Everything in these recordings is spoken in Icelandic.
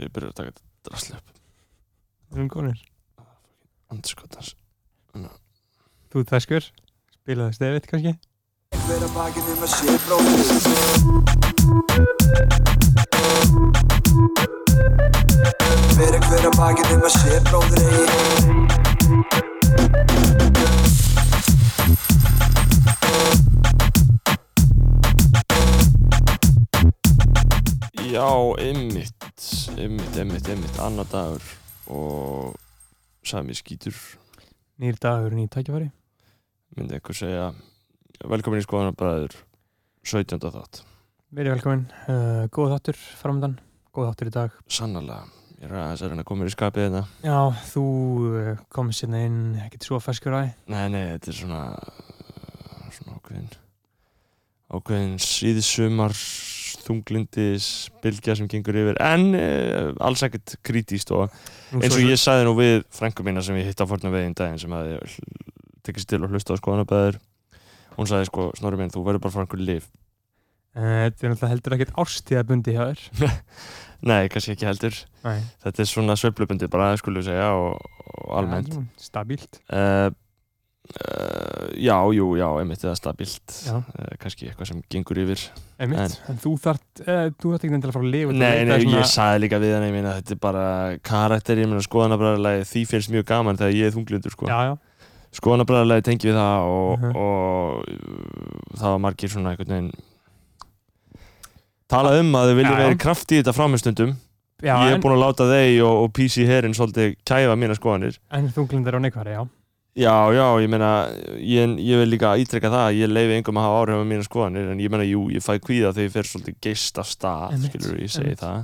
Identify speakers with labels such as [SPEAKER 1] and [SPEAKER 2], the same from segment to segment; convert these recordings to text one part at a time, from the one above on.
[SPEAKER 1] ég byrjar að taka þetta drasli upp
[SPEAKER 2] Við erum konir
[SPEAKER 1] andskotans
[SPEAKER 2] Þú ert feskur Spilaði stefið kannski
[SPEAKER 3] Vera bakinn um að sé bróðið Vera hver að bakinn um að sé bróðir eigi
[SPEAKER 1] já, einmitt einmitt, einmitt, einmitt, annar dagur og sami skítur
[SPEAKER 2] Nýr dagur, nýr tækifæri
[SPEAKER 1] myndi einhver segja velkomin í skoðanabræður 17. þátt
[SPEAKER 2] Verið velkomin uh, Góð þáttur framöndan Góð þáttur í dag
[SPEAKER 1] sannlega, ég er aðeins að reyna að koma mér í skapið hérna
[SPEAKER 2] Já, þú uh, komst sérna inn ekkert svo feskur aði
[SPEAKER 1] nei, nei, þetta er svona svona ákveðin ákveðin síðsumar þunglindis bylgja sem gengur yfir en eh, alls ekkert krítíst og eins og ég sagði nú við frænku mína sem ég hitt á forna veginn daginn sem hafði hl- tekið sér til að hlusta á skoðanabæður hún sagði sko, Snorri minn, þú verður bara að fara einhver lif
[SPEAKER 2] Uh, Þetta er náttúrulega heldur ekkert árstíðabundi hjá þér
[SPEAKER 1] nei, kannski ekki heldur,
[SPEAKER 2] Nei
[SPEAKER 1] þetta er svona sveiflubundi bara, skulum við segja, og, og almennt
[SPEAKER 2] Ja, Stabílt
[SPEAKER 1] uh, uh, já, jú, já, einmitt það er stabilt,
[SPEAKER 2] Já.
[SPEAKER 1] uh, kannski eitthvað sem gengur yfir
[SPEAKER 2] Einmitt, en, þú þart uh, þú þart ekki nefnilega að fara að lifa til að
[SPEAKER 1] nei,
[SPEAKER 2] leita
[SPEAKER 1] nei,
[SPEAKER 2] svona-
[SPEAKER 1] ég sagði líka við hann, ég meina, þetta er bara karakter, ég meina, skoðanabræðarlega því finnst mjög gaman þegar ég er þunglindur, sko
[SPEAKER 2] Já, já,
[SPEAKER 1] skoðanabræðarlega tengi við það og,
[SPEAKER 2] Mhm.
[SPEAKER 1] og uh, það var margir svona einhvern veginn talað um að þau vilja
[SPEAKER 2] Já, já.
[SPEAKER 1] vera kraft í þetta framistundum
[SPEAKER 2] já
[SPEAKER 1] ég er
[SPEAKER 2] en,
[SPEAKER 1] búin að láta þeir og, og PC herinn svolítið kæfa mína skoðanir
[SPEAKER 2] en þunglindar á neikværi, já
[SPEAKER 1] já, já, ég meina ég, ég vil líka ítreka það, að ég leifi engum að hafa áhrif á mína skoðanir, en ég meina, jú, ég fæ kvíða þegar ég fer svolítið geist af stað
[SPEAKER 2] Einmitt,
[SPEAKER 1] skilur, ég segi
[SPEAKER 2] einmitt.
[SPEAKER 1] það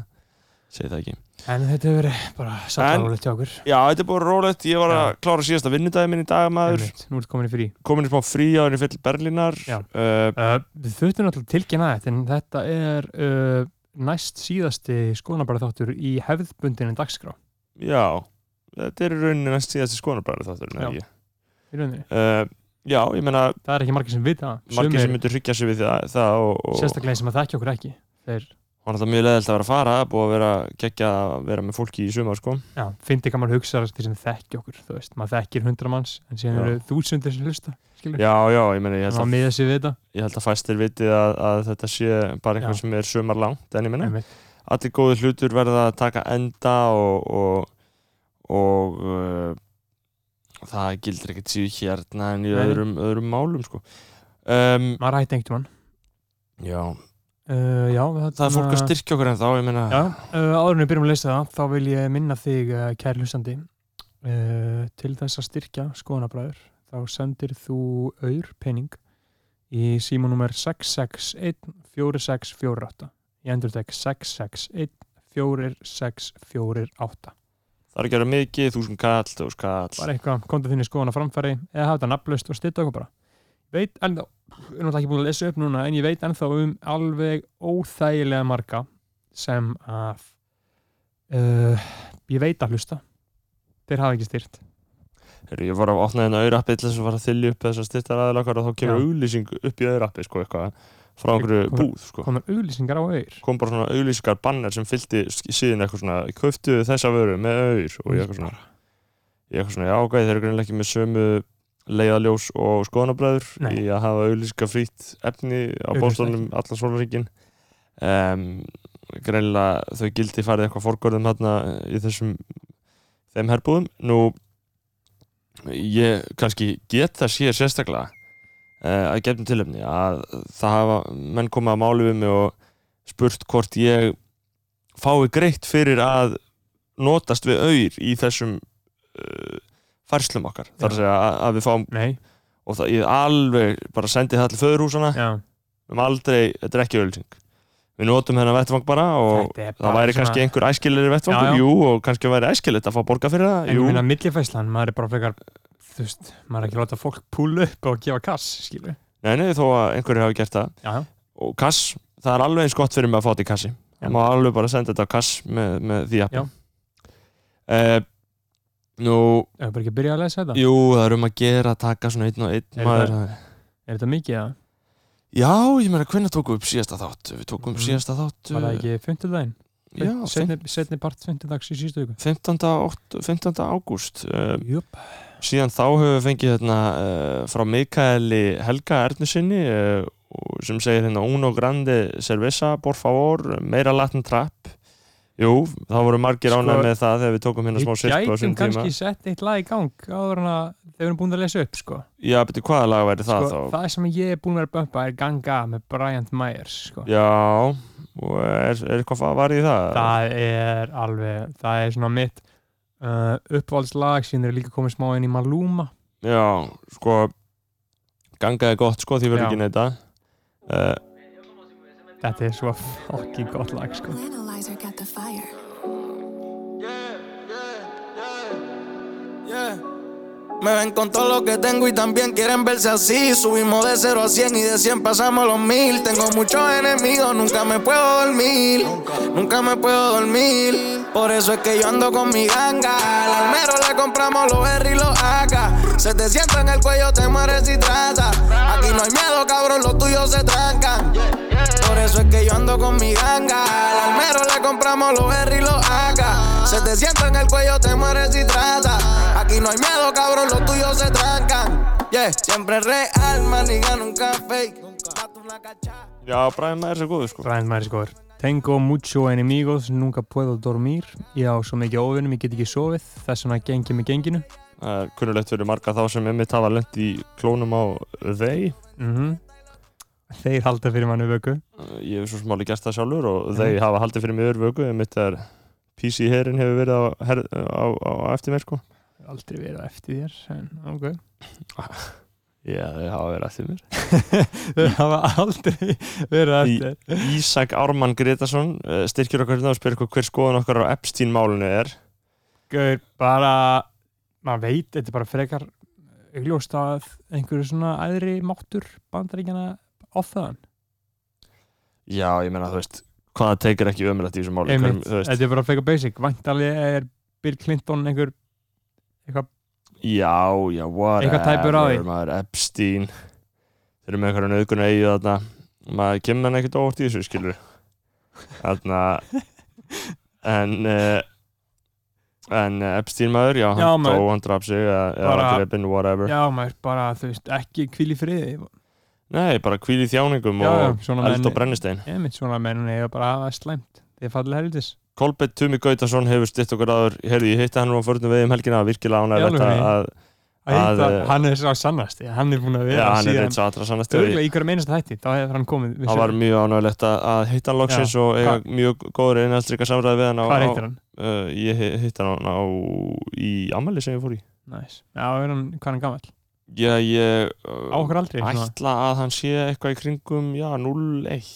[SPEAKER 1] segi það ekki
[SPEAKER 2] En þetta hefur verið bara
[SPEAKER 1] En-
[SPEAKER 2] sattalólegt hjá okkur
[SPEAKER 1] já, þetta er bara rólegt, ég var að klára síðasta vinnudagi minn í dag, maður,
[SPEAKER 2] Einmitt, Nú ertu komin í frí
[SPEAKER 1] komin í smá frí á henni fyll Berlínar
[SPEAKER 2] Já.
[SPEAKER 1] uh,
[SPEAKER 2] uh, Við þurftum náttúrulega að tilkynna þetta en þetta er uh, næst síðasti skoðanabara þáttur í hefðbundinni dagskrá
[SPEAKER 1] Já, þetta er í rauninni næst síðasti skoðanabræður þátturinn,
[SPEAKER 2] Já.
[SPEAKER 1] ekki?
[SPEAKER 2] í rauninni.
[SPEAKER 1] Uh, já, ég meina,
[SPEAKER 2] Það er ekki margir sem vita það.
[SPEAKER 1] margir sem
[SPEAKER 2] Sumir,
[SPEAKER 1] myndur hryggja sig við það, það og, og
[SPEAKER 2] sérstaklega sem að þekkja okkur ekki þeir,
[SPEAKER 1] og hann er það mjög leðilt að vera að fara, búið að vera geggja að vera með fólki í sumar, sko.
[SPEAKER 2] já, fyndi ekki að maður hugsa þeir sem þekkja okkur, þú veist, maður þekkir hundra manns en síðan
[SPEAKER 1] Já.
[SPEAKER 2] eru þúsundir sem hlusta skilur,
[SPEAKER 1] Já, já, ég meina, ég
[SPEAKER 2] þannig
[SPEAKER 1] held
[SPEAKER 2] að
[SPEAKER 1] að,
[SPEAKER 2] miða sér við þetta
[SPEAKER 1] ég held að fæstir vitið að, að þetta sé bara einhvern
[SPEAKER 2] Já.
[SPEAKER 1] sem er sumar langt, en ég meina,
[SPEAKER 2] Einmitt.
[SPEAKER 1] allir góði hlutur verða að taka enda og, og, og uh, það gildir ekkert síðu hérna en í
[SPEAKER 2] Nei.
[SPEAKER 1] öðrum, öðrum málum, sko. Um,
[SPEAKER 2] maður hætti einhvern mann
[SPEAKER 1] já,
[SPEAKER 2] uh, já,
[SPEAKER 1] það er fólk að styrkja okkur en þá, ég meina,
[SPEAKER 2] Já, uh, áður en við byrjum að leysa það, þá vil ég minna þig, uh, kæri hlustandi, uh, til þess að styrkja skoðanabræður, þá sendir þú auður pening í símanúmer 661-4648. Ég endur þetta 661-4648.
[SPEAKER 1] Það er ekki að vera mikið, þúsund kall, þúsund kall.
[SPEAKER 2] Bara eitthvað, komdu þínu skoðan að framfæri, eða hafa þetta nafnlaust og styrta okkur bara. Veit ennþá, við erum alltaf ekki búin að lesa upp núna, en ég veit ennþá um alveg óþægilega marga sem að uh, ég veit að hlusta. Þeir hafa ekki styrt.
[SPEAKER 1] Heru, ég var að opna þennan auðrappi til þess að fara að þylja upp þessar styrtar aðlakar og þá kemur
[SPEAKER 2] Já.
[SPEAKER 1] auðlýsing upp í auðrappi, sko, eitthvað, frá einhverju
[SPEAKER 2] Kom-
[SPEAKER 1] búð, sko.
[SPEAKER 2] Komur auglýsingar á auður.
[SPEAKER 1] Kom bara svona auðlýsingar banner sem fylgdi síðan eitthvað svona, kauftu þessa vöru með auður og ég eitthvað svona, ég eitthvað svona, já, ok, þeir eru greinlega ekki með sömu leiðaljós og skoðanabræður
[SPEAKER 2] Nei.
[SPEAKER 1] í að hafa auðlýsingar frýtt efni á
[SPEAKER 2] Auglýst
[SPEAKER 1] bóstónum allan sólaríkin. Um, greinlega þau gildi farið eitthvað forgörðum hérna í þessum þeim herbúðum nú ég kannski get það sér sérstaklega uh, að gefnum tilöfni að það hafa menn komið að máli við mig og spurt hvort ég fái greitt fyrir að notast við auður í þessum uh, færslum okkar þar að
[SPEAKER 2] Já.
[SPEAKER 1] segja að, að við fáum
[SPEAKER 2] Nei.
[SPEAKER 1] og það, ég alveg bara sendi það til föðurhúsana
[SPEAKER 2] Já.
[SPEAKER 1] um aldrei, þetta er ekki auðlýsing við notum hennar vettvang bara og
[SPEAKER 2] Þetta er bara
[SPEAKER 1] það væri
[SPEAKER 2] svona-
[SPEAKER 1] kannski einhver æskilir vettvangur,
[SPEAKER 2] Já, já.
[SPEAKER 1] jú, og kannski væri æskilegt að fá borga fyrir það,
[SPEAKER 2] En ég
[SPEAKER 1] jú
[SPEAKER 2] minna millifæslan, maður er bara frekar, þú veist, maður er ekki að láta fólk púla upp og gefa kass, skilu.
[SPEAKER 1] Nei, nei, þó að einhverju hafi gert það
[SPEAKER 2] Já, já.
[SPEAKER 1] og kass, það er alveg eins gott fyrir mig að fá þetta í kassi
[SPEAKER 2] Já.
[SPEAKER 1] það má alveg bara senda þetta á kass með, með því appi
[SPEAKER 2] Já.
[SPEAKER 1] uh, Nú,
[SPEAKER 2] Ef bara ekki að byrja að lesa þetta.
[SPEAKER 1] jú, það er um að gera að taka svona einn og einn
[SPEAKER 2] Er
[SPEAKER 1] maður
[SPEAKER 2] Er þetta mikið að,
[SPEAKER 1] Já, ég meina, hvernig tókum við upp síðasta þátt? Við tókum upp
[SPEAKER 2] Mm.
[SPEAKER 1] síðasta þátt
[SPEAKER 2] var það
[SPEAKER 1] uh,
[SPEAKER 2] ekki fymtudaginn?
[SPEAKER 1] já,
[SPEAKER 2] setni, setni part 50 dags í sístu viku
[SPEAKER 1] 15. Okt, 15. ágúst um,
[SPEAKER 2] Jöp,
[SPEAKER 1] síðan þá höfum við fengið hérna, uh, frá Mikaeli Helga Ernusinni uh, og- sem segir hérna Uno Grande Cerveza, por favor meira Latin Trap Jú, þá voru margir
[SPEAKER 2] Sko,
[SPEAKER 1] ánægð með það þegar við tókum hérna
[SPEAKER 2] við
[SPEAKER 1] smá sirku á
[SPEAKER 2] gætum
[SPEAKER 1] þessum tíma
[SPEAKER 2] kannski sett eitt lag í gang áður en að þeir eru búin að lesa upp sko.
[SPEAKER 1] Já, betur hvaða lag væri það
[SPEAKER 2] sko,
[SPEAKER 1] þá?
[SPEAKER 2] það sem ég er búin að vera að bömpa er Ganga með Bryant Myers sko.
[SPEAKER 1] Já, og er, er eitthvað fa- var í það?
[SPEAKER 2] það er alveg það er svona mitt uh, uppvaldslag síðan er líka komið smá inn í Maluma
[SPEAKER 1] Já, sko gangaði gott sko því verður
[SPEAKER 2] Já.
[SPEAKER 1] ekki neita uh,
[SPEAKER 2] þetta er svo fucking gott lag sko.
[SPEAKER 4] Analyzer got the fire.
[SPEAKER 5] Yeah. Me ven con todo lo que tengo y también quieren verse así. Subimos de 0 a 100 y de 100 pasamos los mil. Tengo muchos enemigos, nunca me puedo dormir. Nunca, me puedo dormir. Por eso es que yo ando con mi ganga. Al almero le compramos los R y los AK. Se te sienta en el cuello, te mueres y traza. Aquí no hay miedo, cabrón, los tuyos se trancan. Por eso es que yo ando con mi ganga. Al almero le compramos los R y los AK. Se te sienta en el cuello, te mueres y traza. Aquí no hay miedo, cabrón, los tuyos se trancan. Yeah, siempre real, maniga, nunca fake. Date una cachada.
[SPEAKER 1] Já, Brian Myers er góður sko
[SPEAKER 2] Brian Myers góður Tengo mucho enemigos, nunca puedo dormir Ég á svo mikið óvinnum, ég get ekki sofið Þess vegna geng ég með genginu
[SPEAKER 1] Það er kunnulegt fyrir marga þá sem emmitt hafa lent í klónum á þeir
[SPEAKER 2] mm Þeir halda fyrir manni vöku
[SPEAKER 1] Uh, Ég hef svo smáli gert það sjálfur og
[SPEAKER 2] Mhm.
[SPEAKER 1] þeir hafa haldið fyrir mig örvöku emmitt er PC herin hefur verið á, her, á, á, á eftir mér sko
[SPEAKER 2] Aldrei verið á eftir þér en, okay.
[SPEAKER 1] Já, þeir hafa verið eftir mér
[SPEAKER 2] Þeir hafa aldrei verið á
[SPEAKER 1] Í-
[SPEAKER 2] eftir þér.
[SPEAKER 1] Ísak Ármann Gretarsson uh, styrkir okkur hérna og spyrir okkur hver skoðan okkar á Epstein-málinu er
[SPEAKER 2] Gaur, bara maður veit, þetta er bara frekar augljóst að einhverju svona æðri máttur bandaríkjana ofþaðan
[SPEAKER 1] Já, ég meina, þú veist, hvaða tekur ekki ömulegt í þessu máli?
[SPEAKER 2] Einmitt,
[SPEAKER 1] Hverjum- þú veist,
[SPEAKER 2] þetta er bara frekar basic Væntalega er Bill Clinton einhver eitthvað
[SPEAKER 1] Já, já, whatever
[SPEAKER 2] Eitthvað tæpur á því.
[SPEAKER 1] Maður Epstein Þeir eru með einhverja nöðgun að eiga þarna Maður kemur hann ekkert óvart í þessu, skilur Þarna En uh, En eh, Epstein maður, já,
[SPEAKER 2] Já,
[SPEAKER 1] hann
[SPEAKER 2] maður.
[SPEAKER 1] dó, hann draf sig eða eða
[SPEAKER 2] Bara-
[SPEAKER 1] var drepinn, whatever
[SPEAKER 2] Já, maður bara, þú veist, ekki kvíl í friði
[SPEAKER 1] Nei, bara hvíl í þjáningum
[SPEAKER 2] Já, já,
[SPEAKER 1] og
[SPEAKER 2] svona
[SPEAKER 1] eld og
[SPEAKER 2] menn
[SPEAKER 1] brennistein
[SPEAKER 2] Einmitt svona menn eða bara að hafa slæmt Þið er fallið helvitis
[SPEAKER 1] Kolbett Tumi Gautason hefur styrt okkur aður Heyrðu, ég hitti hann nú á förnum veiðum helgina virkilega
[SPEAKER 2] Í
[SPEAKER 1] ánægilegt
[SPEAKER 2] alvörunni?
[SPEAKER 1] að að-
[SPEAKER 2] Að
[SPEAKER 1] Að,
[SPEAKER 2] hitta-
[SPEAKER 1] eh,
[SPEAKER 2] Hann er svo sannast, ég, hann er búin að
[SPEAKER 1] Já,
[SPEAKER 2] vera
[SPEAKER 1] hann er
[SPEAKER 2] síðan
[SPEAKER 1] reynd svo aðra sannast
[SPEAKER 2] Örgulega í hverju meinast þætti, þá hefur hann komið
[SPEAKER 1] Það var mjög ánægilegt að, að hitta hann loksins og eiga
[SPEAKER 2] Hva-
[SPEAKER 1] mjög góður einhaldrika samræði við hann á, á,
[SPEAKER 2] Hvað heitir hann?
[SPEAKER 1] uh, Ég hi- hitti hann á, á í ammæli sem ég fór í
[SPEAKER 2] Næs, já, er hann, hvað er hann gamall?
[SPEAKER 1] Já, ég
[SPEAKER 2] Á
[SPEAKER 1] uh,
[SPEAKER 2] okkur aldrei
[SPEAKER 1] ætla að hann sé eitthvað í kringum já, 01,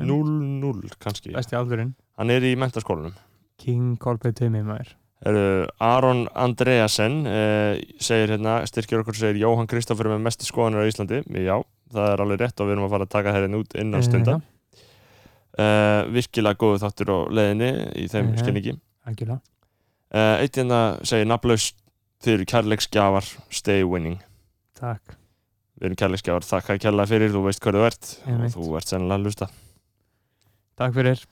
[SPEAKER 1] 00 kannski
[SPEAKER 2] Besti aldurinn
[SPEAKER 1] Hann er í mentaskólanum
[SPEAKER 2] King Colby Tumi maður
[SPEAKER 1] Heru, Aron Andreasen uh, segir hérna, styrkir okkur segir Jóhann Kristoffer með mestu skoðanir á Íslandi Já, það er alveg rétt og við erum að fara að taka þeirinn út innan stunda
[SPEAKER 2] Eh,
[SPEAKER 1] uh, Virkilega góðu þáttur á leiðinni í þeim
[SPEAKER 2] Mhm.
[SPEAKER 1] skilningi
[SPEAKER 2] Algjörlega
[SPEAKER 1] Uh, eitt hérna segir nafnlaust þeir eru kærleiksgjafar, stay winning
[SPEAKER 2] Takk,
[SPEAKER 1] við erum kærleiksgjafar, þakka kærlega fyrir, þú veist hvað þú ert
[SPEAKER 2] Einmitt.
[SPEAKER 1] og þú ert sennilega að hlusta
[SPEAKER 2] takk fyrir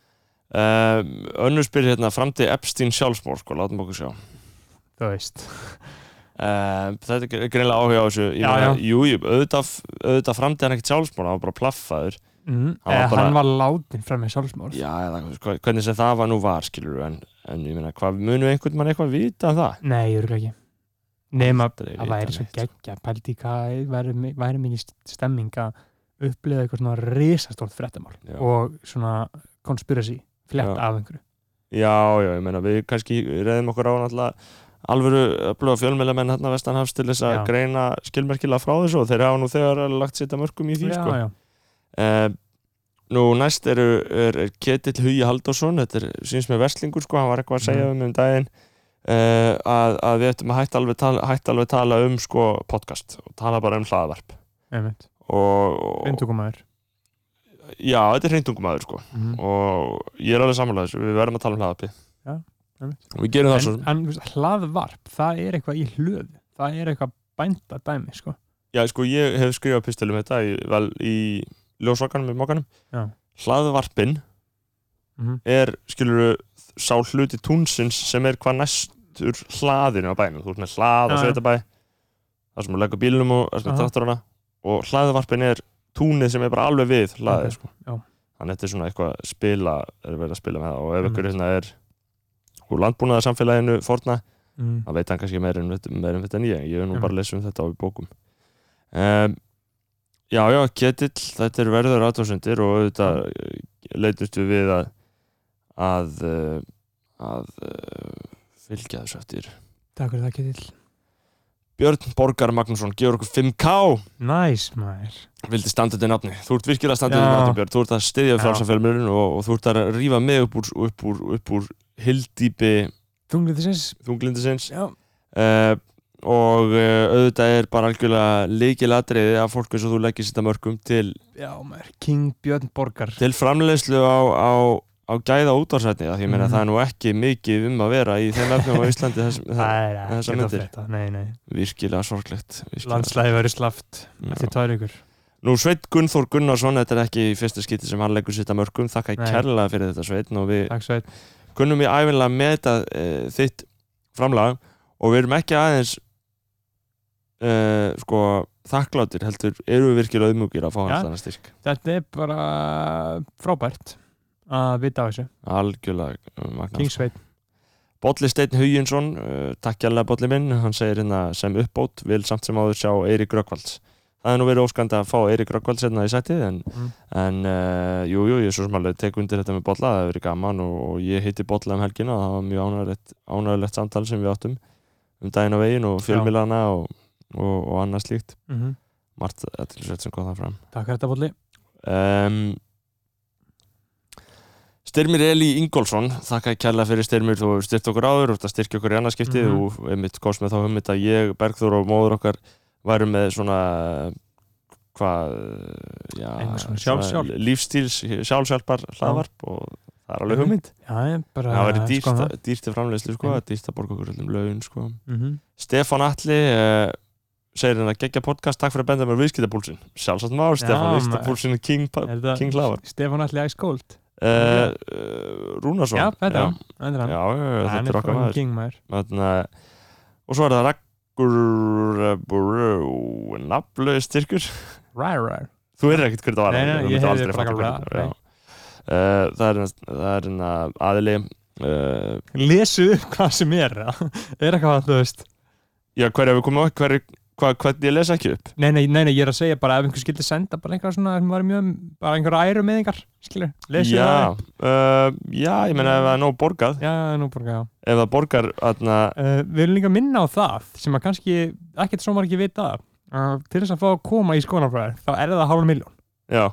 [SPEAKER 1] uh, önnur spyr hérna framtíð Epstein sjálfsmór, sko, látum okkur sjá uh,
[SPEAKER 2] Þú veist
[SPEAKER 1] þetta er greinlega áhuga á þessu Ég
[SPEAKER 2] Já,
[SPEAKER 1] meina,
[SPEAKER 2] já.
[SPEAKER 1] jú, jú, auðvitað, auðvitað framtíð hann ekkert sjálfsmór, hann var bara plaffaður
[SPEAKER 2] mm,
[SPEAKER 1] Hann var
[SPEAKER 2] eh,
[SPEAKER 1] bara-
[SPEAKER 2] Hann var látin fram með sjálfsmór
[SPEAKER 1] já, eða, hva- hvernig sem það var nú var skilur en, en ég meina, hvað munum einhvern mann eitthvað vita um það?
[SPEAKER 2] Nei, ég ekki Nefn að
[SPEAKER 1] Aldrei
[SPEAKER 2] það
[SPEAKER 1] vita
[SPEAKER 2] væri svo
[SPEAKER 1] neitt. sko.
[SPEAKER 2] geggja Pældi í hvað væri, mi- væri mikið st- stemming að upplifa eitthvað svona risastórt fréttamál
[SPEAKER 1] Já.
[SPEAKER 2] og svona conspiracy flett
[SPEAKER 1] Já.
[SPEAKER 2] af einhverju
[SPEAKER 1] Já, já, ég meina við kannski reyðum okkur á náttúrulega alvöru öfluga fjölmjölumenn hérna vestanhafs til þess að
[SPEAKER 2] Já.
[SPEAKER 1] greina skilmerkilega frá þessu og þeir hafa nú þegar lagt sitt að mörgum í því
[SPEAKER 2] já,
[SPEAKER 1] sko.
[SPEAKER 2] já.
[SPEAKER 1] Eh, nú næst eru, er, er Ketill Hugi Halldórsson, þetta er síns með verslingur sko, hann var eitthvað að segja
[SPEAKER 2] Mhm.
[SPEAKER 1] um um daginn eh, að, að við ættum að hætta alveg tala, hætta alveg tala um sko podcast og tala bara um hlaðvarp
[SPEAKER 2] einmitt,
[SPEAKER 1] og, og
[SPEAKER 2] reyndukumæður
[SPEAKER 1] já, þetta er hreintungumæður sko
[SPEAKER 2] mm.
[SPEAKER 1] og ég er alveg sammála þessu, við verðum að tala um hlaðvarpi
[SPEAKER 2] Já, einmitt.
[SPEAKER 1] og við gerum það svo
[SPEAKER 2] en, en þú veist, hlaðvarp, það er eitthvað í hlöð það er eitthvað bænda dæmi sko.
[SPEAKER 1] Já, sko, ég hef skrifað pistilum þetta í, vel, í ljósvakanum með mókanum
[SPEAKER 2] Já.
[SPEAKER 1] Hlaðvarpin
[SPEAKER 2] Mhm.
[SPEAKER 1] er, skilur sá hluti túnsins sem er hvað næstur hlaðinu á bænum þú ert með hlað á
[SPEAKER 2] Já, já.
[SPEAKER 1] sveitabæ þar sem þú leggur bílum og þar sem
[SPEAKER 2] Aha.
[SPEAKER 1] þáttur hana og hlaðvarpin er túnið sem er bara alveg við hlaðið
[SPEAKER 2] Ok,
[SPEAKER 1] sko.
[SPEAKER 2] já.
[SPEAKER 1] þannig þetta er svona eitthvað að spila er verið að spila með það og ef
[SPEAKER 2] Mhm.
[SPEAKER 1] ykkur hérna er úr landbúnaðarsamfélaginu forna
[SPEAKER 2] mm.
[SPEAKER 1] það veit hann kannski meir um, meir um þetta en ég ég hef nú
[SPEAKER 2] Já.
[SPEAKER 1] bara lesið um þetta á í bókum um, já já Ketill þetta er verður aðtóðsendir og auðvitað eh, leitumst við við að að, eh, að eh, fylgja þessu eftir
[SPEAKER 2] Takk fyrir það, Ketill
[SPEAKER 1] Björn Borgar Magnússon gefur okkur 5K
[SPEAKER 2] Næs, maður
[SPEAKER 1] vildi standa þetta nafni þú ert virkilega að standa
[SPEAKER 2] Já.
[SPEAKER 1] þetta nafni Björn þú ert að styðja
[SPEAKER 2] Já.
[SPEAKER 1] frálsafjörmurinn og, og þú ert að rífa mig upp úr, upp úr, upp úr hildýpi
[SPEAKER 2] Þungliðisins
[SPEAKER 1] þunglindisins
[SPEAKER 2] Já,
[SPEAKER 1] uh, og uh, auðvitað er bara algjörlega líkilatriði að fólk eins og þú leggir þetta mörgum til,
[SPEAKER 2] já maður King Björn Borgar
[SPEAKER 1] til framleiðslu á, á, á gæða útvarsætni því ég meina
[SPEAKER 2] Mhm.
[SPEAKER 1] það er nú ekki mikið um að vera í þeim efnum á Íslandi þess, það
[SPEAKER 2] Það er
[SPEAKER 1] þessar
[SPEAKER 2] ekkert að
[SPEAKER 1] myndir.
[SPEAKER 2] frétta Nei, nei,
[SPEAKER 1] er virkilega sorglegt virkilega.
[SPEAKER 2] landslæði verið slaft
[SPEAKER 1] Já.
[SPEAKER 2] Eftir tvær ykkur
[SPEAKER 1] Nú Sveit Gunnþór Gunnarsson þetta er ekki í fyrsta skiti sem hann leggur sitt að mörgum þakka
[SPEAKER 2] Nei.
[SPEAKER 1] kærlega fyrir þetta Sveit og við
[SPEAKER 2] Takk sveit
[SPEAKER 1] kunnum við æfinlega að meta e, þitt framlag og við erum ekki aðeins e, sko þakklátir heldur, eru við virkilega auðmjúkir að fá
[SPEAKER 2] Já.
[SPEAKER 1] hans þannig styrk
[SPEAKER 2] Þetta er bara frábært að vita af þessu
[SPEAKER 1] algjörlega
[SPEAKER 2] King
[SPEAKER 1] magnað
[SPEAKER 2] Sveit
[SPEAKER 1] Bolli Steinn Huginsson, uh, takk jæglega Bolli minn hann segir hérna sem uppbót vil samt sem áður sjá Eirik Rökkvalds það er nú verið óskandi að fá Eirik Rökkvalds hérna í sætið en,
[SPEAKER 2] Mm.
[SPEAKER 1] en uh, jú, jú, ég er svo sem alveg tek undir þetta með Bolla, það hefur verið gaman og, og ég heiti Bolla um helgina og það var mjög ánægulegt, ánægulegt samtal sem við áttum um daginn á veginn og fjölmilana og, og, og annað slíkt
[SPEAKER 2] mm
[SPEAKER 1] margt aðtilsveit sem kom það fram
[SPEAKER 2] Takk fyrir þetta bóli
[SPEAKER 1] um, Styrmir Eli Ingólfsson þakka kærlega fyrir Styrmir, þú hefur styrt okkur áður og styrkja okkur í annarskipti mm
[SPEAKER 2] Mhm.
[SPEAKER 1] -hmm. og einmitt komst með þá hugmynd að ég, Bergþór og móður okkar væru með svona hvað já,
[SPEAKER 2] Einhvers konar sjálfshjálp.
[SPEAKER 1] lífstíls sjálfsjálpar hlaðvarp og það er alveg
[SPEAKER 2] Einmitt.
[SPEAKER 1] hugmynd
[SPEAKER 2] Já, ég er bara
[SPEAKER 1] það væri dýrt,
[SPEAKER 2] sko,
[SPEAKER 1] að- dýrt í framleiðslu sko,
[SPEAKER 2] Einmitt.
[SPEAKER 1] dýrt að borga okkur öllum laun sko.
[SPEAKER 2] Mhm.
[SPEAKER 1] Stefán Atli uh, segir hérna geggja podcast, takk fyrir að benda mér viðskiptabúlsin sjálfsagt mál,
[SPEAKER 2] Já,
[SPEAKER 1] Stefán,
[SPEAKER 2] maður.
[SPEAKER 1] viðskiptabúlsin er king,
[SPEAKER 2] Er þetta
[SPEAKER 1] king hlaðvarp
[SPEAKER 2] Stefán Alli Æskóld
[SPEAKER 1] uh, Rúnarsson
[SPEAKER 2] Já, þetta er
[SPEAKER 1] já,
[SPEAKER 2] hann Þetta er
[SPEAKER 1] já,
[SPEAKER 2] hann
[SPEAKER 1] já,
[SPEAKER 2] Hann
[SPEAKER 1] þetta er okkar
[SPEAKER 2] fucking
[SPEAKER 1] maður
[SPEAKER 2] King maður
[SPEAKER 1] Þarna, og svo er það Raggur nafnlu styrkur
[SPEAKER 2] Rar, rar
[SPEAKER 1] þú er ekkert hvernig það var
[SPEAKER 2] Nei, nei,
[SPEAKER 1] þú
[SPEAKER 2] ég
[SPEAKER 1] myndir
[SPEAKER 2] heyrði
[SPEAKER 1] aldrei
[SPEAKER 2] bara
[SPEAKER 1] fatta
[SPEAKER 2] eitthvað
[SPEAKER 1] hvernig- já. Eh, það er það er hérna aðili uh,
[SPEAKER 2] Lesu upp hvað sem er eða? Er eitthvað þú veist
[SPEAKER 1] já hverja við komum á hverju Hvað, hvernig ég les ekki upp?
[SPEAKER 2] Nei, nei, nei, nei, ég er að segja bara ef einhver skildi senda bara einhverja svona, sem var mjög, bara einhverja æru með einhver, skilur, lesið
[SPEAKER 1] já, uh, já, ég meina ef það er nóg borgað
[SPEAKER 2] Já, nú bara, já.
[SPEAKER 1] Ef það borgar, atna,
[SPEAKER 2] Uh, við erum líka að minna á það sem að kannski ekkert svo margir vita uh, til þess að fá að koma í skonarfræðar þá er það hálf miljón,
[SPEAKER 1] já,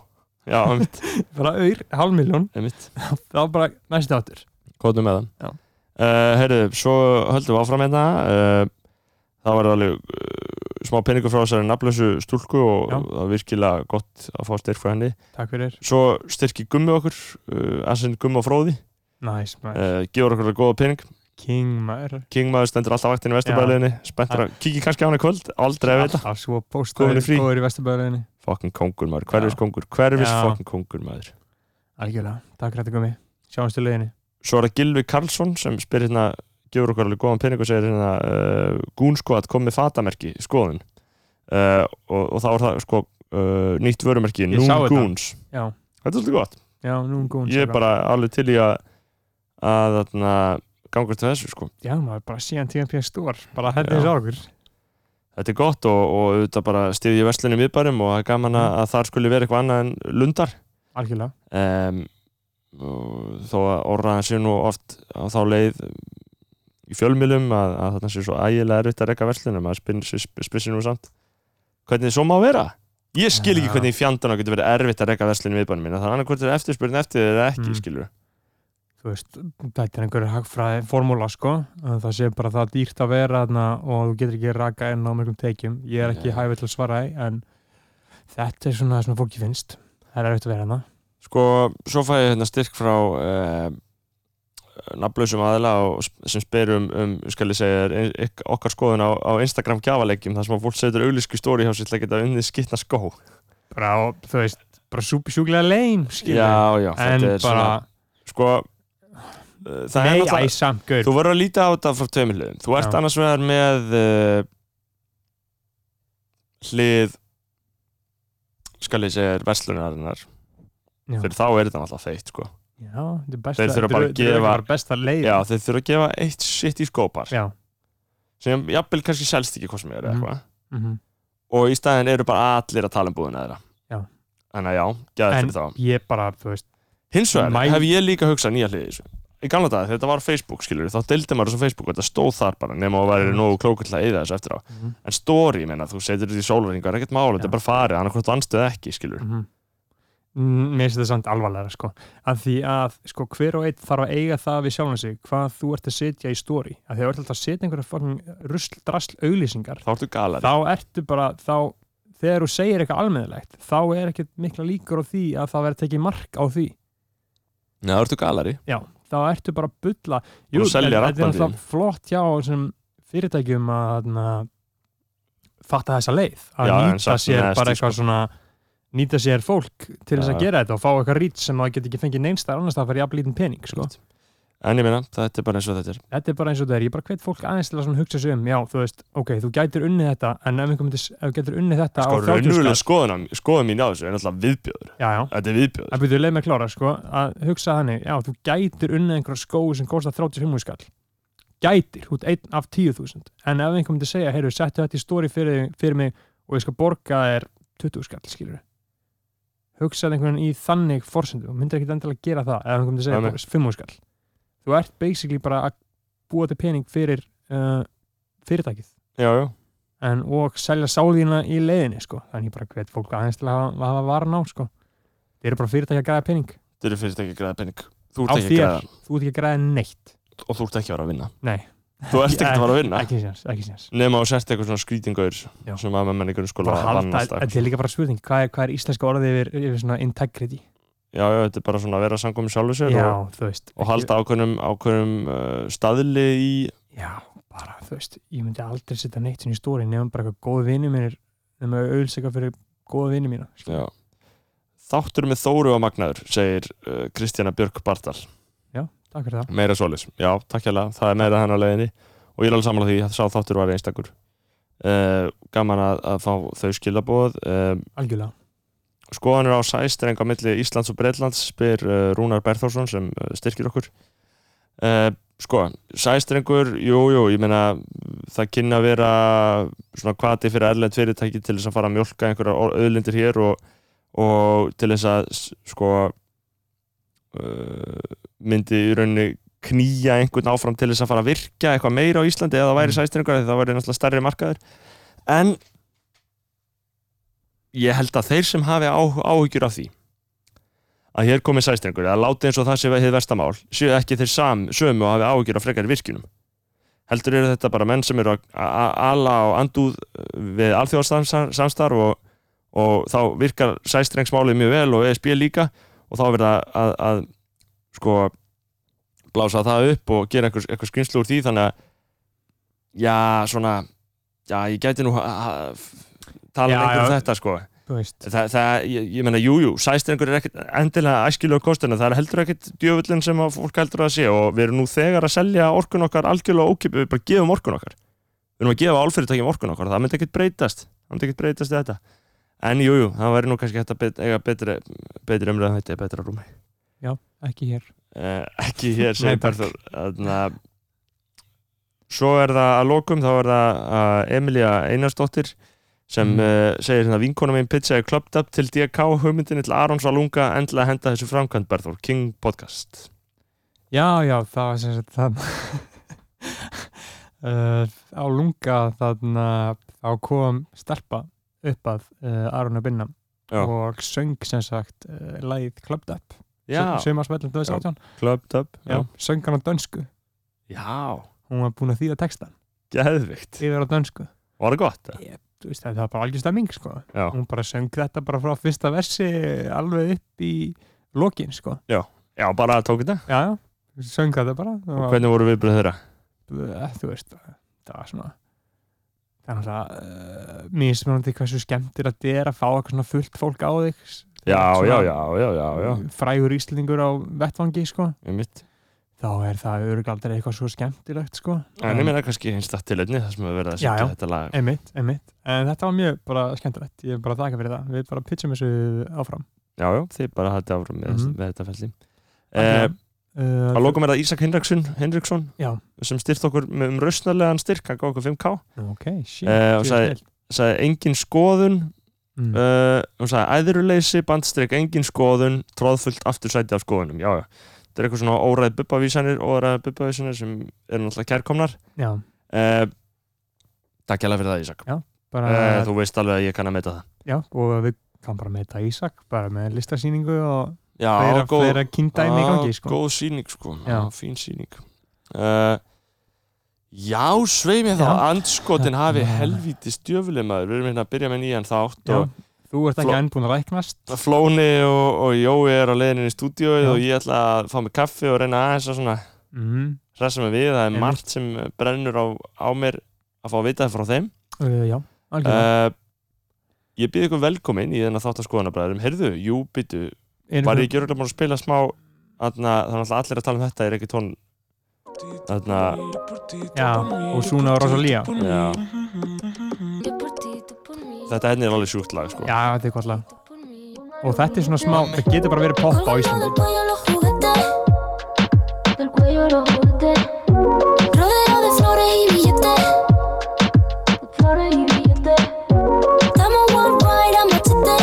[SPEAKER 1] já, einmitt,
[SPEAKER 2] bara auður hálf miljón
[SPEAKER 1] einmitt
[SPEAKER 2] þá bara næstu áttur
[SPEAKER 1] Kóðum með
[SPEAKER 2] Já.
[SPEAKER 1] það uh, Heyrðu, svo höldum við áfram hérna uh, Það var alveg uh, smá peningur frá þessari nafnlösu stúlku og
[SPEAKER 2] Já.
[SPEAKER 1] það var virkilega gott að fá styrk frá henni
[SPEAKER 2] Takk fyrir,
[SPEAKER 1] Svo styrki gummi okkur uh, Assin gummi á fróði
[SPEAKER 2] næs maður
[SPEAKER 1] uh, gefur okkur alveg góða pening
[SPEAKER 2] King maður
[SPEAKER 1] King maður stendur alltaf vaktinn í vesturbæðleginni Spenntur að kíkja kannski á hann í kvöld Aldrei að vita
[SPEAKER 2] Alltaf svo
[SPEAKER 1] Góður í
[SPEAKER 2] póstaður
[SPEAKER 1] frí.
[SPEAKER 2] góður í vesturbæðuleginni
[SPEAKER 1] Fokkin kongur maður, hverfis kongur Hverfis
[SPEAKER 2] Já.
[SPEAKER 1] fokkin kongur maður
[SPEAKER 2] Algjörlega, takk rættu komi, sjáumst í leiðinni
[SPEAKER 1] Svo er það Gilvi Karlsson sem spyr hérna gefur okkur alveg góðan pening og segir hérna uh, gúnskoðat kom með fatamerki skoðun uh, og, og þá er það sko uh, nýtt vörumerki
[SPEAKER 2] Ég sá
[SPEAKER 1] Noon
[SPEAKER 2] þetta.
[SPEAKER 1] Goons
[SPEAKER 2] Já,
[SPEAKER 1] Þetta er svolítið gott
[SPEAKER 2] já, nú um góðum
[SPEAKER 1] Ég er bara alveg til í að að þarna gangast til þessu sko
[SPEAKER 2] Já maður, bara síðan TMP stór, bara
[SPEAKER 1] Já.
[SPEAKER 2] heldur þessu á okkur
[SPEAKER 1] Þetta er gott og, og auðvitað bara stiði ég verslunum viðbærum og það er gaman að, að þar skuli vera eitthvað annað en lundar
[SPEAKER 2] Algjörlega,
[SPEAKER 1] um, og þó að orðaðan sé nú oft á þá leið í fjölmiðlum að, að þarna sé svo ægilega erfitt að rekka verslunum að spissi nú samt hvernig svo má vera ég skil ekki
[SPEAKER 2] Já.
[SPEAKER 1] hvernig í fjandana getur verið erfitt að rekka verslunum viðbænum minna, þannig að hvort er eftirspurn eftir þér eða ekki,
[SPEAKER 2] Mm.
[SPEAKER 1] mm. skilur
[SPEAKER 2] þú veist, þetta er einhverju hagfræði formúla sko, að það sé bara það dýrt að vera þarna og þú getur ekki raka enn á mörgum teikjum, ég er ekki
[SPEAKER 1] Já.
[SPEAKER 2] yeah. hæfið til að svara því, en þetta er svona það sem fólki finnst, það er auðvitað að vera hérna. hana
[SPEAKER 1] sko, svo fæ ég hérna styrk frá eh, nafnlausum aðila og sp- sem spyr um, um skal ég segja, þér, ein- yk- okkar skoðun á, á Instagram gjafaleikjum, þar sem að fólk setur auglísku stóri hjá sér til að geta unnið skitna skó
[SPEAKER 2] bara, á- þú veist, bara súpi sjúklega leim, skilur,
[SPEAKER 1] já, já, þetta
[SPEAKER 2] en
[SPEAKER 1] er
[SPEAKER 2] bara
[SPEAKER 1] svona- sko uh, það er
[SPEAKER 2] Nei, æ,
[SPEAKER 1] náttúrulega
[SPEAKER 2] samt, gaur
[SPEAKER 1] þú verður að líta á þetta frá tveimur hliðum þú ert
[SPEAKER 2] Já.
[SPEAKER 1] annars vegar með uh, hlið skal ég segja verslunarinnar
[SPEAKER 2] Já.
[SPEAKER 1] fyrir þá er þetta alltaf feitt sko.
[SPEAKER 2] Já, þetta er best
[SPEAKER 1] Þeir
[SPEAKER 2] að-
[SPEAKER 1] þurfa bara að
[SPEAKER 2] þetta er- þetta er
[SPEAKER 1] gefa-
[SPEAKER 2] bara best að leiða
[SPEAKER 1] já, þeir þurfa að gefa eitt sitt í skópar
[SPEAKER 2] já.
[SPEAKER 1] sem jafnvel kannski selst ekki hvað sem er mm.
[SPEAKER 2] Mhm.
[SPEAKER 1] eitthvað
[SPEAKER 2] mhm.
[SPEAKER 1] og í staðin eru bara allir að tala um búðina
[SPEAKER 2] Já.
[SPEAKER 1] þeirra þannig að já, geða
[SPEAKER 2] En
[SPEAKER 1] fyrir þá
[SPEAKER 2] ég bara, þú veist
[SPEAKER 1] hins vegar
[SPEAKER 2] Mæ-
[SPEAKER 1] hef ég líka hugsað nýja hliði í þessu í gamla dag þegar þetta var á Facebook skilur þá deildi maður þessu á Facebook og þetta stóð þar bara nema að vera
[SPEAKER 2] Mm.
[SPEAKER 1] nógu klókur til að eyða þessu eftir á
[SPEAKER 2] mhm,
[SPEAKER 1] en story, ég meina, þú setur þetta í sólveringar ekkert mála, þetta
[SPEAKER 2] Já.
[SPEAKER 1] er bara farið, annað hvort vannstu eða ekki skilur,
[SPEAKER 2] mhm. Mm, Mér finnst þetta samt alvarlega sko. að því að sko, hver og einn þarf að eiga það við sjálfum sig hvað þú ert að setja í stóri að því að þú ert alltaf að setja einhverja rusl, drasl auglýsingar
[SPEAKER 1] þá ertu galari
[SPEAKER 2] þá ertu bara þá, þegar þú segir eitthvað almennilegt þá er ekkert mikla líkur á því að það verður tekið mark á því
[SPEAKER 1] já, þá ertu galari,
[SPEAKER 2] já, þá ertu bara að bulla
[SPEAKER 1] Búin að selja
[SPEAKER 2] en- en þetta er
[SPEAKER 1] raddbandið.
[SPEAKER 2] alltaf flott hjá sem fyrirtækjum að na, fatta þessa leið að
[SPEAKER 1] Já, en
[SPEAKER 2] nýta
[SPEAKER 1] samt
[SPEAKER 2] sér
[SPEAKER 1] neðst
[SPEAKER 2] bara
[SPEAKER 1] í
[SPEAKER 2] eitthvað svona nýta sér fólk til þess
[SPEAKER 1] Já.
[SPEAKER 2] að gera þetta og fá eitthvað rít sem það get ekki fengið neinstar annars það fyrir jafnlítin pening sko.
[SPEAKER 1] en ég meina, þetta er bara eins og þetta er
[SPEAKER 2] þetta er bara eins og það er, ég bara hvet fólk aðeins til að svona hugsa sig um, já, þú veist, ok, þú gætir unnið þetta en ef einhver myndi, s- ef þú gætir unnið þetta
[SPEAKER 1] sko,
[SPEAKER 2] á 30 skall-
[SPEAKER 1] raunveruleg skoðun skoðun mín á þessu er náttúrulega viðbjöður,
[SPEAKER 2] já, já,
[SPEAKER 1] þetta er viðbjöður
[SPEAKER 2] að byrja leið með klára sko, að hugsa þannig, já, þú gætir unnið einhverja skói sem kostar 35 skall gætir, þú ert einn af 10.000 en ef einhver myndi segja, heyrðu, settu þetta í stóri fyrir, fyrir mig og ég skal borga þér 20 skall, skilur hugsaði einhvern í þannig forsendu, þú myndir ekkit endilega gera það ef einhver myndi segja,
[SPEAKER 1] Nei, nei.
[SPEAKER 2] "Borga 5 skall þú ert basically bara að búa til pening fyrir uh, fyrirtækið
[SPEAKER 1] já, já,
[SPEAKER 2] en, og selja sáðina í leiðinni sko. þannig ég bara hvet fólk aðeins til að hafa- hafa varan á sko. þeir eru bara fyrirtæki að græða pening
[SPEAKER 1] þetta eru fyrirtæki að græða pening þú
[SPEAKER 2] á
[SPEAKER 1] ert ekki að
[SPEAKER 2] þér,
[SPEAKER 1] græða
[SPEAKER 2] þú ert ekki að græða neitt
[SPEAKER 1] og þú ert ekki að vera að vinna
[SPEAKER 2] Nei.
[SPEAKER 1] þú ert ekki að vera að vinna
[SPEAKER 2] ekki séns, ekki séns
[SPEAKER 1] nema og sért eitthvað svona skrýtingaur
[SPEAKER 2] Já.
[SPEAKER 1] sem að með menningur skóla
[SPEAKER 2] bara
[SPEAKER 1] vann
[SPEAKER 2] halda,
[SPEAKER 1] alltaf
[SPEAKER 2] þetta er líka bara spurning hvað er, hvað er íslenska orðið yfir, yfir svona integrity
[SPEAKER 1] já, já, þetta er bara svona að vera samkomi sjálfu sér
[SPEAKER 2] já,
[SPEAKER 1] og,
[SPEAKER 2] þú veist
[SPEAKER 1] og halda ákveðnum, ákveðnum uh, staðli í
[SPEAKER 2] já, bara, þú veist, ég myndi aldrei setja neitt sinni í stóri nefnum bara eitthvað góð vinnu mínir nefnum að auðseka fyrir góða vinnu mína
[SPEAKER 1] já.
[SPEAKER 2] skilur.
[SPEAKER 1] þáttur með Þóru og Magnaður segir uh, Kristjana Björk Bartal
[SPEAKER 2] takk fyrir það
[SPEAKER 1] meira solis, já, takk hérlega, það er meira hennar leiðinni og ég er alveg samanlega því að sá þáttur var einstakur uh, gaman að, að fá þau skilabóð uh,
[SPEAKER 2] algjörlega,
[SPEAKER 1] skoðanir á sæstreng á milli Íslands og Breitlands spyr uh, Rúnar Berþórsson sem uh, styrkir okkur uh, sko, sæstrengur jú, jú, ég meina það kynna að vera svona kvati fyrir erlend fyrirtæki til þess að fara að mjólka einhverjar auðlindir hér og, og til þess að s- sko uh, myndi í rauninni knýja einhvern áfram til þess að fara að virka eitthvað meira á Íslandi eða það væri
[SPEAKER 2] Mm.
[SPEAKER 1] sæstrengur því það væri náttúrulega stærri markaður en ég held að þeir sem hafi á, áhyggjur af því að hér komi sæstrengur að láti eins og það sé hið verstamál séu ekki þeir sam, sömu og hafi áhyggjur af frekari virkjunum heldur eru þetta bara menn sem eru að a- a- ala og andúð uh, við alþjóðarsamstarf og, og þá virkar sæstrengsmálið mjög vel og ESB líka og þá verða að, að, að sko blása það upp og gera einhver, einhver skynslu úr því þannig að já svona já ég gæti nú ha- ha- f- tala
[SPEAKER 2] Já,
[SPEAKER 1] lengur um
[SPEAKER 2] já.
[SPEAKER 1] þetta sko
[SPEAKER 2] þú veist
[SPEAKER 1] Þa, það, ég, ég meina, jú, jú, sæstrengur er ekkert endilega æskilega kostin en það er heldur ekkert djöfullin sem að fólk heldur að sé og við erum nú þegar að selja orkun okkar algjörlega ókipið, við bara gefum orkun okkar við erum að gefa álfyrirtækjum orkun okkar það myndi ekkert breytast, það myndi ekkert breytast í þetta en jú, jú, það væri nú kannski hægt að bet, eiga betri, betri umræðan þetta í betra rúmi
[SPEAKER 2] ekki hér
[SPEAKER 1] Eh, ekki hér
[SPEAKER 2] Nei,
[SPEAKER 1] segir
[SPEAKER 2] takk.
[SPEAKER 1] Berður Þarna, svo er það að lokum þá er það uh, Emilia Einarsdóttir sem
[SPEAKER 2] Mm.
[SPEAKER 1] mm. segir hérna vinkona minn pitchaði klöpt upp til DK hugmyndinni til Arons að lunga endilega henda þessu framkvæmt Berður, King Podcast
[SPEAKER 2] Já, já, það var sem sagt þann uh, á lunga þann þá kom stelpa upp að uh, Aruna Binna
[SPEAKER 1] Já.
[SPEAKER 2] og söng sem sagt uh, lægið Clubbed Up
[SPEAKER 1] já,
[SPEAKER 2] sömarsmellum
[SPEAKER 1] Já.
[SPEAKER 2] 2018
[SPEAKER 1] klöpt upp
[SPEAKER 2] já. söng hann á dönsku
[SPEAKER 1] já,
[SPEAKER 2] hún var búin að þýða textan
[SPEAKER 1] geðvikt
[SPEAKER 2] yfir á dönsku
[SPEAKER 1] var það gott? eða?
[SPEAKER 2] Þú veist, það var bara algjör stemming sko.
[SPEAKER 1] Já.
[SPEAKER 2] hún bara söng þetta bara frá fyrsta versi alveg upp í lokin sko.
[SPEAKER 1] já, bara tók þetta
[SPEAKER 2] já, já, söng þetta bara Það
[SPEAKER 1] og
[SPEAKER 2] var-
[SPEAKER 1] hvernig voru viðbröð þeirra?
[SPEAKER 2] eh, þú veist það var svona eh, það er náttúrulega uh, mismunandi hversu skemmtir að þetta er að fá eitthvað svona fullt fólk á þig
[SPEAKER 1] já,
[SPEAKER 2] svona-
[SPEAKER 1] já, já, já, já, já.
[SPEAKER 2] frægur íslendingur á vettvangi sko.
[SPEAKER 1] Einmitt.
[SPEAKER 2] þá er það örgaldar eitthvað svo skemmtilegt sko.
[SPEAKER 1] En ég meina kannski hins dætt til einni þar sem við verðum að
[SPEAKER 2] Já,
[SPEAKER 1] setja
[SPEAKER 2] já.
[SPEAKER 1] þetta lag
[SPEAKER 2] einmitt, einmitt. en þetta var mjög bara skemmtilegt ég er bara að þakka fyrir það, við bara pitchum þessu áfram
[SPEAKER 1] Já, já, þið bara haldið áfram með,
[SPEAKER 2] Mhm.
[SPEAKER 1] með þetta felli
[SPEAKER 2] Þannig
[SPEAKER 1] eh,
[SPEAKER 2] að,
[SPEAKER 1] Að lokum er það Ísak Hinriksson, Hinriksson
[SPEAKER 2] já,
[SPEAKER 1] sem styrt okkur með um rausnarlegan styrk hann gaf okkur 5K
[SPEAKER 2] ok, shit
[SPEAKER 1] Eh, og
[SPEAKER 2] djöfull
[SPEAKER 1] sagði-
[SPEAKER 2] vel.
[SPEAKER 1] sagði engin skoðun
[SPEAKER 2] Mm.
[SPEAKER 1] uh, og sagði æðruleysi, bandstrik, engin skoðun tróðfullt aftursæti af skoðunum já, já, þetta er eitthvað svona óræði bubbavísanir óræði bubbavísanir sem eru náttúrulega kærkomnar
[SPEAKER 2] já,
[SPEAKER 1] uh, Takk hjá fyrir það Ísak
[SPEAKER 2] bara,
[SPEAKER 1] uh, Þú veist alveg að ég kann að meita það
[SPEAKER 2] já, og við kannum bara meita Ísak, bara með listasýningu og
[SPEAKER 1] Já,
[SPEAKER 2] fleira,
[SPEAKER 1] góð-
[SPEAKER 2] fleira kindæmi í
[SPEAKER 1] Já,
[SPEAKER 2] gangi sko.
[SPEAKER 1] Ah, Góð síning sko,
[SPEAKER 2] Já.
[SPEAKER 1] Já, fín síning uh, Já, svei mér þá
[SPEAKER 2] Já.
[SPEAKER 1] Andskotin hafi
[SPEAKER 2] Já.
[SPEAKER 1] helvíti stjöfuleg maður Við erum hérna að byrja með nýjan þátt
[SPEAKER 2] já,
[SPEAKER 1] og
[SPEAKER 2] þú ert ekki
[SPEAKER 1] Fló-
[SPEAKER 2] enn búin að ræknast
[SPEAKER 1] Flóni og, og Jói er á leiðinni í stúdíóið
[SPEAKER 2] Já.
[SPEAKER 1] og ég ætla að fá mig kaffi og reyna aðeins að svona
[SPEAKER 2] mm.
[SPEAKER 1] hressa mig við, það er
[SPEAKER 2] Einmitt.
[SPEAKER 1] margt sem brennur á, á mér að fá að vita það frá þeim
[SPEAKER 2] uh, já, algjörlega
[SPEAKER 1] uh, Ég byrði ykkur velkomin í þennan þátt að skoðanabræðurum Heyrðu, jú, byttu,
[SPEAKER 2] Erum
[SPEAKER 1] var ég
[SPEAKER 2] við-
[SPEAKER 1] ekki örgulega búin að spila smá Þannig að það er náttúrulega allir að tala um þetta, er ekki tón Þarna,
[SPEAKER 2] já, og Suna og Rosalía
[SPEAKER 1] já
[SPEAKER 4] Yo por ti, tú por mí.
[SPEAKER 1] Þetta henni er alveg sjúkt lag sko
[SPEAKER 2] já, þetta er gott lag
[SPEAKER 4] Tú por mí.
[SPEAKER 2] og þetta er svona smá, það getur bara verið pop á
[SPEAKER 4] Colgando
[SPEAKER 2] Íslandi
[SPEAKER 4] del cuello los juguetes. Del cuello los juguetes. Rodeado de flores y billetes. De flores y billetes. Estamos worldwide a machete.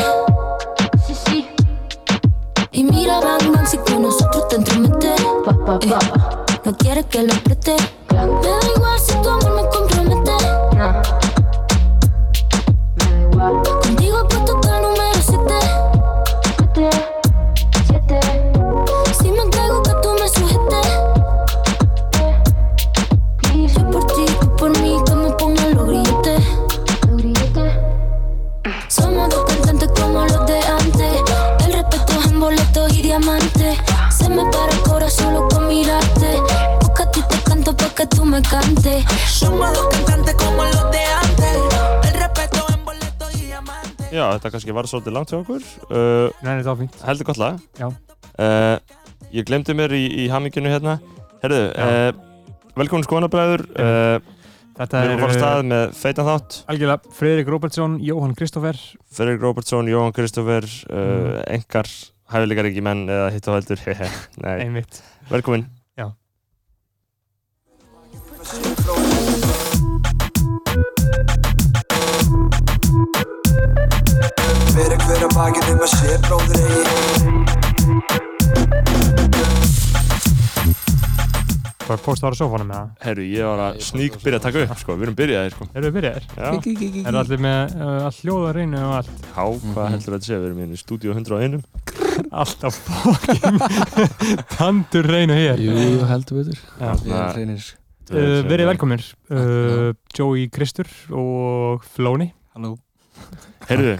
[SPEAKER 4] Sí, sí. Y mira Batman si con nosotros te entromete. Eh, No quieres que lo apriete. Me da igual si tu amor me compromete. Contigo he puesto que el número 7 Si me entrego que tú me sujetes Yo por ti, tú por mí, que me pongan los grilletes Somos dos cantantes como los de antes El respeto es en boletos y diamantes Se me para el corazón solo con mirarte Porque a ti te canto pa' que tú me cantes
[SPEAKER 6] Somos dos cantantes como los de antes. El respeto en boleto y diamante.
[SPEAKER 1] Já, þetta kannski var svolítið langt hjá okkur uh,
[SPEAKER 2] Nei, þetta var fínt
[SPEAKER 1] Heldur gott lag
[SPEAKER 2] Já.
[SPEAKER 1] uh, Ég glemdi mér í, í haminginu hérna Herðu, uh, velkomin skoðanabræður uh, Við
[SPEAKER 2] Þetta
[SPEAKER 1] erum að fara af
[SPEAKER 2] er
[SPEAKER 1] stað með feitan þátt
[SPEAKER 2] algjörlega Friðrik Róbertsson, Jóhann Kristoffer
[SPEAKER 1] Fredrik Robertson, Jóhann Kristoffer uh,
[SPEAKER 2] Mm.
[SPEAKER 1] Engar, hæfilegar ekki menn eða hitt og heldur Nei,
[SPEAKER 2] einmitt
[SPEAKER 1] velkomin
[SPEAKER 3] Fyrir hver að bakið um að sé bróður eigi
[SPEAKER 2] Hvað postaður á sófanum með það?
[SPEAKER 1] Herru, ég var að sník byrja að taka upp sko, við erum byrjaðir sko
[SPEAKER 2] Eru við byrjaðir?
[SPEAKER 1] Já,
[SPEAKER 2] Er allir með uh, all hljóða reynu og allt
[SPEAKER 1] há,
[SPEAKER 7] Mhm.
[SPEAKER 1] hvað heldur þetta sé, við erum hérna í stúdíu 101
[SPEAKER 2] Allt á fokkin Tandur reynu hér
[SPEAKER 8] Jú, jú, heldur betur
[SPEAKER 2] Já.
[SPEAKER 8] Við erum hreinir
[SPEAKER 2] uh,
[SPEAKER 1] hérna.
[SPEAKER 2] Verið velkomir uh, Joey Kristur og Flóni
[SPEAKER 8] Halló
[SPEAKER 1] Herru,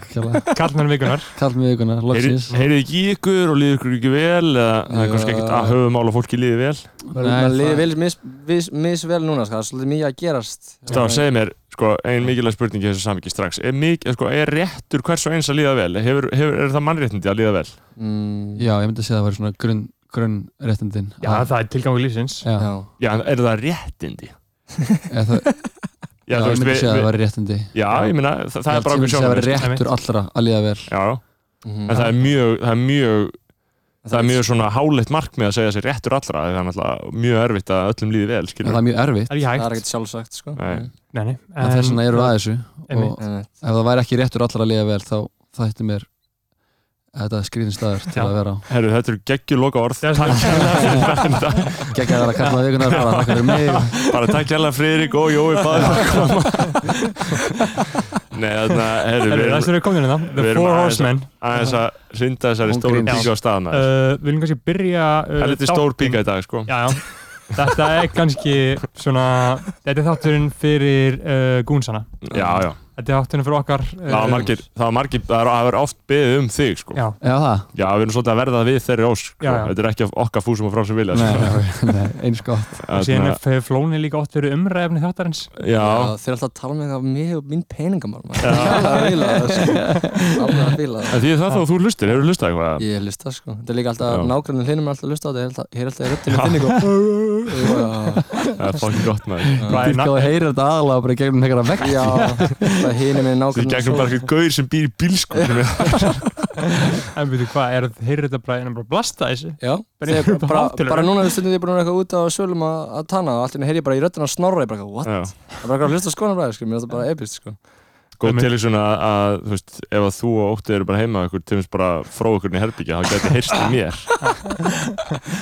[SPEAKER 2] Kallmann vikunar
[SPEAKER 8] Kall með ykkurna, loksins
[SPEAKER 1] heyrið ekki í ykkur og líður ykkur ekki vel eða það er
[SPEAKER 8] Já.
[SPEAKER 1] kannski ekkert að höfum ála fólki líði vel
[SPEAKER 8] Nei, liðið vel mis, mis, misvel núna, sko. það er svolítið mikið að gerast Hérna.
[SPEAKER 1] Stá, segðu mér, sko, ein mikilvæg spurning í þessu samviki strax, er, mikil, sko, er réttur hvers og eins að líða vel, hefur, hefur, er það mannréttindi að líða vel?
[SPEAKER 8] mm,
[SPEAKER 7] Já, ég myndi að segja að það var svona grunn, grunnréttindin
[SPEAKER 2] Já, það er tilgangu lífsins
[SPEAKER 7] Já,
[SPEAKER 8] Já,
[SPEAKER 1] Já, en er það réttindi?
[SPEAKER 7] eða það, já,
[SPEAKER 1] Já, þú
[SPEAKER 7] ég
[SPEAKER 1] veist,
[SPEAKER 7] myndi að
[SPEAKER 1] við,
[SPEAKER 7] segja að það
[SPEAKER 1] við,
[SPEAKER 7] var réttindi
[SPEAKER 1] já, ég meina, það, það er bara
[SPEAKER 7] Ég myndi
[SPEAKER 1] okkur sjónum
[SPEAKER 7] segja að það var réttur
[SPEAKER 2] Einmitt.
[SPEAKER 7] allra að líða vel
[SPEAKER 1] Já,
[SPEAKER 8] mhm.
[SPEAKER 1] en það er mjög, það er mjög Það er mjög svona háleitt markmið að segja sér réttur allra því það er náttúrulega mjög erfitt að öllum líði vel,
[SPEAKER 7] En
[SPEAKER 1] skilur
[SPEAKER 7] það er mjög erfitt
[SPEAKER 2] Er ég
[SPEAKER 8] Það er
[SPEAKER 2] hægt?
[SPEAKER 8] ekkert sjálfsagt sko. Mm.
[SPEAKER 1] Nei.
[SPEAKER 2] Nei, nei
[SPEAKER 7] En þess vegna eru við að þessu
[SPEAKER 2] Einmitt.
[SPEAKER 7] Og
[SPEAKER 8] Nei, nei.
[SPEAKER 7] ef það væri ekki réttur allra að líða vel þá þætti mér Þetta skrýðin staður til
[SPEAKER 2] Já.
[SPEAKER 7] að vera á
[SPEAKER 1] Herru, þetta eru geggjur loka orð
[SPEAKER 2] Þess-
[SPEAKER 1] Takk hérlega fyrir þetta
[SPEAKER 7] Gekk að vera að kalla það vikunar bara þakka fyrir mig og-
[SPEAKER 1] bara takk hérlega Friðrik og Jói báði að koma Nei, þarna, herru, við
[SPEAKER 2] Herru,
[SPEAKER 1] erum
[SPEAKER 2] Þessu eru komin hérna
[SPEAKER 1] við
[SPEAKER 2] The
[SPEAKER 1] erum
[SPEAKER 2] Four
[SPEAKER 1] aðeins-
[SPEAKER 2] Horsemen
[SPEAKER 1] aðeins að synda þessari
[SPEAKER 8] Hún
[SPEAKER 1] stóru
[SPEAKER 8] grínast.
[SPEAKER 1] píku á staðan Það
[SPEAKER 2] uh, Viljum kannski byrja uh,
[SPEAKER 1] er litið
[SPEAKER 2] þáttinn-
[SPEAKER 1] stór píka í dag, sko
[SPEAKER 2] Já, já. Þetta er kannski svona, þetta er þátturinn fyrir uh, gúnsana.
[SPEAKER 1] Já, já,
[SPEAKER 2] Þetta er áttunum fyrir okkar uh,
[SPEAKER 1] það var margir, það var margir, það var- það var oft beðið um þig sko.
[SPEAKER 2] Eh, Já,
[SPEAKER 7] Já, það?
[SPEAKER 1] Já, við erum svolítið að verða við þeirri ós sko.
[SPEAKER 2] Já, já.
[SPEAKER 1] Þetta er ekki okkar fúsum og frá sem vilja
[SPEAKER 7] Nei,
[SPEAKER 1] sko.
[SPEAKER 7] nei, nei, eins gott.
[SPEAKER 2] og síðan
[SPEAKER 1] Þarna-
[SPEAKER 2] hefur flóni líka oft verið umræfni þáttarins
[SPEAKER 1] Já,
[SPEAKER 8] Þeir alltaf að tala um eitthvað mér hefur mín peningamál maður. Alveg að fíla það sko. Alveg að fíla það
[SPEAKER 1] en því er það þá að þú hlustir, hefur hlustað eitthvað?
[SPEAKER 8] Ég hlusta sko, þetta er líka alltaf
[SPEAKER 1] Já.
[SPEAKER 8] nákvæmlega hlinum er alltaf að hlusta á þetta, ég held að- ég er alltaf í röttinu finni eitthvað
[SPEAKER 1] Það er fokkin gott maður
[SPEAKER 7] Ég að heyra þetta aðalega bara í gegnum einhverja vekk.
[SPEAKER 8] Já, það hinir minni
[SPEAKER 1] Því
[SPEAKER 8] nákvæmlega
[SPEAKER 1] gegnum bara eitthvað gaur sem býr í bílsku
[SPEAKER 2] En veitu hvað, er þetta heyrðu þetta bara en bara blasta þessu
[SPEAKER 8] Já,
[SPEAKER 2] Bara
[SPEAKER 8] þegar
[SPEAKER 2] yfir upp á
[SPEAKER 8] bara,
[SPEAKER 2] hátelur.
[SPEAKER 8] bara núna við stundum því búin að vera eitthvað út á sölum að, að tanna og allt í henni heyri ég bara í röttinu að snorra ég bara eitthvað, what? Það er bara eitthvað að hlusta skoðan bræði, sko, mér finnst það bara epist, sko
[SPEAKER 1] Góð til í svona að, þú veist, ef að þú og Ótti eru bara heima hjá ykkur, til þess bara frá ykkur inn í herbyggja, þá geti heyrst í mér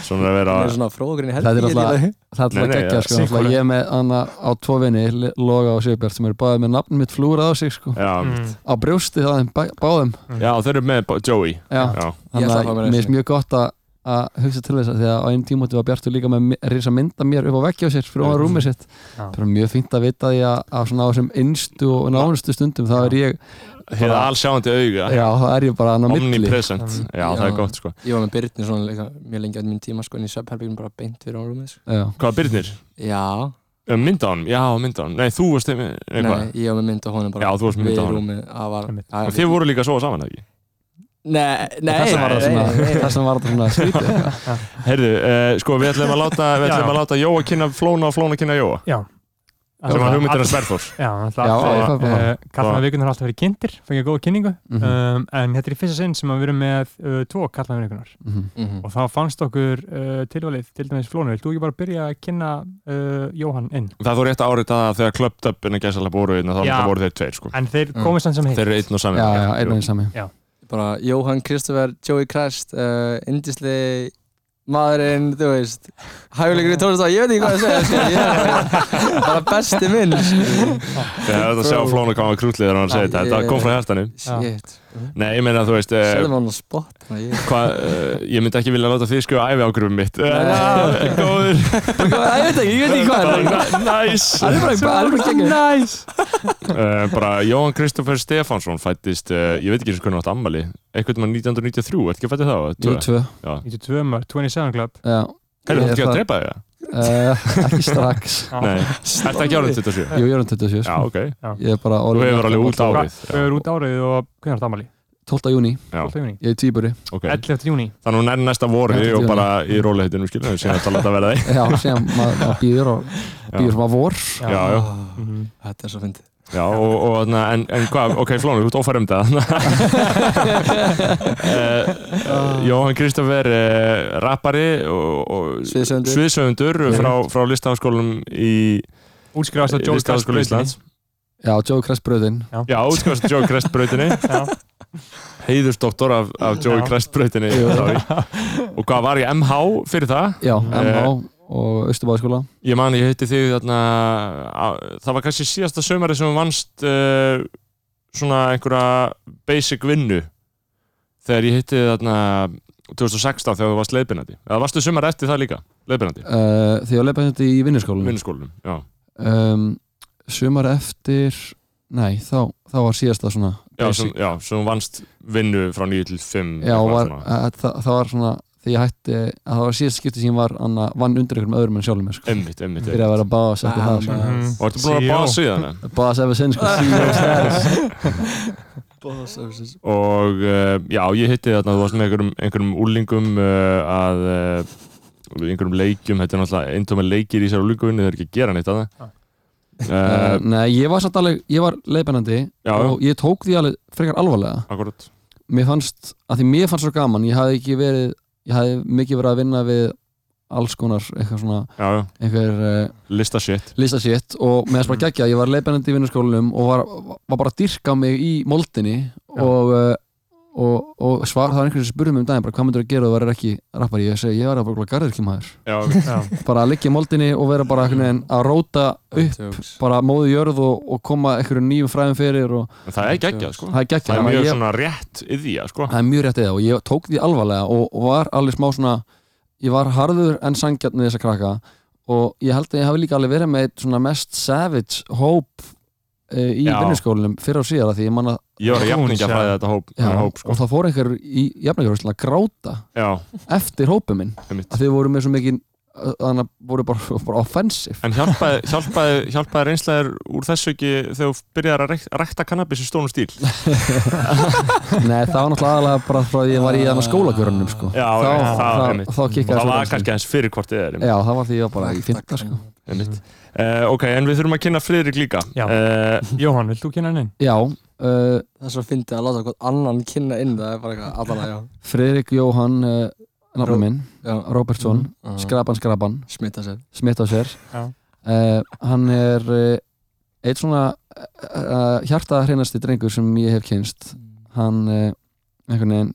[SPEAKER 1] Svona að vera
[SPEAKER 8] Það er svona fróðurinn í
[SPEAKER 7] Þetta er
[SPEAKER 8] helgi
[SPEAKER 7] alltaf, það er alltaf
[SPEAKER 1] Nei, nei, ja,
[SPEAKER 7] geggja sko, alltaf
[SPEAKER 2] syngkóra.
[SPEAKER 7] ég er með hana á tvo vinni, L- Loga og Sigbjart sem eru báðið með nafnum mitt flúrað á sig sko,
[SPEAKER 1] Já,
[SPEAKER 2] Mm.
[SPEAKER 7] á brjósti það þeim bæ- báðum,
[SPEAKER 1] já þeir eru með b- Joey
[SPEAKER 7] já,
[SPEAKER 1] Já,
[SPEAKER 8] Ég
[SPEAKER 7] þannig
[SPEAKER 8] ætla að
[SPEAKER 7] að
[SPEAKER 8] fá mér
[SPEAKER 7] mér
[SPEAKER 8] einu
[SPEAKER 7] finnst mjög gott að að hugsa til þess að því að á einn tímóti var Bjartur líka með reysa mynda mér upp á veggja á sér fyrir ofan rúmið sitt
[SPEAKER 2] Já.
[SPEAKER 7] það er mjög fínt að vita því að, að svona á þessum innstu og nánustu stundum þá er ég,
[SPEAKER 1] hefða allsjáandi auga
[SPEAKER 7] já þá er ég bara hann á milli
[SPEAKER 1] Omnipresent,
[SPEAKER 2] Mm.
[SPEAKER 1] já, það er
[SPEAKER 8] Já.
[SPEAKER 1] gott sko
[SPEAKER 8] Ég var með Byrni svona líka mjög lengi á minn tíma, sko, en í svefnherbyggum bara beint fyrir á rúmið, sko
[SPEAKER 7] Já.
[SPEAKER 1] Hvað, Birnir?
[SPEAKER 8] Já,
[SPEAKER 1] Um, Mynda honum? Já, mynda honum Nei, þú varst með, nei, hvað?
[SPEAKER 8] nei, ég var með mynd á honum bara
[SPEAKER 1] Já, þú varst með mynd á
[SPEAKER 8] Við
[SPEAKER 1] honum.
[SPEAKER 8] rúmið, það var
[SPEAKER 2] Einmitt.
[SPEAKER 8] að-
[SPEAKER 1] En Þið voru líka að sofa saman, eða ekki?
[SPEAKER 8] Nei, nei,
[SPEAKER 7] það sem var það
[SPEAKER 8] nei,
[SPEAKER 7] svona,
[SPEAKER 8] nei, nei.
[SPEAKER 7] það sem var það svona skrítið
[SPEAKER 1] Heyrðu, uh, sko við ætlum að láta, við
[SPEAKER 2] Já.
[SPEAKER 1] ætlum að láta Jóa kynna Flóna og Flóna kynna Jóa sem var hugmyndina Sverþórs
[SPEAKER 2] Já, alltaf
[SPEAKER 7] Já, ég fæ bara.
[SPEAKER 2] uh,
[SPEAKER 1] Bara-
[SPEAKER 2] Kallan að vikunar alltaf verið kynntir fengið góða kynningu
[SPEAKER 7] Mhm.
[SPEAKER 2] um, en þetta er í fyrsta sinn sem að við erum með uh, tvo kallan að vikunar
[SPEAKER 7] Mhm.
[SPEAKER 8] Mhm.
[SPEAKER 2] og þá fannst okkur uh, tilvalið til dæmis Flónu, vilt þú ekki bara byrja að kynna uh, Jóhann inn?
[SPEAKER 1] Það þú rétt að árið það að þegar klöpt upp en að gæsa alveg voru einna þá
[SPEAKER 2] Já.
[SPEAKER 1] náttúrulega voru þeir tveir sko
[SPEAKER 2] En þeir
[SPEAKER 8] Mm.
[SPEAKER 2] komist hann sem heitt
[SPEAKER 1] Þeir eru einn og
[SPEAKER 7] Já,
[SPEAKER 1] saman
[SPEAKER 7] já, einn og einn sami
[SPEAKER 8] bara Jóhann Kristoffer, Joey Crest uh, Indisli maðurinn, þú veist hæfilegur í tónlist ég veit ekki hvað að segja sko. ég er bara, bara besti minn sko.
[SPEAKER 1] Þegar þetta sjá Flóna koma krútlið þegar hann
[SPEAKER 8] Já,
[SPEAKER 1] segir þetta
[SPEAKER 8] ég-
[SPEAKER 1] Þetta kom frá hjartanu
[SPEAKER 8] shit,
[SPEAKER 1] Nei, ég meina þú veist eh,
[SPEAKER 8] setjum hann á spot þannig að ég-
[SPEAKER 1] hvað, eh, Ég myndi ekki vilja láta þið skrifa æfi ágrifum mitt Eh,
[SPEAKER 8] Nei.
[SPEAKER 1] já, Góður
[SPEAKER 8] Bara, ég veit ekki, ég veit ekki hvað er.
[SPEAKER 1] Næs Eh,
[SPEAKER 8] hann er bara, bara, hann er bara geggjur
[SPEAKER 2] Nice!
[SPEAKER 1] Bara Jóhann Kristoffer Stefánsson fættist eh, Ég veit ekki eins og hvernig átt ammali Eitthvað um 1993, ert ekki að fætti þá?
[SPEAKER 7] Jú, tvö
[SPEAKER 2] Í 22 mörg, 27 club
[SPEAKER 7] Já,
[SPEAKER 1] Herru,
[SPEAKER 7] Ég
[SPEAKER 1] þetta ekki að
[SPEAKER 7] það-
[SPEAKER 1] drepa þig?
[SPEAKER 7] uh, ekki strax
[SPEAKER 2] Já.
[SPEAKER 1] Nei, ert ekki árið 27?
[SPEAKER 7] Jú, ég er um 27
[SPEAKER 1] Já,
[SPEAKER 7] sko.
[SPEAKER 1] ok
[SPEAKER 7] Ég er bara
[SPEAKER 1] Þú hefur alveg út
[SPEAKER 2] Hvað-
[SPEAKER 1] árið
[SPEAKER 2] Þau eru út árið og hvernig er þetta ámali?
[SPEAKER 7] 12. júni,
[SPEAKER 1] Já.
[SPEAKER 2] 12. júni
[SPEAKER 7] ég er týpuri
[SPEAKER 2] 11. júni
[SPEAKER 1] Þannig hún er næsta voru
[SPEAKER 7] Þetta er
[SPEAKER 1] og
[SPEAKER 7] júní.
[SPEAKER 1] bara í róleitinu skilur Sér að láta verða þeim
[SPEAKER 7] Já, sem maður ma býður og býður sem að vor
[SPEAKER 1] Já, já,
[SPEAKER 2] Mhm.
[SPEAKER 8] þetta er svo fyndið
[SPEAKER 1] já og, og, na, en, en hvað, ok, Flóni, þú ert ófærum það uh, Jóhann Kristoffer uh, rappari og, og
[SPEAKER 8] Sviðsöndur.
[SPEAKER 1] sviðsöfundur frá, frá listaháskólanum í
[SPEAKER 2] Útskrifast á Joe
[SPEAKER 1] Listaháskóla Íslands
[SPEAKER 7] Já, Joe Crest bröðin
[SPEAKER 1] Já, útskast Joe Crest brautinni heiðursdoktor af, af Joe
[SPEAKER 2] Já.
[SPEAKER 1] Crest brautinni sorry. og hvað var ég MH fyrir það?
[SPEAKER 7] Já, MH
[SPEAKER 1] Eh.
[SPEAKER 7] og Östubáðskóla
[SPEAKER 1] Ég man, ég hitti þig þarna á, það var kannski síðasta sömari sem þú vannst uh, svona einhverja basic vinnu þegar ég hitti þig þarna 2016 þegar þú varst leiðbyrnandi eða varstu sömari eftir það líka, leiðbyrnandi
[SPEAKER 7] uh, Því ég leipa þetta í vinnuskólanum
[SPEAKER 1] vinnuskólanum, já,
[SPEAKER 7] um, Sumar eftir Nei, þá, þá var síðasta svona
[SPEAKER 1] já,
[SPEAKER 7] basic-
[SPEAKER 1] sem, já, sem þú vannst vinnu frá 9 til 5
[SPEAKER 7] Já,
[SPEAKER 1] eitthvað
[SPEAKER 7] var,
[SPEAKER 1] svona.
[SPEAKER 7] að, það, það var svona Þegar ég hætti að það var síðasta skipti sem ég var anna, vann undir einhverjum öðrum en sjálfum mér, sko.
[SPEAKER 1] einmitt, einmitt,
[SPEAKER 7] Fyrir
[SPEAKER 1] einmitt.
[SPEAKER 7] að vera báðas eftir það sko.
[SPEAKER 2] Mhm.
[SPEAKER 1] og ertu búin að
[SPEAKER 2] CEO.
[SPEAKER 1] báða síðan eða?
[SPEAKER 7] Báðas eftir sinn sko.
[SPEAKER 8] Boss,
[SPEAKER 1] og uh, já, ég hitti þarna þú varst með einhverjum, einhverjum úlingum uh, að uh, einhverjum leikjum, þetta er náttúrulega eintóma leikir í sér úlinguvinni, þau eru ekki að gera neitt að
[SPEAKER 2] Ah.
[SPEAKER 1] það Eh,
[SPEAKER 7] uh, Nei, ég var satt alveg Ég var leiðbennandi
[SPEAKER 1] Já, já.
[SPEAKER 7] og ég tók því alveg frekar alvarlega
[SPEAKER 1] akkurat
[SPEAKER 7] mér fannst, að því mér fannst svo gaman ég hafði ekki verið, ég hafði mikið verið að vinna við alls konar eitthvað svona,
[SPEAKER 1] já, já,
[SPEAKER 7] einhver uh,
[SPEAKER 1] lista shit
[SPEAKER 7] listasjett og mér
[SPEAKER 1] Mm.
[SPEAKER 7] fannst bara geggja, ég var leiðbennandi í vinnuskólanum og var, var bara að dyrka mig í moldinni og, uh, og, og svar, það var einhverjum sem spurði mig um daginn, bara hvað myndir að gera þú verður ekki rappari, ég segi, ég verður bara garðurkjumæður,
[SPEAKER 1] já,
[SPEAKER 2] Já.
[SPEAKER 7] bara að liggja í moldinni og vera bara einhvern veginn að róta upp
[SPEAKER 8] jokes.
[SPEAKER 7] bara móðu jörð og, og koma einhverjum nýjum fræðum fyrir og
[SPEAKER 1] en það er ekki ekki, sko
[SPEAKER 7] það er
[SPEAKER 1] það
[SPEAKER 7] geggja
[SPEAKER 1] er
[SPEAKER 7] þannig að
[SPEAKER 1] mjög
[SPEAKER 7] ég-
[SPEAKER 1] svona rétt yðja, sko
[SPEAKER 7] það er mjög rétt eða og ég tók því alvarlega og, og var alveg smá svona ég var harður en sangjarn við þessa krakka og ég held að ég hafi líka alveg verið með eitt svona mest savage hóp uh, í
[SPEAKER 1] Já.
[SPEAKER 7] vinnuskólinum fyrir á síðar af því ég man að,
[SPEAKER 1] Ég var að jafningja að fræða þetta hóp,
[SPEAKER 7] já,
[SPEAKER 1] já, hóp sko.
[SPEAKER 7] og það fór einhver í jafnægjörðslega að gráta
[SPEAKER 1] já,
[SPEAKER 7] eftir hópum minn
[SPEAKER 1] einmitt.
[SPEAKER 7] að þið voru með svo mikið þannig að voru bara, bara offensive
[SPEAKER 1] En hjálpaði, hjálpaði, hjálpaði reynslaðir úr þessu ekki þegar þú byrjar að rek- rækta kannabis í stónum stíl
[SPEAKER 7] Nei, það var náttúrulega aðalega bara frá því ég var í þannig skólagörunum sko.
[SPEAKER 1] Ah. Já,
[SPEAKER 7] þá,
[SPEAKER 1] já,
[SPEAKER 7] þá,
[SPEAKER 1] það-
[SPEAKER 7] þá,
[SPEAKER 1] einmitt.
[SPEAKER 7] þá kikkaði
[SPEAKER 1] Það
[SPEAKER 7] svo
[SPEAKER 1] var
[SPEAKER 7] dansinn.
[SPEAKER 1] kannski aðeins fyrir hvort þið er
[SPEAKER 7] Já, það var því ég var bara í fynda sko.
[SPEAKER 1] einmitt. Uh, Ok, en við þurfum að kynna Friðrik líka
[SPEAKER 2] Já.
[SPEAKER 1] Eh,
[SPEAKER 2] Jóhann, vilt þú kynna henni?
[SPEAKER 7] Já, uh,
[SPEAKER 8] Það er svo fyndið að láta hvort annan kynna inn það er bara eitthvað allan að já.
[SPEAKER 7] Friðrik Jóhann uh, nafnum minn,
[SPEAKER 8] já.
[SPEAKER 7] Robertson
[SPEAKER 8] Mhm.
[SPEAKER 7] Skrapan Skrapan,
[SPEAKER 8] Smita sér.
[SPEAKER 7] smitt á sér
[SPEAKER 2] Já.
[SPEAKER 7] uh, Hann er uh, eitt svona uh, hjartað hreinasti drengur sem ég hef kynst Hann, uh, einhvern veginn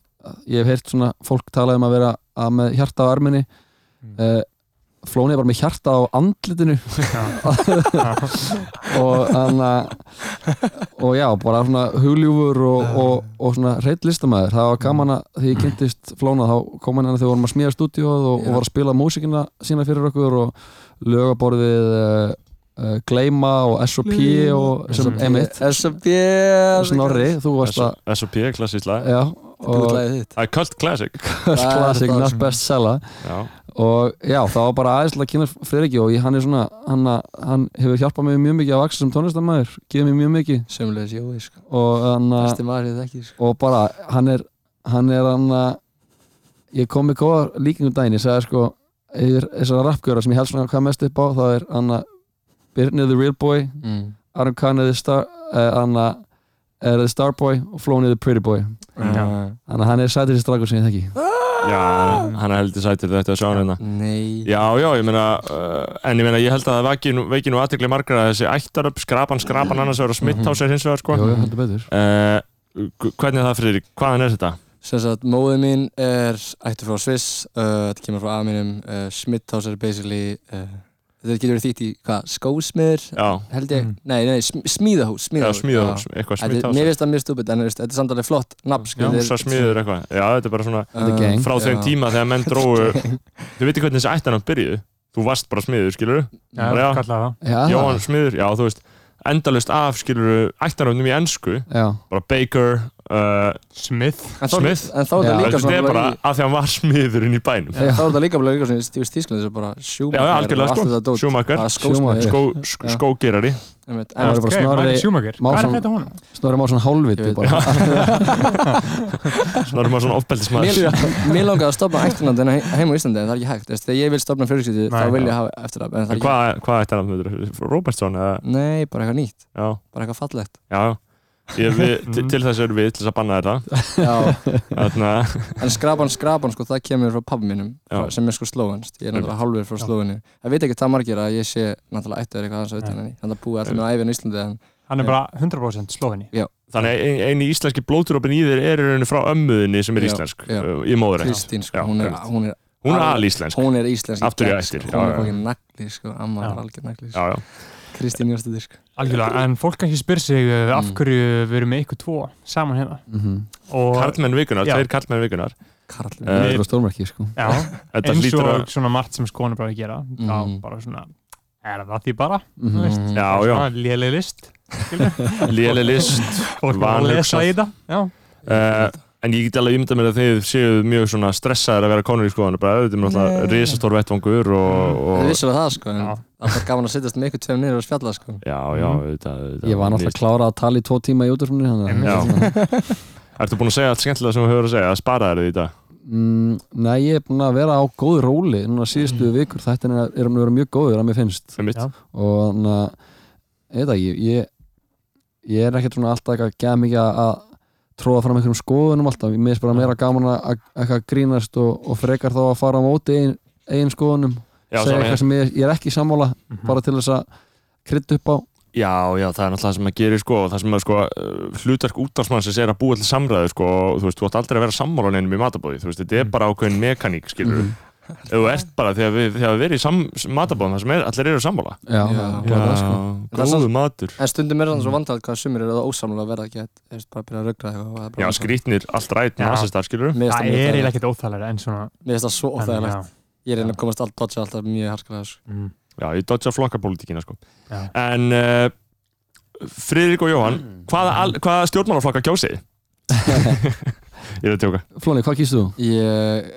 [SPEAKER 7] ég hef heyrt svona fólk tala um að vera að með hjarta á arminni uh, Flóni er bara með hjarta á andlitinu og hann að og já, bara svona hugljúfur og, og, og svona reitt listamæður það var gaman að því ég kynntist Flóna þá kom hann hérna þegar við vorum að smíða stúdíóð og, og var að spila músikina sína fyrir okkur og lögaborðið uh, uh, Gleima og S.O.P. og sem emitt
[SPEAKER 8] S.O.B.
[SPEAKER 7] Snorri, þú varst að
[SPEAKER 1] S.O.P. klassískt lag
[SPEAKER 7] já, og
[SPEAKER 8] Búið lagið þitt.
[SPEAKER 1] Það er Cult Classic
[SPEAKER 7] Classic,
[SPEAKER 8] það
[SPEAKER 7] not best seller
[SPEAKER 1] Já,
[SPEAKER 7] og já, það var bara aðeinslega að kynna Friðriki og ég, hann er svona hann, hann hefur hjálpað mér mjög mikið að vaksa sem tónlistamæður gefið mér mjög mikið
[SPEAKER 8] Sjömmulegis Jói, sko.
[SPEAKER 7] og, hann, að-
[SPEAKER 8] Besti maður ég þekki, sko.
[SPEAKER 7] og bara hann er hann er hann að ég kom með góða líkingum daginn ég sagði sko yfir þessara rappgjöra sem ég held svona hvað mest upp á það er hann að Birnir the real boy
[SPEAKER 8] Mm.
[SPEAKER 7] Aron Khan er the star eh, hann að er the star boy og Flóni the pretty boy
[SPEAKER 8] Já.
[SPEAKER 7] þannig að hann er sættir þessi dragur sem ég þekki
[SPEAKER 1] já hann er heldur sættir þetta að sjá hann hérna
[SPEAKER 8] Ah. Nei.
[SPEAKER 1] Já, já, ég meina, uh, en ég meina, ég held að það veki nú, veki nú aðtekli margra að þessi ættaröp, skrapan, skrapan, annars verður að smitt á sér hins vegar, sko.
[SPEAKER 7] Jú, jú, heldur betur
[SPEAKER 1] Uh, hvernig er það, Friðrik? Hvaðan er þetta?
[SPEAKER 8] Sem sagt, móðið mín er ættu frá Sviss, uh, þetta kemur frá aminum, uh, Smithhaus er basically, uh, þetta getur verið þýtt í hvað, skósmiður,
[SPEAKER 1] Já,
[SPEAKER 8] held ég,
[SPEAKER 2] Mm.
[SPEAKER 8] nei, nei, sm smíðahús,
[SPEAKER 1] Mhm. já
[SPEAKER 8] smíðahús.
[SPEAKER 1] smíðahús, eitthvað
[SPEAKER 8] Þetta
[SPEAKER 1] smitt
[SPEAKER 8] er-
[SPEAKER 1] á
[SPEAKER 8] Mér
[SPEAKER 1] sér.
[SPEAKER 8] finnst það mjög stúpid, en þú veist, þetta er samt alveg flott nafn, sko. Þetta er-
[SPEAKER 1] Húsa smíður eitthvað. Já, þetta er bara svona
[SPEAKER 7] The gang.
[SPEAKER 1] frá þeim
[SPEAKER 8] já.
[SPEAKER 1] tíma þegar menn dróu, þú veitir hvernig þessi ættaröp byrjuðu? Þú varst bara smiður, skilur du?
[SPEAKER 2] Já,
[SPEAKER 1] Já.
[SPEAKER 2] kallaði
[SPEAKER 7] Já,
[SPEAKER 1] Jóhann smiður, já, þú veist, endalust af, skilur du, ættaröpnum í ennsku,
[SPEAKER 7] það- já
[SPEAKER 1] bara Baker, uh,
[SPEAKER 2] það Smith
[SPEAKER 8] En þá-
[SPEAKER 1] Smith.
[SPEAKER 8] En þá er
[SPEAKER 7] Já.
[SPEAKER 8] þetta
[SPEAKER 1] þú
[SPEAKER 8] líka
[SPEAKER 1] veist, þetta er bara
[SPEAKER 8] bara,
[SPEAKER 1] að því hann var smiðurinn í bænum.
[SPEAKER 8] En þá er þetta líka bara líka svona stífist tískland þessu bara
[SPEAKER 1] Já,
[SPEAKER 8] sjúmakar
[SPEAKER 1] já, algjörlega, sko. Schumacher,
[SPEAKER 8] Sjúmakar
[SPEAKER 1] skó, sk
[SPEAKER 8] Já.
[SPEAKER 1] skógerari.
[SPEAKER 7] Það var bara
[SPEAKER 2] Ok,
[SPEAKER 7] Snorri-
[SPEAKER 2] Michael Schumacher.
[SPEAKER 7] Másson-
[SPEAKER 2] Hvað er þetta honum?
[SPEAKER 7] Snorri Másson hálfviti
[SPEAKER 8] Ég veit.
[SPEAKER 7] bara
[SPEAKER 1] Svona erum maður svona ofbeldismæður
[SPEAKER 8] Mér langaði að stopna ættinandina heim á Íslandi en það er ekki hægt, veist, þegar ég vil stopna fjölskyldu þá
[SPEAKER 2] Nei,
[SPEAKER 8] vil
[SPEAKER 1] já.
[SPEAKER 8] ég hafa eftir það, en það er ekki
[SPEAKER 1] Hvað
[SPEAKER 8] hægt
[SPEAKER 1] hva ætti hann að myndur? Robertson? Eða,
[SPEAKER 8] Nei, bara eitthvað nýtt,
[SPEAKER 1] já,
[SPEAKER 8] bara eitthvað fallegt
[SPEAKER 1] já ég, við, til, til þess erum við til þess að banna þetta
[SPEAKER 8] Já,
[SPEAKER 1] Þannig að
[SPEAKER 8] en skrapan, skrapan, sko, það kemur frá pabbi mínum
[SPEAKER 1] Já.
[SPEAKER 8] sem er sko slóvenst, ég er náttúrulega hálfur frá
[SPEAKER 2] Já.
[SPEAKER 8] slóveni Það veit ekki það margir að ég sé náttúrulega ættur eitthvað aðeins á utan henni, þannig að búi allir með æfina Íslandi en
[SPEAKER 2] Hann er bara 100% slóðinni
[SPEAKER 1] Þannig eini ein eini íslenski blótrópin í þér er í rauninni frá ömmuðinni sem er
[SPEAKER 8] Já,
[SPEAKER 1] íslensk
[SPEAKER 8] já.
[SPEAKER 1] uh, í móður
[SPEAKER 8] Kristín, sko,
[SPEAKER 1] Já,
[SPEAKER 8] hún er,
[SPEAKER 1] einmitt.
[SPEAKER 8] hún er,
[SPEAKER 1] Hún er alíslensk
[SPEAKER 8] hún er íslensk
[SPEAKER 1] Aftur í
[SPEAKER 8] gegn,
[SPEAKER 1] ættir,
[SPEAKER 8] sko,
[SPEAKER 1] já,
[SPEAKER 8] Hún
[SPEAKER 1] já.
[SPEAKER 8] er fokkin nagli, sko, amma
[SPEAKER 2] Já.
[SPEAKER 8] er algjör nagli, sko.
[SPEAKER 1] Já, já,
[SPEAKER 8] Kristín Jónsdóttir, sko.
[SPEAKER 2] Algjörlega, en fólk kannski spyr sig uh, af
[SPEAKER 8] Mm.
[SPEAKER 2] hverju við erum með ykkur tvo saman hérna
[SPEAKER 7] Mhm.
[SPEAKER 2] og
[SPEAKER 1] karlmenn vikunar,
[SPEAKER 2] Já.
[SPEAKER 1] tveir karlmenn vikunar
[SPEAKER 8] Karl
[SPEAKER 1] Eh,
[SPEAKER 7] Það er stórmerki sko
[SPEAKER 2] já,
[SPEAKER 1] Þetta
[SPEAKER 2] eins
[SPEAKER 1] hlýtur að Mm.
[SPEAKER 2] og svona margt sem skoðan er bara að gera þá
[SPEAKER 8] Mhm.
[SPEAKER 2] bara svona, er það því bara
[SPEAKER 7] Mhm.
[SPEAKER 2] þú veist,
[SPEAKER 1] Já, já.
[SPEAKER 2] léleg list
[SPEAKER 1] léle list
[SPEAKER 2] fólk var að lesa
[SPEAKER 1] Vanhugsað.
[SPEAKER 2] í þetta já,
[SPEAKER 1] uh, En ég get alveg ímynda mér að þið séu mjög svona stressaðir að vera konur í skoðan bara auðvitað mér alltaf
[SPEAKER 8] Nei.
[SPEAKER 1] risastór vettvangur og,
[SPEAKER 8] Við
[SPEAKER 1] og
[SPEAKER 8] vissum að það sko, en
[SPEAKER 2] Já.
[SPEAKER 8] það var gaman að sittast með ykkur tveim niður og spjalla sko.
[SPEAKER 1] Já, já, auðvitað, auðvitað
[SPEAKER 7] Ég var náttúrulega að klára að tala í tvo tíma í útvarpinu þannig
[SPEAKER 2] Einmitt.
[SPEAKER 7] að
[SPEAKER 1] Já. Ertu búin að segja allt skemmtilega sem þú hefur að segja, að spara þér því í dag?
[SPEAKER 7] mm, Nei, ég er búin að vera á góðu róli núna
[SPEAKER 1] Mhm.
[SPEAKER 7] síðustu vikur, þetta er er búin að vera mjög góður að mér finnst
[SPEAKER 1] Það er mitt.
[SPEAKER 2] Já.
[SPEAKER 7] og þannig að ég veit ekki, ég, ég er ekkert svona alltaf eitthvað gæða mikið að- að tróða fram einhverjum skoðunum alltaf, mér finnst bara meira gaman að- að eitthvað grínast og, og frekar þá að fara á móti eigin, eigin skoðunum
[SPEAKER 1] Já, Mhm.
[SPEAKER 7] segja
[SPEAKER 1] svona,
[SPEAKER 7] eitthvað sem ég, ég er ekki í sammála bara til þess að krydda upp á
[SPEAKER 1] já, já, það er náttúrulega það sem maður gerir sko, og það sem maður sko, uh, hlutverk útdagsmannsins er að búa til samræðu sko, og þú veist, þú ætti aldrei að vera sammála neinum í matabóði, þú veist, þetta er bara ákveðin mekaník, skilur
[SPEAKER 7] Mhm.
[SPEAKER 1] mm. Þú ert bara, þegar við, þegar við erum í sam, matabóðum, það sem er, allir eru sammála.
[SPEAKER 7] Já,
[SPEAKER 8] Já.
[SPEAKER 7] já.
[SPEAKER 1] Já,
[SPEAKER 7] Bara, sko.
[SPEAKER 8] það er
[SPEAKER 1] góðu matur.
[SPEAKER 8] En stundum er það svo vandræðat hvað sumir eru það ósamlega að vera ekki að þú veist, bara byrja að röggra eitthvað og það er
[SPEAKER 1] Já,
[SPEAKER 8] bara
[SPEAKER 1] skrítnir, allt rætt,
[SPEAKER 2] Já.
[SPEAKER 1] nasistar, skilur
[SPEAKER 8] Mér finnst
[SPEAKER 2] það er eiginlega
[SPEAKER 8] mjög
[SPEAKER 2] ekkert óþægilega en svona
[SPEAKER 8] Mér finnst það svo óþægilegt Ég er einnig að komast allt dodge alltaf mjög harkalega sko.
[SPEAKER 2] mm,
[SPEAKER 1] Já, ég dodja flokkapolítikina, sko.
[SPEAKER 2] Já.
[SPEAKER 1] En, uh, Friðrik og Jóhann hvaða, al, hvaða stjórnmálaflokka kjósið þið? Ég er að tjóka
[SPEAKER 7] Flóni, hvað kýstu þú?
[SPEAKER 8] Ég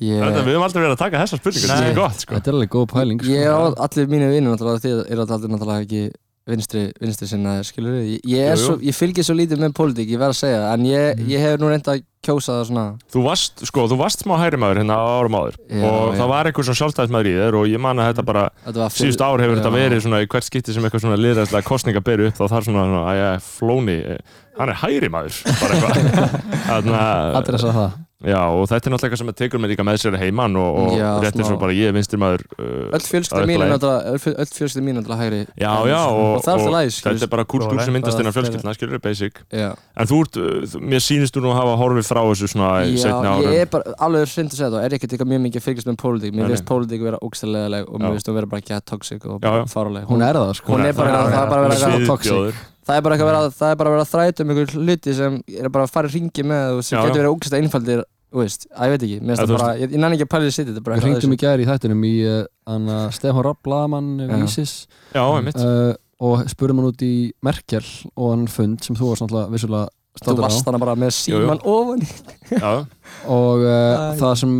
[SPEAKER 8] Ég
[SPEAKER 1] Þetta, Við höfum aldrei verið að taka þessar spurningar Þetta er gott sko
[SPEAKER 7] Þetta er alveg góð pæling sko.
[SPEAKER 8] Ég á allir mínu vinnu náttúrulega Þið eru allir náttúrulega ekki vinstri, vinstri sinna skilur við Ég, ég, er
[SPEAKER 1] Jú, jú.
[SPEAKER 8] svo, ég fylgir svo lítið með pólitík, ég verð að segja það, En ég,
[SPEAKER 2] Mm.
[SPEAKER 8] ég hef nú reynda að kjósa það svona
[SPEAKER 1] Þú varst, sko, þú varst smá hægri maður hérna á árum áður
[SPEAKER 8] Já,
[SPEAKER 1] og
[SPEAKER 8] já.
[SPEAKER 1] það var eitthvað svona sjálfstæðismæður í þér og ég man að þetta bara
[SPEAKER 8] Þetta var
[SPEAKER 1] síðust ár hefur þetta
[SPEAKER 8] Já.
[SPEAKER 1] verið svona í hvert skipti sem eitthvað svona liðræðslega kostninga beru upp þá þar svona, svona að ég flóni eh, hann er hægri maður bara eitthvað Þarna,
[SPEAKER 7] Allir
[SPEAKER 1] já,
[SPEAKER 7] að það
[SPEAKER 1] og þetta er náttúrulega eitthvað sem tekur mér líka með sér heimann og, og
[SPEAKER 8] Já,
[SPEAKER 1] rétt eins
[SPEAKER 8] smá.
[SPEAKER 1] og bara ég er vinstri maður uh,
[SPEAKER 8] Öll fjölskylda mín er náttúrulega, öll- öll fjölskylda mín er náttúrulega hægri
[SPEAKER 1] já, já, og,
[SPEAKER 8] Og það er alltaf læg,
[SPEAKER 1] þetta
[SPEAKER 8] skilur
[SPEAKER 1] er bara kultúr sem myndast
[SPEAKER 8] Bara
[SPEAKER 1] innan
[SPEAKER 8] þeirra-
[SPEAKER 1] fjölskyldna, skilur, basic
[SPEAKER 8] Já,
[SPEAKER 1] en þú ert, uh, þú- mér sýnist þú nú að hafa horfið frá þessu svona í setni
[SPEAKER 8] já
[SPEAKER 1] árum
[SPEAKER 8] ég er bara alveg hreint að segja það Er ekkert eitthvað mjög mikið að fylgjast með pólitík
[SPEAKER 1] Nei,
[SPEAKER 8] Mér
[SPEAKER 1] nei.
[SPEAKER 8] finnst pólitík vera ógstæðileg Og
[SPEAKER 1] Já.
[SPEAKER 8] mér finnst hún vera bara ekki að toxic og
[SPEAKER 1] Já, já.
[SPEAKER 8] fáraleg
[SPEAKER 7] Hún er það sko
[SPEAKER 8] Hún er bara- það er bara verið að vera
[SPEAKER 1] sviðbjóður.
[SPEAKER 8] það er bara eitthvað verið að, það er bara verið að þræta um einhver hluti sem er bara að fara í ringi með og sem
[SPEAKER 1] Já, já.
[SPEAKER 8] getur verið ógæsta einfaldir þú veist, að ég veit ekki, mér
[SPEAKER 1] Já,
[SPEAKER 8] finnst það
[SPEAKER 1] þú
[SPEAKER 8] bara ég, ég nann ekki að pæla í sitt, þetta er bara
[SPEAKER 7] Við hringdum í
[SPEAKER 8] ekki
[SPEAKER 7] gæri í þættinum í uh, hana Stefán Rapp, blaðamann
[SPEAKER 8] Já.
[SPEAKER 7] Vísis
[SPEAKER 1] já, einmitt
[SPEAKER 7] uh, og spurum hann út í Merkel og hann fund sem þú varst náttúrulega vissulega
[SPEAKER 8] þú
[SPEAKER 7] státtur á
[SPEAKER 8] varst hana bara með
[SPEAKER 1] jú.
[SPEAKER 8] síman ofan í
[SPEAKER 1] Já,
[SPEAKER 7] og uh,
[SPEAKER 8] Æ.
[SPEAKER 7] það sem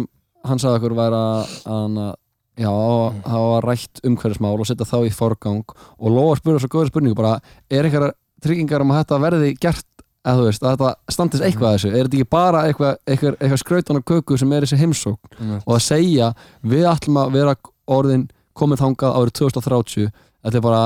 [SPEAKER 7] hann sagði okkur var að hann að- já,
[SPEAKER 8] Mm.
[SPEAKER 7] það var rætt umhverfismál og setja þá í forgang og Lóa spurði svo góður spurningu bara, er einhverjar tryggingar um að þetta verði gert að þú veist, að þetta standist eitthvað að
[SPEAKER 8] Mm.
[SPEAKER 7] þessu er þetta ekki bara eitthvað, eitthvað, eitthvað skrautan og köku sem er þessi heimsók og að segja við ætlum að vera orðin komið þangað árið 2030 þetta er bara,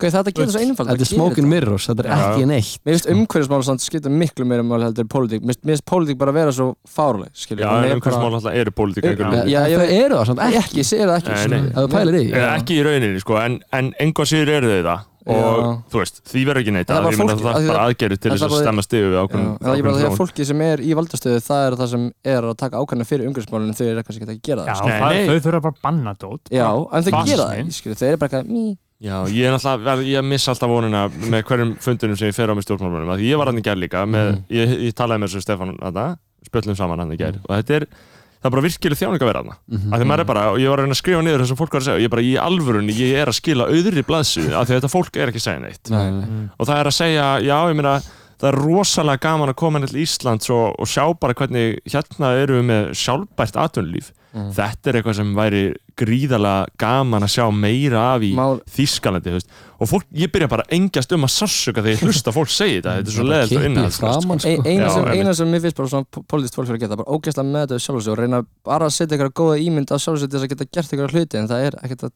[SPEAKER 8] hvað þetta getur svo einfald
[SPEAKER 7] þetta er smoking mirrors þetta er
[SPEAKER 1] Já.
[SPEAKER 7] ekki neitt
[SPEAKER 8] mér finnst umhverfismál samt skipta miklu meira máli heldur en pólitík, mér finnst- mér finnst pólitík bara vera svo fáraleg, skilur
[SPEAKER 1] já en um
[SPEAKER 8] Hún er
[SPEAKER 1] umhversmál
[SPEAKER 8] bara-
[SPEAKER 1] alltaf eru pólitík einhverjum
[SPEAKER 8] Já,
[SPEAKER 1] hluti.
[SPEAKER 8] já, ég
[SPEAKER 7] þau
[SPEAKER 8] veit-
[SPEAKER 7] eru það samt
[SPEAKER 8] Nei,
[SPEAKER 7] ekki
[SPEAKER 8] ekki, ég segir það ekki
[SPEAKER 1] Nei,
[SPEAKER 8] skilur.
[SPEAKER 1] nei.
[SPEAKER 7] Ef þú pælir í því.
[SPEAKER 1] Eh, ekki í rauninni sko, en, en einhvað síður eru þau það og
[SPEAKER 8] Já.
[SPEAKER 1] þú veist, því verður ekki neitt
[SPEAKER 8] En það
[SPEAKER 1] að
[SPEAKER 8] var
[SPEAKER 1] ég meina
[SPEAKER 8] fólk-
[SPEAKER 1] það
[SPEAKER 8] af
[SPEAKER 1] er
[SPEAKER 8] því
[SPEAKER 1] bara
[SPEAKER 8] það-
[SPEAKER 1] aðgerið til
[SPEAKER 8] en
[SPEAKER 1] þess að
[SPEAKER 8] það bara-
[SPEAKER 1] stemma stigu við
[SPEAKER 8] Já, en
[SPEAKER 1] ákveðum
[SPEAKER 8] það er ekki bara því að
[SPEAKER 1] ákveðum þróun.
[SPEAKER 8] fólki sem er í valdastöðu það er það sem er að taka ákvæmna fyrir umhverfismálunum þau eru eitthvað sem geta ekki að gera
[SPEAKER 2] Já,
[SPEAKER 8] það sko.
[SPEAKER 1] Nei,
[SPEAKER 2] það,
[SPEAKER 1] nei.
[SPEAKER 2] þau þurfa bara að banna dót
[SPEAKER 8] Já, en þau
[SPEAKER 2] Fasismi.
[SPEAKER 8] gera það, ekki, skilur, þau eru bara eitthvað mí,
[SPEAKER 1] Já, ég er alltaf, verð- ég miss alltaf vonina með hverjum fundunum sem ég fer á með stjórnmálmönum því ég var hann í gær líka, með, ég, ég talaði með þessu Stefán þarna, spjöllum saman hann í gær og þetta er, það er bara virkileg þjáning að vera þarna
[SPEAKER 7] Mhm.
[SPEAKER 1] mm -hmm. að því maður er bara, og ég var að reyna að skrifa niður þessum fólk var að segja, og ég er bara í alvörunni, ég er að skila auðri blaðsu, að því að þetta fólk er ekki að segja neitt
[SPEAKER 7] nei, nei.
[SPEAKER 2] Mm.
[SPEAKER 1] og það er að segja, já ég meina það er rosalega gaman að koma hérna til Íslands og, og sjá bara hvernig hérna eru við með sjálfbært atvinnulíf
[SPEAKER 8] Mhm.
[SPEAKER 1] þetta er eitthvað sem væri gríðalega gaman að sjá meira af í
[SPEAKER 8] Mál-
[SPEAKER 1] Þýskalandi, þú veist og fólk, ég byrja bara að engjast um að sassuka þegar ég hlusta fólk segja þetta, þetta er svo leðilt og
[SPEAKER 7] Kippi
[SPEAKER 1] innhaldslust
[SPEAKER 7] framan,
[SPEAKER 1] sko.
[SPEAKER 7] sko.
[SPEAKER 8] Ein- eina,
[SPEAKER 1] Já,
[SPEAKER 8] sem,
[SPEAKER 1] einmitt.
[SPEAKER 8] eina sem mér finnst bara svona politist fólk fyrir að geta, bara ógeðslega með þetta sjálf og sér og reyna bara að setja eitthvað góða ímynd á sjálf og sér til þess að geta gert eitthvað hluti en það er ekkert að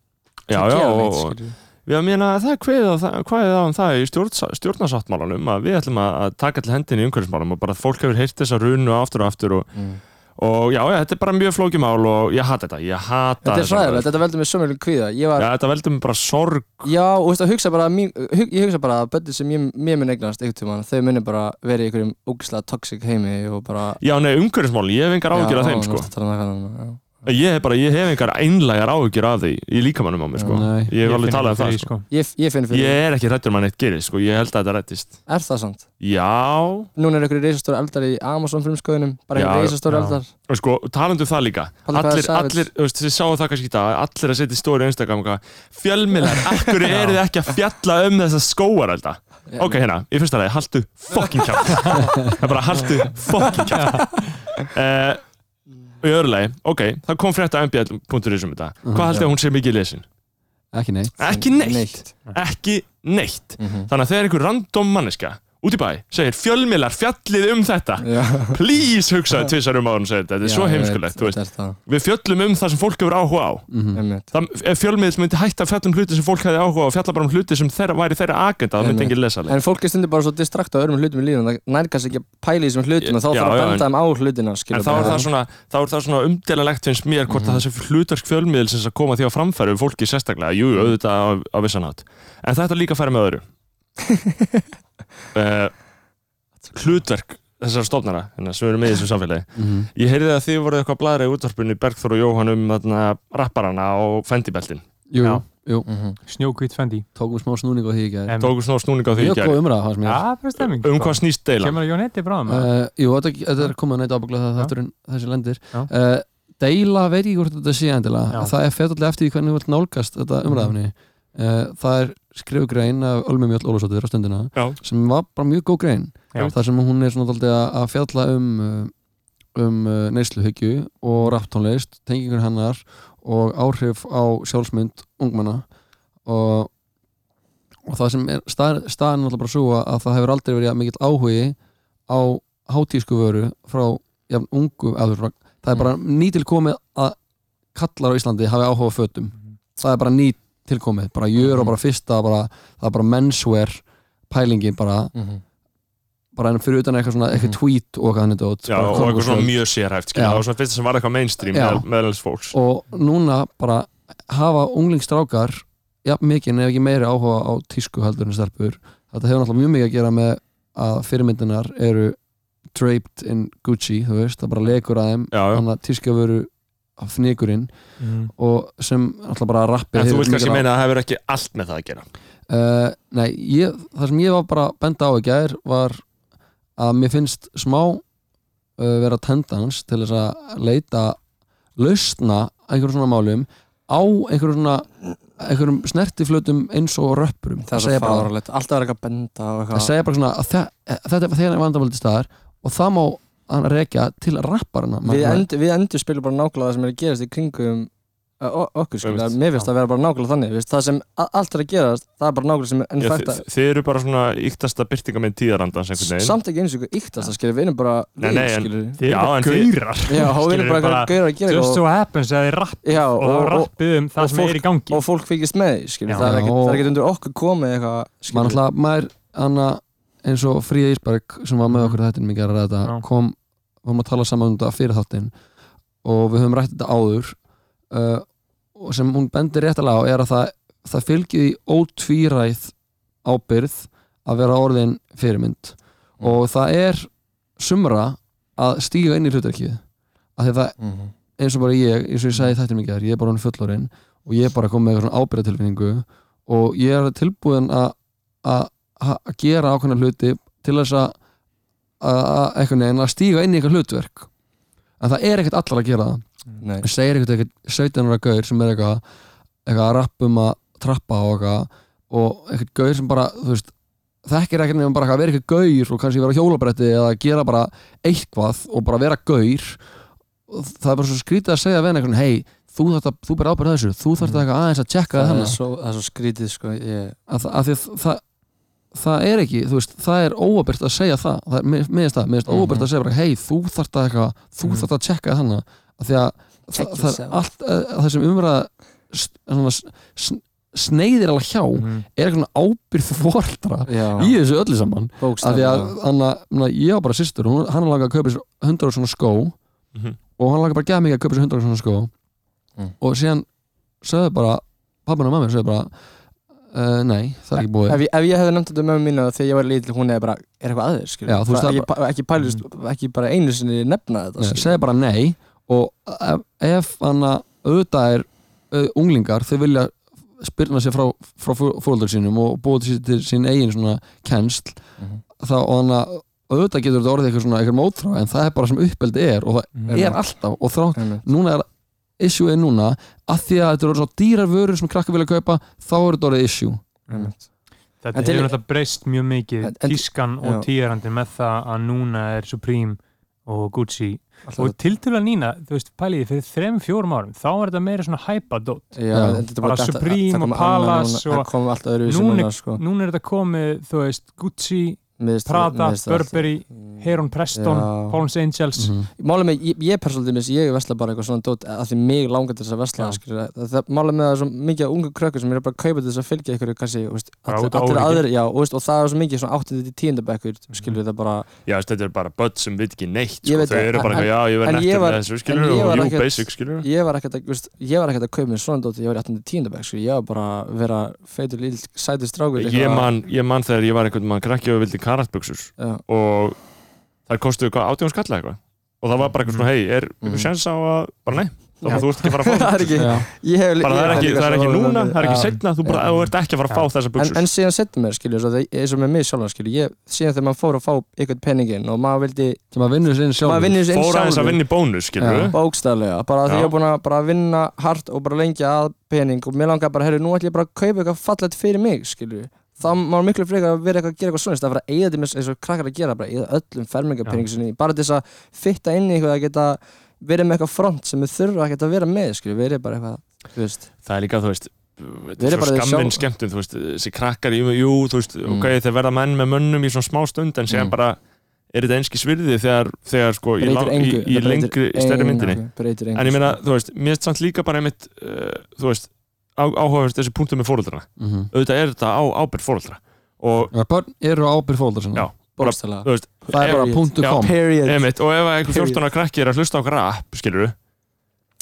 [SPEAKER 1] já,
[SPEAKER 8] að
[SPEAKER 1] já,
[SPEAKER 8] gera
[SPEAKER 1] og,
[SPEAKER 8] neitt,
[SPEAKER 1] og
[SPEAKER 8] skilur.
[SPEAKER 1] Já, ég meina, það er kveðið á, það- kveðið á um það í stjórn, stjórnarsáttmálanum að við ætlum að, að taka til hendinni í umhverfismálum og bara fólk hefur heyrt þessa runu aftur og aftur og,
[SPEAKER 8] Mm.
[SPEAKER 1] og já, já, þetta er bara mjög flókimál og ég hata þetta, ég hata
[SPEAKER 8] Þetta er
[SPEAKER 1] þessa umræðu.
[SPEAKER 8] hræðilegt, þetta veldur mér svo mjög kvíða Ég var,
[SPEAKER 1] Já, þetta veldur mér bara sorg
[SPEAKER 8] já, og veist að hugsa bara að mín, hug, ég hugsa bara að bönni sem ég, mér mun eignast einhvern tímann, þau munir bara vera í einhverjum ógeðslega toxic heimi og bara
[SPEAKER 1] Já, nei, umhverfismál, ég hef engar áhyggjur af
[SPEAKER 8] Já,
[SPEAKER 1] þeim,
[SPEAKER 8] ó,
[SPEAKER 1] sko
[SPEAKER 8] nú ertu að tala um eitthvað annað, já.
[SPEAKER 1] Ég hef bara, ég hef engar einlægar áhyggjur af því í líkamannum á mig, sko
[SPEAKER 7] Nei.
[SPEAKER 1] Ég hef alveg talað um það, sko
[SPEAKER 8] Ég, ég finn fyrir,
[SPEAKER 1] Ég er ekki hrættur um að neitt gerist, sko, ég held að þetta rættist
[SPEAKER 8] er það sant?
[SPEAKER 1] Já,
[SPEAKER 8] Núna er einhverju reisastóri eldar í Amazon frumskóðunum, bara
[SPEAKER 1] Já,
[SPEAKER 8] einhverju reisastóri
[SPEAKER 2] já.
[SPEAKER 8] eldar
[SPEAKER 1] og sko, talandu það líka
[SPEAKER 8] Palli, hvað er
[SPEAKER 1] Allir,
[SPEAKER 8] Savage?
[SPEAKER 1] allir, þú veist, þið sáu það kannski í dag Allir að setja í stóri einstakam Fjölmiðlar, akkur eru þið ekki að fjalla um þessa skóar alltaf Ok, hérna, í fyrsta lagi, haltu fucking kjátt Það er bara haltu fucking kjátt uh, Í öðru lagi, ok, það kom frétt að mbl.is um þetta
[SPEAKER 8] Mhm.
[SPEAKER 1] Hvað haldið að hún sé mikið lesin?
[SPEAKER 7] ekki neitt
[SPEAKER 1] Ekki neitt, ekki neitt
[SPEAKER 8] Mhm.
[SPEAKER 1] Þannig að þegar einhver random manneska út í bæ segir fjölmiðlar fjallið um þetta
[SPEAKER 8] Já,
[SPEAKER 1] Please hugsaði tvisar um áður og segir þetta Þetta er svo
[SPEAKER 8] Já, ég
[SPEAKER 1] heimskulegt,
[SPEAKER 8] veit,
[SPEAKER 1] þú veist
[SPEAKER 8] Þetta er það,
[SPEAKER 1] við fjöllum um það sem fólk hefur áhuga á
[SPEAKER 7] Mhm.
[SPEAKER 8] einmitt
[SPEAKER 1] það, ef fjölmiðl myndi hætta að fjalla um hluti sem fólk hefði áhuga á og fjalla bara um hluti sem þeirra, væri þeirra agenda það myndi
[SPEAKER 8] Einmitt.
[SPEAKER 1] enginn lesa leið
[SPEAKER 8] En fólk er stundir bara svo distrakt á öðrum hlutum í lífum, það nærkast ekki að pæla í þessum hlutum og þá
[SPEAKER 1] Já,
[SPEAKER 8] þarf að
[SPEAKER 1] já, en-
[SPEAKER 8] benda þeim á hlutina,
[SPEAKER 1] en
[SPEAKER 8] skilur
[SPEAKER 1] þá er það svona, þá er það svona umdelalegt finnst mér hvort
[SPEAKER 7] Mhm.
[SPEAKER 1] að þessi hlutverk fjölmiðlsins að koma því á framfæri við fólki sérstaklega jú,
[SPEAKER 7] Mhm.
[SPEAKER 1] auðvitað á, á vissan átt en þetta líka færi með öðru uh, hlutverk þessar stofnara hérna, sem eru með í þessu samfélagi
[SPEAKER 7] Mhm.
[SPEAKER 1] ég heyrði að þið voruð eitthvað blæðra í útvarpinu Bergþór og Jóhann um þarna, rapparana og fendibeltin
[SPEAKER 7] jú,
[SPEAKER 2] Já.
[SPEAKER 7] jú,
[SPEAKER 1] Mhm.
[SPEAKER 2] Snjókvít fendi
[SPEAKER 7] tókum smá snúning á því ekki
[SPEAKER 2] Em,
[SPEAKER 1] tóku snó snúning á því í
[SPEAKER 7] mjög
[SPEAKER 1] gær.
[SPEAKER 7] góð sko. umræða fannst mér
[SPEAKER 2] Já, fyrir stemming
[SPEAKER 1] um hvað snýst deilan
[SPEAKER 2] Kemur að Jónetti bráðum eða?
[SPEAKER 7] uh, Jú, þetta, þetta er komið að neitt ábygglega það þátturinn þessi lendir
[SPEAKER 2] Já.
[SPEAKER 7] uh, Deila veit ég hvort þetta sé endilega
[SPEAKER 2] Já. Mhm.
[SPEAKER 7] það er fettallega eftir því hvernig þú vilt nálgast þetta umræðafni uh, það er skrifugrein af Ölmi Mjöll Ólafsdóttir á stundina
[SPEAKER 1] Já.
[SPEAKER 7] sem var bara mjög góð grein
[SPEAKER 2] Já.
[SPEAKER 7] þar sem hún er svona daldið að fjalla um uh, um uh, neysluhyggju og rapptónlist, tengingur hennar og áhrif á sjálfsmynd ungmenna og, og það sem er stað, staðan er náttúrulega bara svo að það hefur aldrei verið jafn mikill áhugi á hátísku vöru frá jafn ungu eður, það er bara nýtilkomið að kallar á Íslandi hafi áhuga á fötum
[SPEAKER 2] Mm.
[SPEAKER 7] það er bara nýtilkomið, bara jör og bara fyrsta bara, það er bara menswear pælingin bara, bara en fyrir utan eitthvað svona, eitthvað tweet og eitthvað hann þetta
[SPEAKER 1] Já, og eitthvað svona mjög sérhæft skilja,
[SPEAKER 7] Já.
[SPEAKER 1] það var svona fyrst sem var eitthvað mainstream
[SPEAKER 7] Já.
[SPEAKER 1] meðal- meðalins fólks
[SPEAKER 7] og núna bara hafa unglingstrákar jafn mikið en ef ekki meiri áhuga á tísku heldur en stelpur þetta hefur náttúrulega mjög mikið að gera með að fyrirmyndinar eru draped in Gucci, þú veist, það bara lekur að þeim
[SPEAKER 1] Já, já.
[SPEAKER 7] þannig að tíska veru af fnygurinn
[SPEAKER 2] Mhm.
[SPEAKER 7] og sem náttúrulega bara rappi
[SPEAKER 1] En þú vilt kannski meina að það hefur ekki allt með það að gera
[SPEAKER 7] Uh, nei, ég, það sem ég var bara að benda á í gær var að mér finnst smá uh, vera tendans til þess að leita lausna einhverjum svona málum á einhverjum svona einhverjum snertiflötum eins og röppurum
[SPEAKER 8] Það er svo
[SPEAKER 7] segja bara,
[SPEAKER 8] fáralegt, alltaf er eitthvað að benda og
[SPEAKER 7] að
[SPEAKER 8] eitthvað
[SPEAKER 7] segja bara svona að þe- þetta er þegar vandamöldi staðar og það má hann rekja til rapparina
[SPEAKER 8] Við, end, við endur spilum bara nákvæmlega það sem er að gerast í kringum uh, o- okkur skilja,
[SPEAKER 1] Einmitt.
[SPEAKER 8] mér finnst það að vera bara nákvæmlega þannig veist, það sem a- allt er að gerast, það er bara nákvæmlega sem er enn
[SPEAKER 1] Já,
[SPEAKER 8] fært
[SPEAKER 1] þi- Þið eru bara svona yktasta byrtingamenn tíðarandans einhvern
[SPEAKER 8] að
[SPEAKER 1] veginn
[SPEAKER 8] samt ekki eins og ykkur yktast að skilja, við erum bara
[SPEAKER 1] Nei, nei, en-
[SPEAKER 8] skilja,
[SPEAKER 2] Þið
[SPEAKER 1] Já,
[SPEAKER 2] eru bara
[SPEAKER 1] en þið-
[SPEAKER 2] gaurar
[SPEAKER 8] já, og við
[SPEAKER 1] skilurðu,
[SPEAKER 8] erum bara
[SPEAKER 1] bara-
[SPEAKER 8] eitthvað gauður að gera
[SPEAKER 2] Just
[SPEAKER 8] eitthvað
[SPEAKER 2] so happens að þið rapp
[SPEAKER 8] og- já,
[SPEAKER 2] og það
[SPEAKER 8] og, og,
[SPEAKER 2] rappið um það
[SPEAKER 8] og
[SPEAKER 2] sem
[SPEAKER 8] fólk-
[SPEAKER 2] er í gangi
[SPEAKER 8] og fólk fylgist með skilja,
[SPEAKER 2] Já.
[SPEAKER 8] það er ekkert-
[SPEAKER 7] Já, og-
[SPEAKER 8] það er ekkert undir okkur komið eitthvað skilurðu.
[SPEAKER 7] maður alltaf, maður anna, eins og Fríða Ísberg sem var með okkur þetta mikið að ræða þetta
[SPEAKER 2] Já.
[SPEAKER 7] kom, varum að tala saman um þetta fyrir þáttinn og við höfum rætt þetta áður uh, og sem hún bendir réttilega á er að það, það fylgir því ótvíræð ábyrð að vera orðin fyrirmynd og það er sumra að stíga inn í hlutverkið af því að það
[SPEAKER 8] Mhm.
[SPEAKER 7] eins og bara ég, eins og ég sagði þetta mikið þar, ég er bara hann fullorinn og ég er bara komið með eitthvað svona ábyrðatilfinningu og ég er tilbúin að að- að að gera ákveðna hluti til þess að að- að einhvern veginn að stíga inn í eitthvað hlutverk en það er ekkert allar að gera það
[SPEAKER 8] Nei.
[SPEAKER 7] það segir eitthvað eitthvað 17 ára gaur sem er eitthvað eitthvað að rappa um að trappa og eitthvað og eitthvað gaur sem bara, þú veist þekkir ekkert nefnum bara eitthvað að vera eitthvað gaur og kannski vera á hjólabretti eða gera bara eitthvað og bara vera gaur og það er bara svo skrítið að segja við hann eitthvað, hei, þú þarft að, þú ber ábyrð á þessu þú þarft að eitthvað aðeins að tjekka
[SPEAKER 8] Mm. það
[SPEAKER 7] það
[SPEAKER 8] er svo, það er svo skrítið sko, ég,
[SPEAKER 7] að, að því að það það er ekki, þú veist, það er óabyrt að segja það, það er, mér mér finnst það, mér finnst
[SPEAKER 8] Mhm.
[SPEAKER 7] óabyrt að segja bara, hei, þú þarft að eitthvað þú
[SPEAKER 2] Mhm.
[SPEAKER 7] þarft að tjekka þannig að því að það,
[SPEAKER 8] Check
[SPEAKER 7] það er
[SPEAKER 8] yourself.
[SPEAKER 7] allt, eh, það sem umræða s- svona s- s- sneiðir alveg hjá,
[SPEAKER 2] Mhm.
[SPEAKER 7] er eitthvað svona ábyrð fóreldra
[SPEAKER 8] já,
[SPEAKER 7] í þessu öllu saman að því að,
[SPEAKER 8] bókstaflega
[SPEAKER 7] hann að, hann að ég á bara sýstur, hún- hann langar að kaupa sér 100 svona skó
[SPEAKER 1] Mhm.
[SPEAKER 7] og hann langar bara að gefa mikið að kaupa sér 100 svona skó
[SPEAKER 8] Mm.
[SPEAKER 7] og síðan sögðu bara, pappin og mamma sögðu bara Uh, nei, það er ekki búið
[SPEAKER 8] Ef ég, ef ég hefði nefnt þetta með mömmu mína þegar ég var lítil, hún hefði bara, er eitthvað aðeins, skilur?
[SPEAKER 7] Já, þú veist, það
[SPEAKER 8] ekki, bara... ekki, pælist, ekki bara einu sinni nefna þetta,
[SPEAKER 7] Nei,
[SPEAKER 8] skilur?
[SPEAKER 7] segja bara nei og ef, ef hann að auðvitað er uh, unglingar þau vilja spyrna sér frá, frá fólöldur sínum og búið til, til sín eigin svona kennsl
[SPEAKER 8] Mhm.
[SPEAKER 7] þá og hann að auðvitað getur þetta orðið eitthvað svona eitthvað mótrá en það er bara sem uppeldi er og það
[SPEAKER 2] mm,
[SPEAKER 7] er alltaf og þrátt
[SPEAKER 8] Einmitt.
[SPEAKER 7] núna er issue er núna að því að þetta eru svona dýrar vörur sem krakkar vilja kaupa þá er þetta orðið issue
[SPEAKER 8] Einmitt.
[SPEAKER 2] mm. Þetta
[SPEAKER 8] Mm. En til-
[SPEAKER 2] hefur náttúrulega breyst mjög mikið
[SPEAKER 8] En- en-
[SPEAKER 2] tískan og
[SPEAKER 8] já.
[SPEAKER 2] tíðarandin með það að núna er Supreme og Gucci
[SPEAKER 8] Alltaf
[SPEAKER 2] og tiltölulega nýna, þú veist, pæliði fyrir þrem, fjórum árum, þá var þetta meira svona hæpa dótt.
[SPEAKER 8] þetta- Já,
[SPEAKER 7] Já.
[SPEAKER 8] en þetta er
[SPEAKER 2] Bara
[SPEAKER 8] þetta-
[SPEAKER 2] Supreme
[SPEAKER 8] það kom
[SPEAKER 2] og
[SPEAKER 8] annað
[SPEAKER 2] Palace og-
[SPEAKER 8] núna, Það kom alltaf öðru í
[SPEAKER 2] Núna-
[SPEAKER 8] núna, sko.
[SPEAKER 2] Núna er þetta komið, þú veist, Gucci,
[SPEAKER 8] Miðist-
[SPEAKER 2] Prada,
[SPEAKER 8] miðist-
[SPEAKER 2] Burberry,
[SPEAKER 8] Mm.
[SPEAKER 2] Heron Preston,
[SPEAKER 8] Já.
[SPEAKER 2] Paul's Angels,
[SPEAKER 7] Mhm.
[SPEAKER 8] Málið með, ég, ég persóldið mis, ég vesla bara eitthvað svona dót að því mig langar til þess að vesla,
[SPEAKER 2] Já.
[SPEAKER 8] skilur? Það, það, málið með það er svo mikið af ungu krökkur sem eru bara að kaupa til þess að fylgja ykkur, kannski, þú veist,
[SPEAKER 2] Bara
[SPEAKER 8] allir,
[SPEAKER 2] út á
[SPEAKER 8] allir
[SPEAKER 2] ólíkir.
[SPEAKER 8] aðrir, já, og, veist, og það er svo mikið svona 8-10 bekkur,
[SPEAKER 1] Mhm.
[SPEAKER 8] skilur, það er bara,
[SPEAKER 1] Já, veist, þetta er bara börn sem veit ekki neitt sko.
[SPEAKER 8] Ég veit
[SPEAKER 1] Þau
[SPEAKER 8] það,
[SPEAKER 1] eru bara,
[SPEAKER 8] en-
[SPEAKER 1] eitthvað, já, ég verð
[SPEAKER 8] en ég
[SPEAKER 1] nettur
[SPEAKER 8] var-
[SPEAKER 1] með þessu skilur
[SPEAKER 8] en ég
[SPEAKER 1] og
[SPEAKER 8] var
[SPEAKER 1] jú,
[SPEAKER 8] ekkert-
[SPEAKER 1] basic skilur
[SPEAKER 8] ég var ekkert að, þú veist, ég var ekkert að kaupa mér svona dóti, ég var í 18. tíundabæk, sko, ég var bara að vera feitur lítill sætur strákur
[SPEAKER 1] Ég man, ég man þegar ég var einhvern mann krakki og vildi karatbuxur
[SPEAKER 8] Já,
[SPEAKER 1] og þær kostuðu hvað, átjón skalla eitthvað og það var bara eitthvað svona, hei, er
[SPEAKER 8] Mhm.
[SPEAKER 1] einhver sjans á að, bara nei þannig að þú ert ekki að fara að fá
[SPEAKER 8] það er ekki,
[SPEAKER 2] Já.
[SPEAKER 8] ég hef
[SPEAKER 1] bara það er ekki, það er ekki núna, það er ekki
[SPEAKER 8] Já.
[SPEAKER 1] setna þú bara, þú ert ekki að fara að fá þessar
[SPEAKER 8] en,
[SPEAKER 1] buksur
[SPEAKER 8] en síðan setjum mér, skilju, svo það- eins og með mig sjálfan, skilju, ég, síðan þegar maður fór að fá einhvern peningin og maður vildi,
[SPEAKER 7] sem að vinnur sinni sjálf
[SPEAKER 8] maður vinnur eins
[SPEAKER 1] fóra eins að
[SPEAKER 8] sjálfur,
[SPEAKER 1] vinna í bónus, skilur
[SPEAKER 7] Já.
[SPEAKER 8] bókstaflega, bara því
[SPEAKER 1] Já.
[SPEAKER 8] ég er búin að bara vinna hart og bara lengja að pening og mér langar bara, herru, nú ætlum ég bara að kaupa eitthvað fallegt fyrir mig, skilju, þá maður miklu frekar að vera eitthvað að gera eitthvað svona, það er að eigða þeim eins og krakkar að gera, bara eigða öllum fermingapeningu sinni, í, bara til þess að fitta inn í eitthvað að geta verið með eitthvað front sem þau þurfa ekkert að vera með, skilju, verið bara eitthvað, þú veist,
[SPEAKER 1] það er líka, þú veist
[SPEAKER 8] Þeir
[SPEAKER 1] þetta
[SPEAKER 8] eru
[SPEAKER 1] er svo
[SPEAKER 8] bara þeir
[SPEAKER 1] skamminn
[SPEAKER 8] sjálf-
[SPEAKER 1] skemmtum, þú veist, þessi krakkar jú, jú, þú veist, ok, þeir verða menn með mönnum í svona smá stund, en síðan
[SPEAKER 8] Mm.
[SPEAKER 1] bara er þetta einski svirði þegar, þegar sko, í,
[SPEAKER 8] breytir
[SPEAKER 1] lang- í,
[SPEAKER 8] engu,
[SPEAKER 1] í
[SPEAKER 8] það breytir
[SPEAKER 1] lengri, stærri
[SPEAKER 8] engu,
[SPEAKER 1] myndinni
[SPEAKER 8] breytir engu,
[SPEAKER 1] en ég meina,
[SPEAKER 8] sko.
[SPEAKER 1] þú veist, mér er samt líka bara einmitt, uh, þú veist áhugaverst þessi punktum með fóröldrana
[SPEAKER 7] -hmm.
[SPEAKER 1] auðvitað er þetta á ábyrð fóröldra og
[SPEAKER 7] börn eru á ábyrð fóldar sinna
[SPEAKER 1] Já.
[SPEAKER 8] bókstaflega
[SPEAKER 1] þú veist,
[SPEAKER 7] það er bara
[SPEAKER 8] Period.
[SPEAKER 7] punktu
[SPEAKER 1] Já,
[SPEAKER 7] kom
[SPEAKER 8] Period
[SPEAKER 1] einmitt, og ef einhver
[SPEAKER 8] Period.
[SPEAKER 1] 14 ára krakki er að hlusta á rap, skilur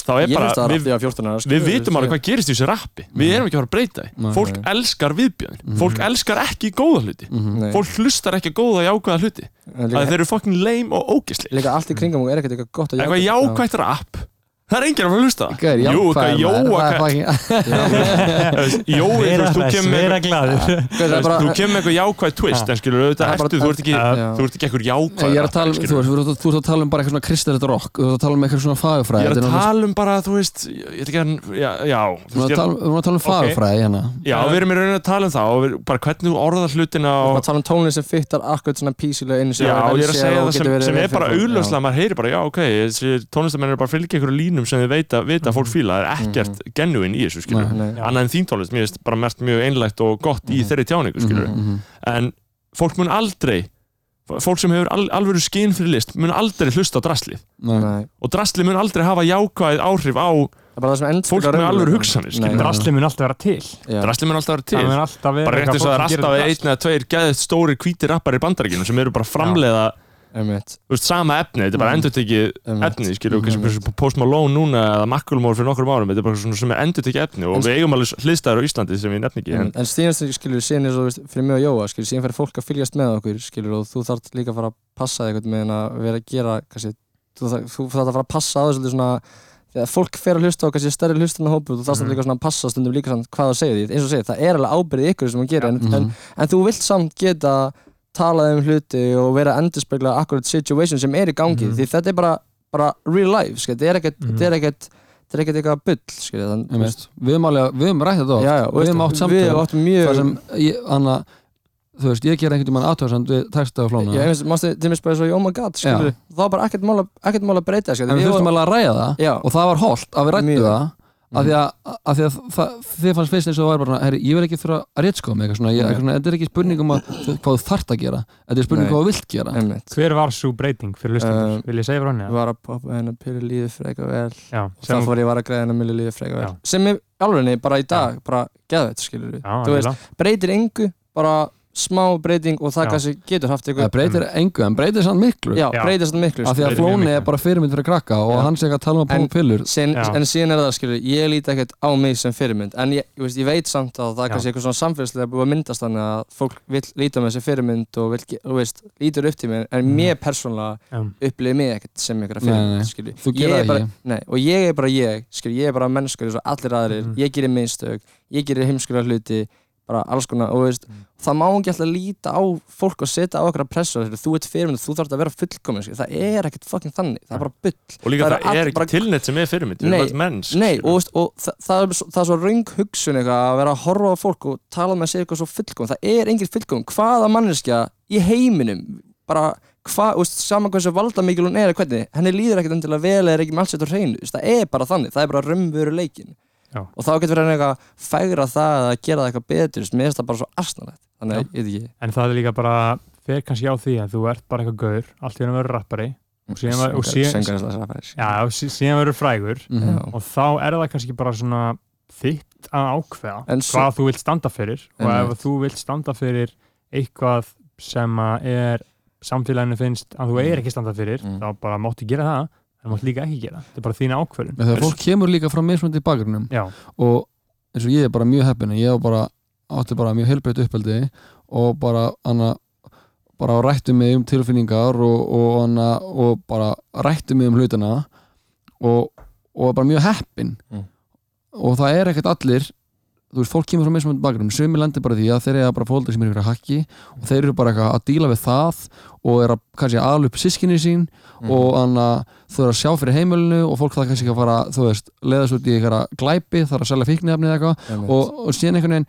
[SPEAKER 1] þá er
[SPEAKER 8] Ég hlusta
[SPEAKER 1] bara,
[SPEAKER 8] að
[SPEAKER 1] við,
[SPEAKER 8] rappi á 14 ára
[SPEAKER 1] við vitum alveg hvað gerist í þessu rappi við erum ekki að fara að breyta því
[SPEAKER 7] Nei,
[SPEAKER 1] fólk
[SPEAKER 8] nei.
[SPEAKER 1] elskar viðbjörn,
[SPEAKER 7] Mhm.
[SPEAKER 1] fólk elskar ekki góða hluti
[SPEAKER 7] Mhm.
[SPEAKER 1] fólk hlustar ekki á góða jákvæða hluti
[SPEAKER 8] Líka,
[SPEAKER 1] að þeir eru fucking lame og ógisli
[SPEAKER 8] líka allt í kringum og er ekkert eitthvað gott og
[SPEAKER 1] eitthvað jákvætt rap það er enginn að fara að hlusta á það.
[SPEAKER 7] Gæri,
[SPEAKER 1] Jú,
[SPEAKER 7] jákvæður,
[SPEAKER 1] hvað
[SPEAKER 7] maður,
[SPEAKER 1] Jóa
[SPEAKER 7] það er
[SPEAKER 1] kall-
[SPEAKER 7] fucking-
[SPEAKER 1] Jói, þú
[SPEAKER 2] vera
[SPEAKER 1] veist, þú
[SPEAKER 2] hress,
[SPEAKER 1] kemur með
[SPEAKER 2] vera gladur
[SPEAKER 8] Hvað er
[SPEAKER 1] Þú
[SPEAKER 8] bara
[SPEAKER 1] veist, þú kemur með eitthvað jákvæð twist
[SPEAKER 2] Já.
[SPEAKER 1] en skilur auðvitað
[SPEAKER 8] Það er bara-
[SPEAKER 1] ertu, þú ert ekki
[SPEAKER 8] Já.
[SPEAKER 1] þú ert ekki eitthvað jákvæð
[SPEAKER 7] Ég er að tala, um- þú veist, þú ert- þú ert að tala um bara eitthvað svona kristalett rock, þú ert að tala um eitthvað svona
[SPEAKER 1] ég
[SPEAKER 7] fagurfræði
[SPEAKER 1] er
[SPEAKER 7] þetta
[SPEAKER 1] að
[SPEAKER 7] náttúrulega-
[SPEAKER 1] tala um bara, þú veist ég ég er ekki að, já, já þú
[SPEAKER 7] Við erum
[SPEAKER 1] veist,
[SPEAKER 7] að
[SPEAKER 1] ég,
[SPEAKER 7] tala- við erum að tala um fagurfræði hérna
[SPEAKER 1] já, við erum í rauninni að tala um það og við, bara hvernig þú orðar hlutina
[SPEAKER 8] og
[SPEAKER 1] og,
[SPEAKER 8] tala um tónlist sem fittar akkurat svona písilega inn í sig
[SPEAKER 1] já,
[SPEAKER 8] og
[SPEAKER 1] ég er að
[SPEAKER 8] velséð
[SPEAKER 1] segja það
[SPEAKER 8] og getur
[SPEAKER 1] sem,
[SPEAKER 8] verið
[SPEAKER 1] sem
[SPEAKER 8] vel
[SPEAKER 1] er bara
[SPEAKER 8] fyrir fólk.
[SPEAKER 1] augljóslega, maður heyrir bara, já, ok þessi tónlistamenn eru bara að fylgja einhverju línum sem þið veit að, vita að fólk fíla, það er ekkert genuinn í þessu, skilur,
[SPEAKER 8] Já, nei.
[SPEAKER 2] Já.
[SPEAKER 1] annað en þín tónlist mér finnst bara mest mjög einlægt og gott í
[SPEAKER 8] Mhm.
[SPEAKER 1] þeirri tjáningu, skilur,
[SPEAKER 7] Mhm.
[SPEAKER 1] en fólk mun aldrei fólk sem hefur al, alvöru skinn fyrir list mun aldrei hlusta á draslið
[SPEAKER 7] Nei.
[SPEAKER 8] Nei.
[SPEAKER 1] og drasli mun aldrei hafa jákvæð áhrif á
[SPEAKER 8] Það er bara það sem endur
[SPEAKER 1] fólk með alveg hugsanir skilur.
[SPEAKER 2] drasli mun alltaf vera til
[SPEAKER 1] drasli mun alltaf vera til
[SPEAKER 2] það mun alltaf vera
[SPEAKER 1] bara rétt
[SPEAKER 2] eitthvað
[SPEAKER 1] eins og það er
[SPEAKER 2] fólk sem
[SPEAKER 1] alltaf
[SPEAKER 2] gerir
[SPEAKER 1] einn eða tveir gæðið stóri hvíti rappar í bandaríkjunum sem eru bara að framleiða
[SPEAKER 8] Einmitt,
[SPEAKER 1] þú veist, sama efni, þetta er bara endur tekið
[SPEAKER 8] einmitt.
[SPEAKER 1] efni, skilur, mm -hmm. Post Malone núna eða Macklemore fyrir nokkrum árum, þetta er bara svona sem er endur tekið efni og
[SPEAKER 8] En- sko- Mm.
[SPEAKER 1] við eigum alveg hlistaður á Íslandi sem ég nefn ekki, en
[SPEAKER 8] Einmitt. En síðan sem- skilur síðan er svo veist, fyrir mig og Jóa skilur síðan fyrir fólk að fylgjast með okkur skilur og þú þarf líka að fara að passa þig einhvern veginn að vera að gera kannski, þú, þarf, þú þarf að fara að passa á þessu svolítið svona þegar fólk fer að hlusta á kannski stærri hlustan hópu þú þarfst mm
[SPEAKER 2] Mhm.
[SPEAKER 8] líka svona að passa stundum líka samt hvað þú segir því eins og segir það er alveg ábyrðið ykkur sem þú gerir en, en
[SPEAKER 7] Mhm.
[SPEAKER 8] en þú vilt samt geta talað um hluti og vera að endurspegla akkurat situation sem er í gangi
[SPEAKER 2] Mhm.
[SPEAKER 8] því þetta er bara, bara real life skil. þetta er ekkert
[SPEAKER 2] Mhm.
[SPEAKER 8] þetta er ekkert þetta er ekkert eitthvað bull skil, þann,
[SPEAKER 7] Einmitt. Við höfum alveg, við höfum rætt þetta
[SPEAKER 8] já, já,
[SPEAKER 7] oft Við höfum átt
[SPEAKER 8] við höfum
[SPEAKER 7] samtöl
[SPEAKER 8] átt mjög
[SPEAKER 7] Það sem, ég- hann að Þú veist, ég ger einhvern tímann aðtöðsand við texta og flóna
[SPEAKER 8] já, ég veist, mástu til mér spæði svo í oh my god skilur, þá var bara ekkert mál að- ekkert mál að breyta skil,
[SPEAKER 7] En við þurftum alveg að ræða það
[SPEAKER 8] já,
[SPEAKER 7] Og það var holdt að við rættu
[SPEAKER 8] Mjög. Mhm.
[SPEAKER 7] það Af því að, að, því að það, þið fannst fyrst eins og það var bara herri, Ég vil ekki þurfa að rétskóða mig eitthvað svona, ég, eitthvað svona Þetta er ekki spurning um að, þú- hvað þú þart að gera Þetta er spurning
[SPEAKER 8] Nei.
[SPEAKER 7] um hvað þú vilt gera
[SPEAKER 8] einmitt
[SPEAKER 2] hver var svo breyting fyrir
[SPEAKER 8] Um,
[SPEAKER 2] lustendur, vil ég segja frá henni
[SPEAKER 8] Ég var að poppa hérna hennar pyrri líði freka vel
[SPEAKER 2] já,
[SPEAKER 8] sem,
[SPEAKER 2] sem,
[SPEAKER 8] það fór ég var að greiða hennar milli líði freka vel
[SPEAKER 2] Já.
[SPEAKER 8] sem er alveg bara í dag, bara geðvett skilur
[SPEAKER 2] já,
[SPEAKER 8] þú veist,
[SPEAKER 2] algjörlega.
[SPEAKER 8] breytir engu, bara smá breyting og það
[SPEAKER 2] Já.
[SPEAKER 8] kannski getur haft
[SPEAKER 7] Það
[SPEAKER 8] eitthvað
[SPEAKER 7] breytir engu, en breytir samt miklu
[SPEAKER 8] Mm. já,
[SPEAKER 2] Já.
[SPEAKER 8] breytir svona miklu
[SPEAKER 7] Af því að
[SPEAKER 8] sko.
[SPEAKER 1] Breytir mjög
[SPEAKER 7] flóni
[SPEAKER 2] miklu.
[SPEAKER 7] er bara fyrirmynd fyrir krakka Og
[SPEAKER 8] Já.
[SPEAKER 7] hann sé ekki að tala um að
[SPEAKER 8] En-
[SPEAKER 7] púla pillur
[SPEAKER 8] Síðan-
[SPEAKER 2] Já.
[SPEAKER 8] en síðan er það skilur, ég líti ekkert á mig sem fyrirmynd en ég, ég, veist, ég veit samt að það er
[SPEAKER 2] Já.
[SPEAKER 8] kannski eitthvað svona samfélagslega búið að myndast þannig að fólk vil líta á mig sem fyrirmynd og vil, ge- þú veist, lítur upp til mér en
[SPEAKER 2] Mhm.
[SPEAKER 8] mér persónulega
[SPEAKER 2] Já.
[SPEAKER 8] upplifir mig ekkert sem einhverja
[SPEAKER 7] Nei, nei.
[SPEAKER 8] fyrirmynd skilur.
[SPEAKER 7] Þú gerir
[SPEAKER 8] Ég er
[SPEAKER 7] það
[SPEAKER 8] bara,
[SPEAKER 7] ekki.
[SPEAKER 8] nei, og ég er bara ég skilur, ég er bara mennskur eins og allir aðrir
[SPEAKER 2] Mhm.
[SPEAKER 8] ég gerir minnstök, ég gerir heimskulega hluti bara alls konar og þú veist,
[SPEAKER 2] Mhm.
[SPEAKER 8] það má ekki alltaf líta á fólk og setja á okkar að pressa skilur. þú ert fyrirmynd, þú þarf að vera fullkomin skilur. það er ekkert fucking þannig, það er bara bull
[SPEAKER 1] og líka
[SPEAKER 8] það
[SPEAKER 1] það,
[SPEAKER 8] eru allir
[SPEAKER 1] er ekki
[SPEAKER 8] bara-
[SPEAKER 1] tilnett sem er fyrirmynd, við
[SPEAKER 8] Nei,
[SPEAKER 1] erum allt menns
[SPEAKER 8] Nei,
[SPEAKER 1] skilur.
[SPEAKER 8] og, veist, og það, það, er svo, það er svo raung hugsun eitthvað að vera að horfa á fólk og tala með sér eitthvað svo fullkom það er engin fullkom, hvaða manneskja í heiminum bara, hva, veist, saman hversu valdamikil hún er eða hvernig, henni líður ekkert endilega vel eða er ekki með allt sér á hreinu, veist, það er bara þannig það er bara raunveru leikin
[SPEAKER 2] Já.
[SPEAKER 8] og þá getur verið eitthvað að fegra það eða gera það eitthvað betur, veist, mér finnst það bara svo astanlegt þannig, að, ég veit ekki
[SPEAKER 2] en það er líka bara fer kannski á því að þú ert bara eitthvað gaur allt í henni verður rappari Og síðan var- og síðan- já, og sí- síðan verður frægur
[SPEAKER 7] Mhm.
[SPEAKER 2] og þá er það kannski bara svona þitt að ákveða
[SPEAKER 8] En Eh, svo-
[SPEAKER 2] hvað þú vilt standa fyrir og ef
[SPEAKER 8] Einmitt.
[SPEAKER 2] þú vilt standa fyrir eitthvað sem að er samfélaginu finnst að þú er ekki standa fyrir
[SPEAKER 7] Mhm.
[SPEAKER 8] Mm.
[SPEAKER 2] þá bara máttu gera það en máttu líka ekki gera, þetta er bara þína ákveðin
[SPEAKER 7] En Þegar fólk kemur líka frá mismunandi bakgrunum
[SPEAKER 2] já,
[SPEAKER 7] og eins og ég er bara mjög heppin ég á bara, átti bara mjög heilbreytt uppeldi og bara hana, bara rættu mig um tilfinningar og, og, hana, og bara rættu mig um hlutina og, og bara mjög heppin
[SPEAKER 8] Mm.
[SPEAKER 7] og það er ekkert allir þú veist, fólk kemur frá mismunandi bakgrunn sumi lendir bara í því að þeir eru bara fólkið sem eru fyrir að hakki og þeir eru bara eitthvað að díla við það og eru að kannski aðlu upp sískinni sín
[SPEAKER 8] Mhm.
[SPEAKER 7] og þannig að þau eru að sjá fyrir heimilinu og fólk það kannski ekki að fara, þú veist, leiðast út í eitthvað glæpi, það er að selja fíknefni eða eitthvað og, og síðan einhvern veginn